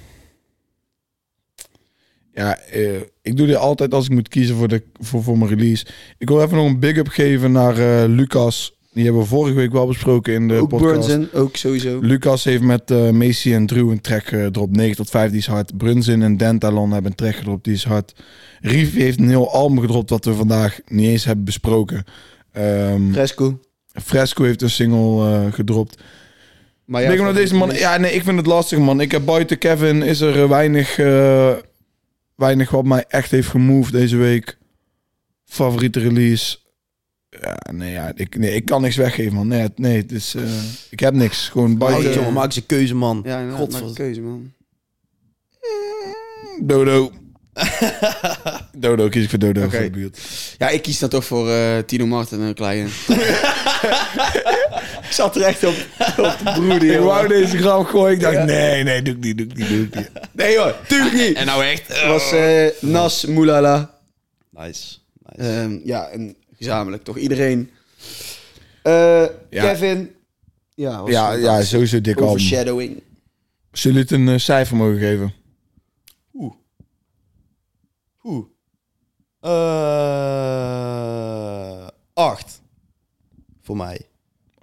Speaker 1: Ja, eh, ik doe dit altijd als ik moet kiezen voor, de, voor, voor mijn release. Ik wil even nog een big-up geven naar eh, Lucas. Die hebben we vorige week wel besproken in de
Speaker 2: ook
Speaker 1: podcast.
Speaker 2: Burnsen, ook sowieso.
Speaker 1: Lucas heeft met eh Macy en Drew een track gedropt. 9 tot 5, die is hard. Brunzin en Dentalon hebben een track gedropt, die is hard. Rief heeft een heel album gedropt wat we vandaag niet eens hebben besproken. Ehm,
Speaker 2: Fresco.
Speaker 1: Fresco heeft een single eh, gedropt.
Speaker 2: Maar
Speaker 1: Ik denk omdat deze man... Ah Ja, nee, ik vind het lastig, man. Ik heb buiten Kevin is er eh, weinig, eh, weinig wat mij echt heeft gemoved deze week. Favoriete release. Ja, nee, ja, ik, nee, ik kan niks weggeven, man. Nee, het- nee het is, eh, ik heb niks. Gewoon
Speaker 3: Hey,
Speaker 1: buiten...
Speaker 2: ja.
Speaker 3: jongen, maak eens een keuze man.
Speaker 2: Ja, ja
Speaker 3: Godver-
Speaker 2: Godver... nou, keuze, man.
Speaker 1: Dodo. Dodo, kies ik voor Dodo voor de buurt.
Speaker 2: Ja, ik kies dan toch voor eh, Tino Martin en Kleine. ik zat er echt op, op te broeden,
Speaker 1: Ik
Speaker 2: joh.
Speaker 1: wou deze grap gooien. Ik dacht, nee, nee, doe ik niet, doe ik niet, doe ik niet.
Speaker 2: Nee hoor, tuurlijk niet.
Speaker 3: En nou echt.
Speaker 2: Het was eh, Nas, Moulala.
Speaker 3: Nice. nice.
Speaker 2: Ehm, ja, en gezamenlijk toch iedereen. Eh,
Speaker 1: Ja.
Speaker 2: Kevin. Ja, was
Speaker 1: Ja, ja, sowieso dik album.
Speaker 2: overshadowing.
Speaker 1: Zullen jullie het een eh, cijfer mogen geven?
Speaker 3: Oeh. Eh, acht. Voor mij.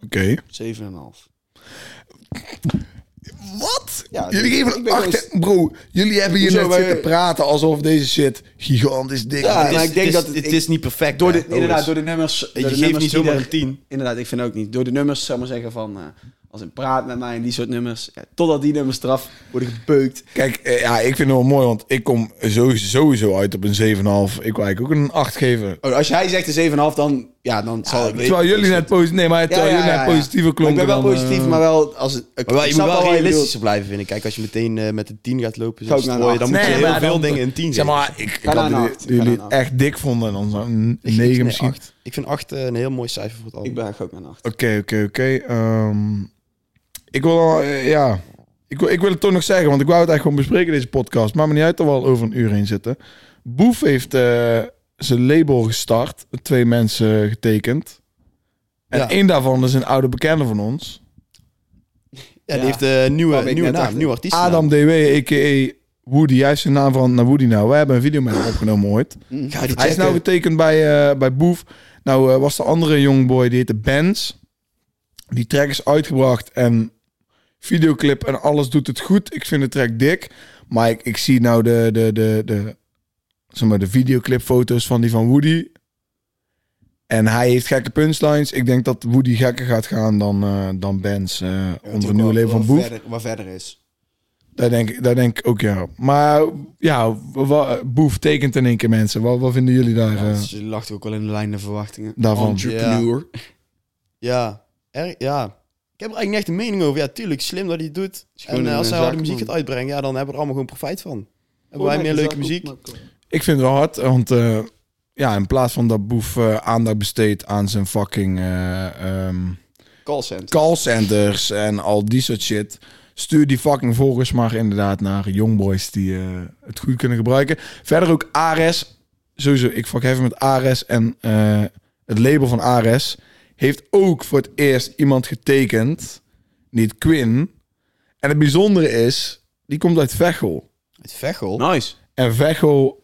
Speaker 1: Oké.
Speaker 2: 7,5.
Speaker 1: Wat?
Speaker 2: Ja,
Speaker 1: jullie
Speaker 2: dus-
Speaker 1: geven
Speaker 2: ik
Speaker 1: een
Speaker 2: ben
Speaker 1: acht,
Speaker 2: gewoon-
Speaker 1: hè? Bro, jullie hebben hier
Speaker 2: Hoezo,
Speaker 1: net
Speaker 2: wij-
Speaker 1: zitten praten alsof deze shit gigantisch dik
Speaker 2: Ja,
Speaker 1: is.
Speaker 2: maar ik denk
Speaker 3: het is,
Speaker 2: dat het-
Speaker 3: het
Speaker 2: ik-
Speaker 3: is niet perfect.
Speaker 2: Door
Speaker 3: hè,
Speaker 2: de, inderdaad,
Speaker 3: Boris.
Speaker 2: door de nummers... eh, door de
Speaker 3: je geeft
Speaker 2: nummers
Speaker 3: niet
Speaker 2: die
Speaker 3: zomaar
Speaker 2: er-
Speaker 3: een tien.
Speaker 2: Inderdaad, ik vind ook niet. Door de nummers, zou ik maar zeggen van... eh, als een praat met mij en die soort nummers. Ja, totdat die nummers eraf worden gebeukt.
Speaker 1: Kijk, eh, ja, ik vind het wel mooi, want ik kom sowieso, sowieso uit op een 7,5. Ik wil eigenlijk ook een 8 geven.
Speaker 2: Oh, als jij zegt een 7,5, dan, ja, dan zal ik... dus
Speaker 1: Terwijl jullie net positief, nee, maar terwijl jullie net positiever
Speaker 2: Maar
Speaker 1: klonken.
Speaker 2: Ik ben wel
Speaker 1: dan, eh,
Speaker 2: positief, maar wel... Als het, ik
Speaker 3: Maar wel,
Speaker 2: ik
Speaker 3: je moet
Speaker 2: snap wel
Speaker 3: wel
Speaker 2: wat je bedoelt.
Speaker 3: realistischer blijven, vind ik. Kijk, als je meteen eh, met een 10 gaat lopen,
Speaker 2: Ga
Speaker 3: zo
Speaker 2: ook naar een
Speaker 3: strooien, dan moet
Speaker 1: acht.
Speaker 3: je
Speaker 1: Nee,
Speaker 3: heel
Speaker 1: maar
Speaker 3: veel
Speaker 1: dan-
Speaker 3: dingen in 10
Speaker 1: Zeg
Speaker 3: zetten.
Speaker 1: maar, ik, ik
Speaker 2: Ga
Speaker 1: had
Speaker 2: naar een
Speaker 1: jullie,
Speaker 2: acht. Ga
Speaker 1: jullie
Speaker 2: naar
Speaker 1: het
Speaker 2: een acht.
Speaker 1: echt dik vonden. Dan zo'n
Speaker 3: Ik vind-
Speaker 1: 9 misschien.
Speaker 3: Nee,
Speaker 1: Oké,
Speaker 3: acht. Ik vind 8 een heel mooi cijfer voor het album.
Speaker 2: Ik ben eigenlijk ook naar 8.
Speaker 1: oké, oké. Ehm, Ik wil wel, eh, ja... Ik, wil- ik wil het toch nog zeggen, want ik wou het eigenlijk gewoon bespreken, deze podcast. Maar me niet uit dat we al over een uur heen zitten. Boef heeft eh, zijn label gestart. Twee mensen getekend. En
Speaker 3: Ja.
Speaker 1: één daarvan is een oude bekende van ons.
Speaker 3: Ja, die
Speaker 2: Ja.
Speaker 3: heeft een nieuwe,
Speaker 2: Kwam ik
Speaker 3: nieuwe
Speaker 2: net
Speaker 3: naam,
Speaker 2: achter.
Speaker 3: nieuwe artiest.
Speaker 1: Adam DW, a.k.a. Woody. Hij heeft zijn naam veranderd naar Woody nou. Wij hebben een video met hem opgenomen ooit.
Speaker 3: Ga die
Speaker 1: Hij is
Speaker 3: checken.
Speaker 1: nou getekend bij, eh, bij Boef. Nou eh, was de andere jongboy, die heette Benz. Die track is uitgebracht en videoclip en alles doet het goed. Ik vind de track dik. Maar ik, ik zie nou de, de, de, de, zeg maar, de videoclipfoto's van die van Woody. En hij heeft gekke punchlines. Ik denk dat Woody gekker gaat gaan dan, eh, dan Benz eh, onder het nieuwe leven van Boef.
Speaker 2: Verder, wat verder is.
Speaker 1: Daar denk, ik- daar denk ik ook ja. Maar ja, wa- Boef tekent in één keer mensen. Wat, wat vinden jullie daar? eh?
Speaker 2: Ze lacht ook wel in de lijn der verwachtingen.
Speaker 1: Daarvan.
Speaker 2: Entrepreneur.
Speaker 3: Ja, er, ja. Ik heb er eigenlijk niet echt een mening over. Ja, tuurlijk, slim dat hij het doet.
Speaker 2: is gewoon
Speaker 3: En eh,
Speaker 2: een,
Speaker 3: als
Speaker 2: eh,
Speaker 3: hij harde
Speaker 2: zaakman.
Speaker 3: muziek gaat uitbrengen, ja, dan hebben we er allemaal gewoon profijt van. Hebben
Speaker 2: Oh,
Speaker 3: wij meer leuke muziek.
Speaker 1: Ik vind het wel hard, want eh, ja, in plaats van dat Boef eh, aandacht besteedt aan zijn fucking eh, ehm,
Speaker 2: Callcenter.
Speaker 1: callcenters en al die soort shit, stuur die fucking volgers maar inderdaad naar jongboys die eh, het goed kunnen gebruiken. Verder ook Ares, sowieso, ik fuck even met Ares en eh, het label van Ares heeft ook voor het eerst iemand getekend, niet Quinn. En het bijzondere is, die komt uit Veghel.
Speaker 3: Uit Vechel.
Speaker 2: Nice.
Speaker 1: En Veghel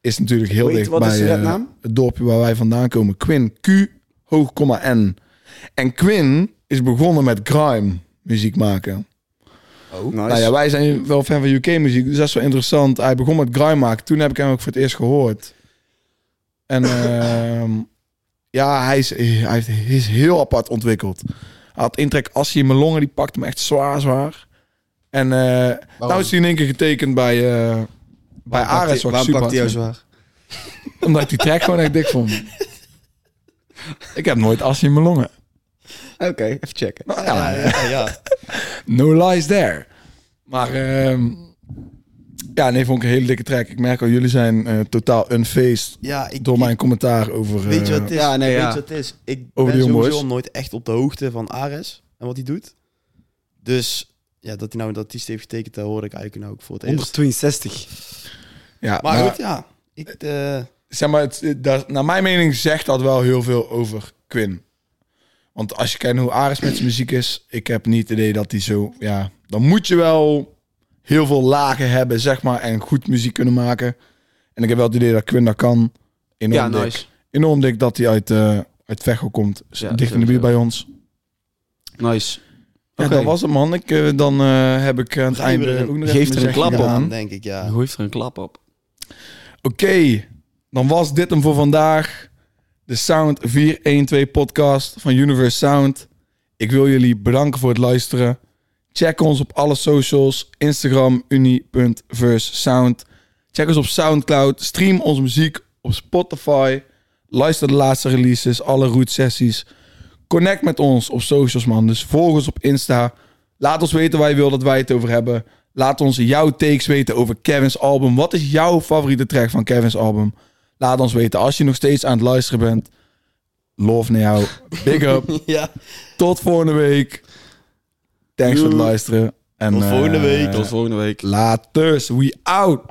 Speaker 1: is natuurlijk heel
Speaker 2: Weet je,
Speaker 1: dicht
Speaker 2: wat
Speaker 1: bij
Speaker 2: is de
Speaker 1: eh,
Speaker 2: rednaam?
Speaker 1: het dorpje waar wij vandaan komen. Quinn, Q, hoog, komma, N. En Quinn is begonnen met grime muziek maken.
Speaker 2: Oh.
Speaker 1: Nou ja, wij zijn wel fan van UK muziek, dus dat is wel interessant. Hij begon met grime maken. Toen heb ik hem ook voor het eerst gehoord. En ehm, ja, hij is, hij heeft- hij is heel apart ontwikkeld. Hij had intrek Assie in mijn longen, die pakte me echt zwaar, zwaar. En eh nou is hij in één keer getekend bij, eh, bij Ares. wat ik
Speaker 2: Waarom
Speaker 1: super
Speaker 2: pakt hij jou
Speaker 1: hard
Speaker 2: zwaar?
Speaker 1: omdat ik die track gewoon echt dik vond. Ik heb nooit as in mijn longen.
Speaker 2: Oké, even checken.
Speaker 1: Nou,
Speaker 3: Ja,
Speaker 1: ja,
Speaker 3: ja, ja.
Speaker 1: no lies there. Maar ehm, ja, nee, vond ik een hele dikke track. Ik merk al, jullie zijn eh, totaal unfaced
Speaker 3: Ja, ik,
Speaker 1: door mijn commentaar over...
Speaker 3: Weet je
Speaker 1: eh,
Speaker 3: wat het is?
Speaker 2: Ja, nee,
Speaker 3: Weet
Speaker 2: ja.
Speaker 3: je wat het is? Ik
Speaker 1: Over
Speaker 3: ben
Speaker 1: de
Speaker 3: sowieso
Speaker 1: Youngboys.
Speaker 3: nooit echt op de hoogte van Ares en wat hij doet. Dus ja, dat hij nou een artiest heeft getekend, daar hoor ik eigenlijk nou ook voor het eerst.
Speaker 2: 162.
Speaker 1: Ja,
Speaker 3: Maar
Speaker 1: maar,
Speaker 3: goed, ja. Ik, eh,
Speaker 1: zeg maar het, eh, dat, naar mijn mening zegt dat wel heel veel over Quinn. Want als je kijkt hoe Ares met zijn muziek is, ik heb niet het idee dat hij zo... Ja, dan moet je wel heel veel lagen hebben, zeg maar, en goed muziek kunnen maken. En ik heb wel het idee dat Quinn dat kan. Enorm
Speaker 2: Ja,
Speaker 1: dik.
Speaker 2: nice.
Speaker 1: enorm dik dat hij uit, eh uit Veghel komt. Z-
Speaker 2: Ja,
Speaker 1: dicht in de
Speaker 2: sowieso.
Speaker 1: buurt bij ons.
Speaker 2: Nice.
Speaker 1: Ja,
Speaker 2: Oké.
Speaker 1: dat was het, man. Ik, eh, dan eh, heb ik aan het
Speaker 3: Geef er
Speaker 1: einde
Speaker 3: een-
Speaker 1: ook nog
Speaker 2: geef
Speaker 1: even
Speaker 2: er
Speaker 1: mijn
Speaker 2: een klap
Speaker 1: zegje
Speaker 2: op.
Speaker 1: gedaan.
Speaker 3: aan, denk ik, ja.
Speaker 2: Gooi er een klap op.
Speaker 1: Oké, dan was dit hem voor vandaag. De Sound 412 podcast van Universe Sound. Ik wil jullie bedanken voor het luisteren. Check ons op alle socials. Instagram, uni.versesound. Check ons op Soundcloud. Stream onze muziek op Spotify. Luister de laatste releases, alle route sessies. Connect met ons op socials, man. Dus volg ons op Insta. Laat ons weten waar je wil dat wij het over hebben. Laat ons jouw takes weten over Kevin's album. Wat is jouw favoriete track van Kevin's album? Laat ons weten als je nog steeds aan het luisteren bent. Love naar jou. Big up.
Speaker 3: ja.
Speaker 1: Tot volgende week. Thanks voor het luisteren. En,
Speaker 3: Tot volgende
Speaker 1: eh,
Speaker 3: week.
Speaker 2: Tot volgende week.
Speaker 1: Laters. We out.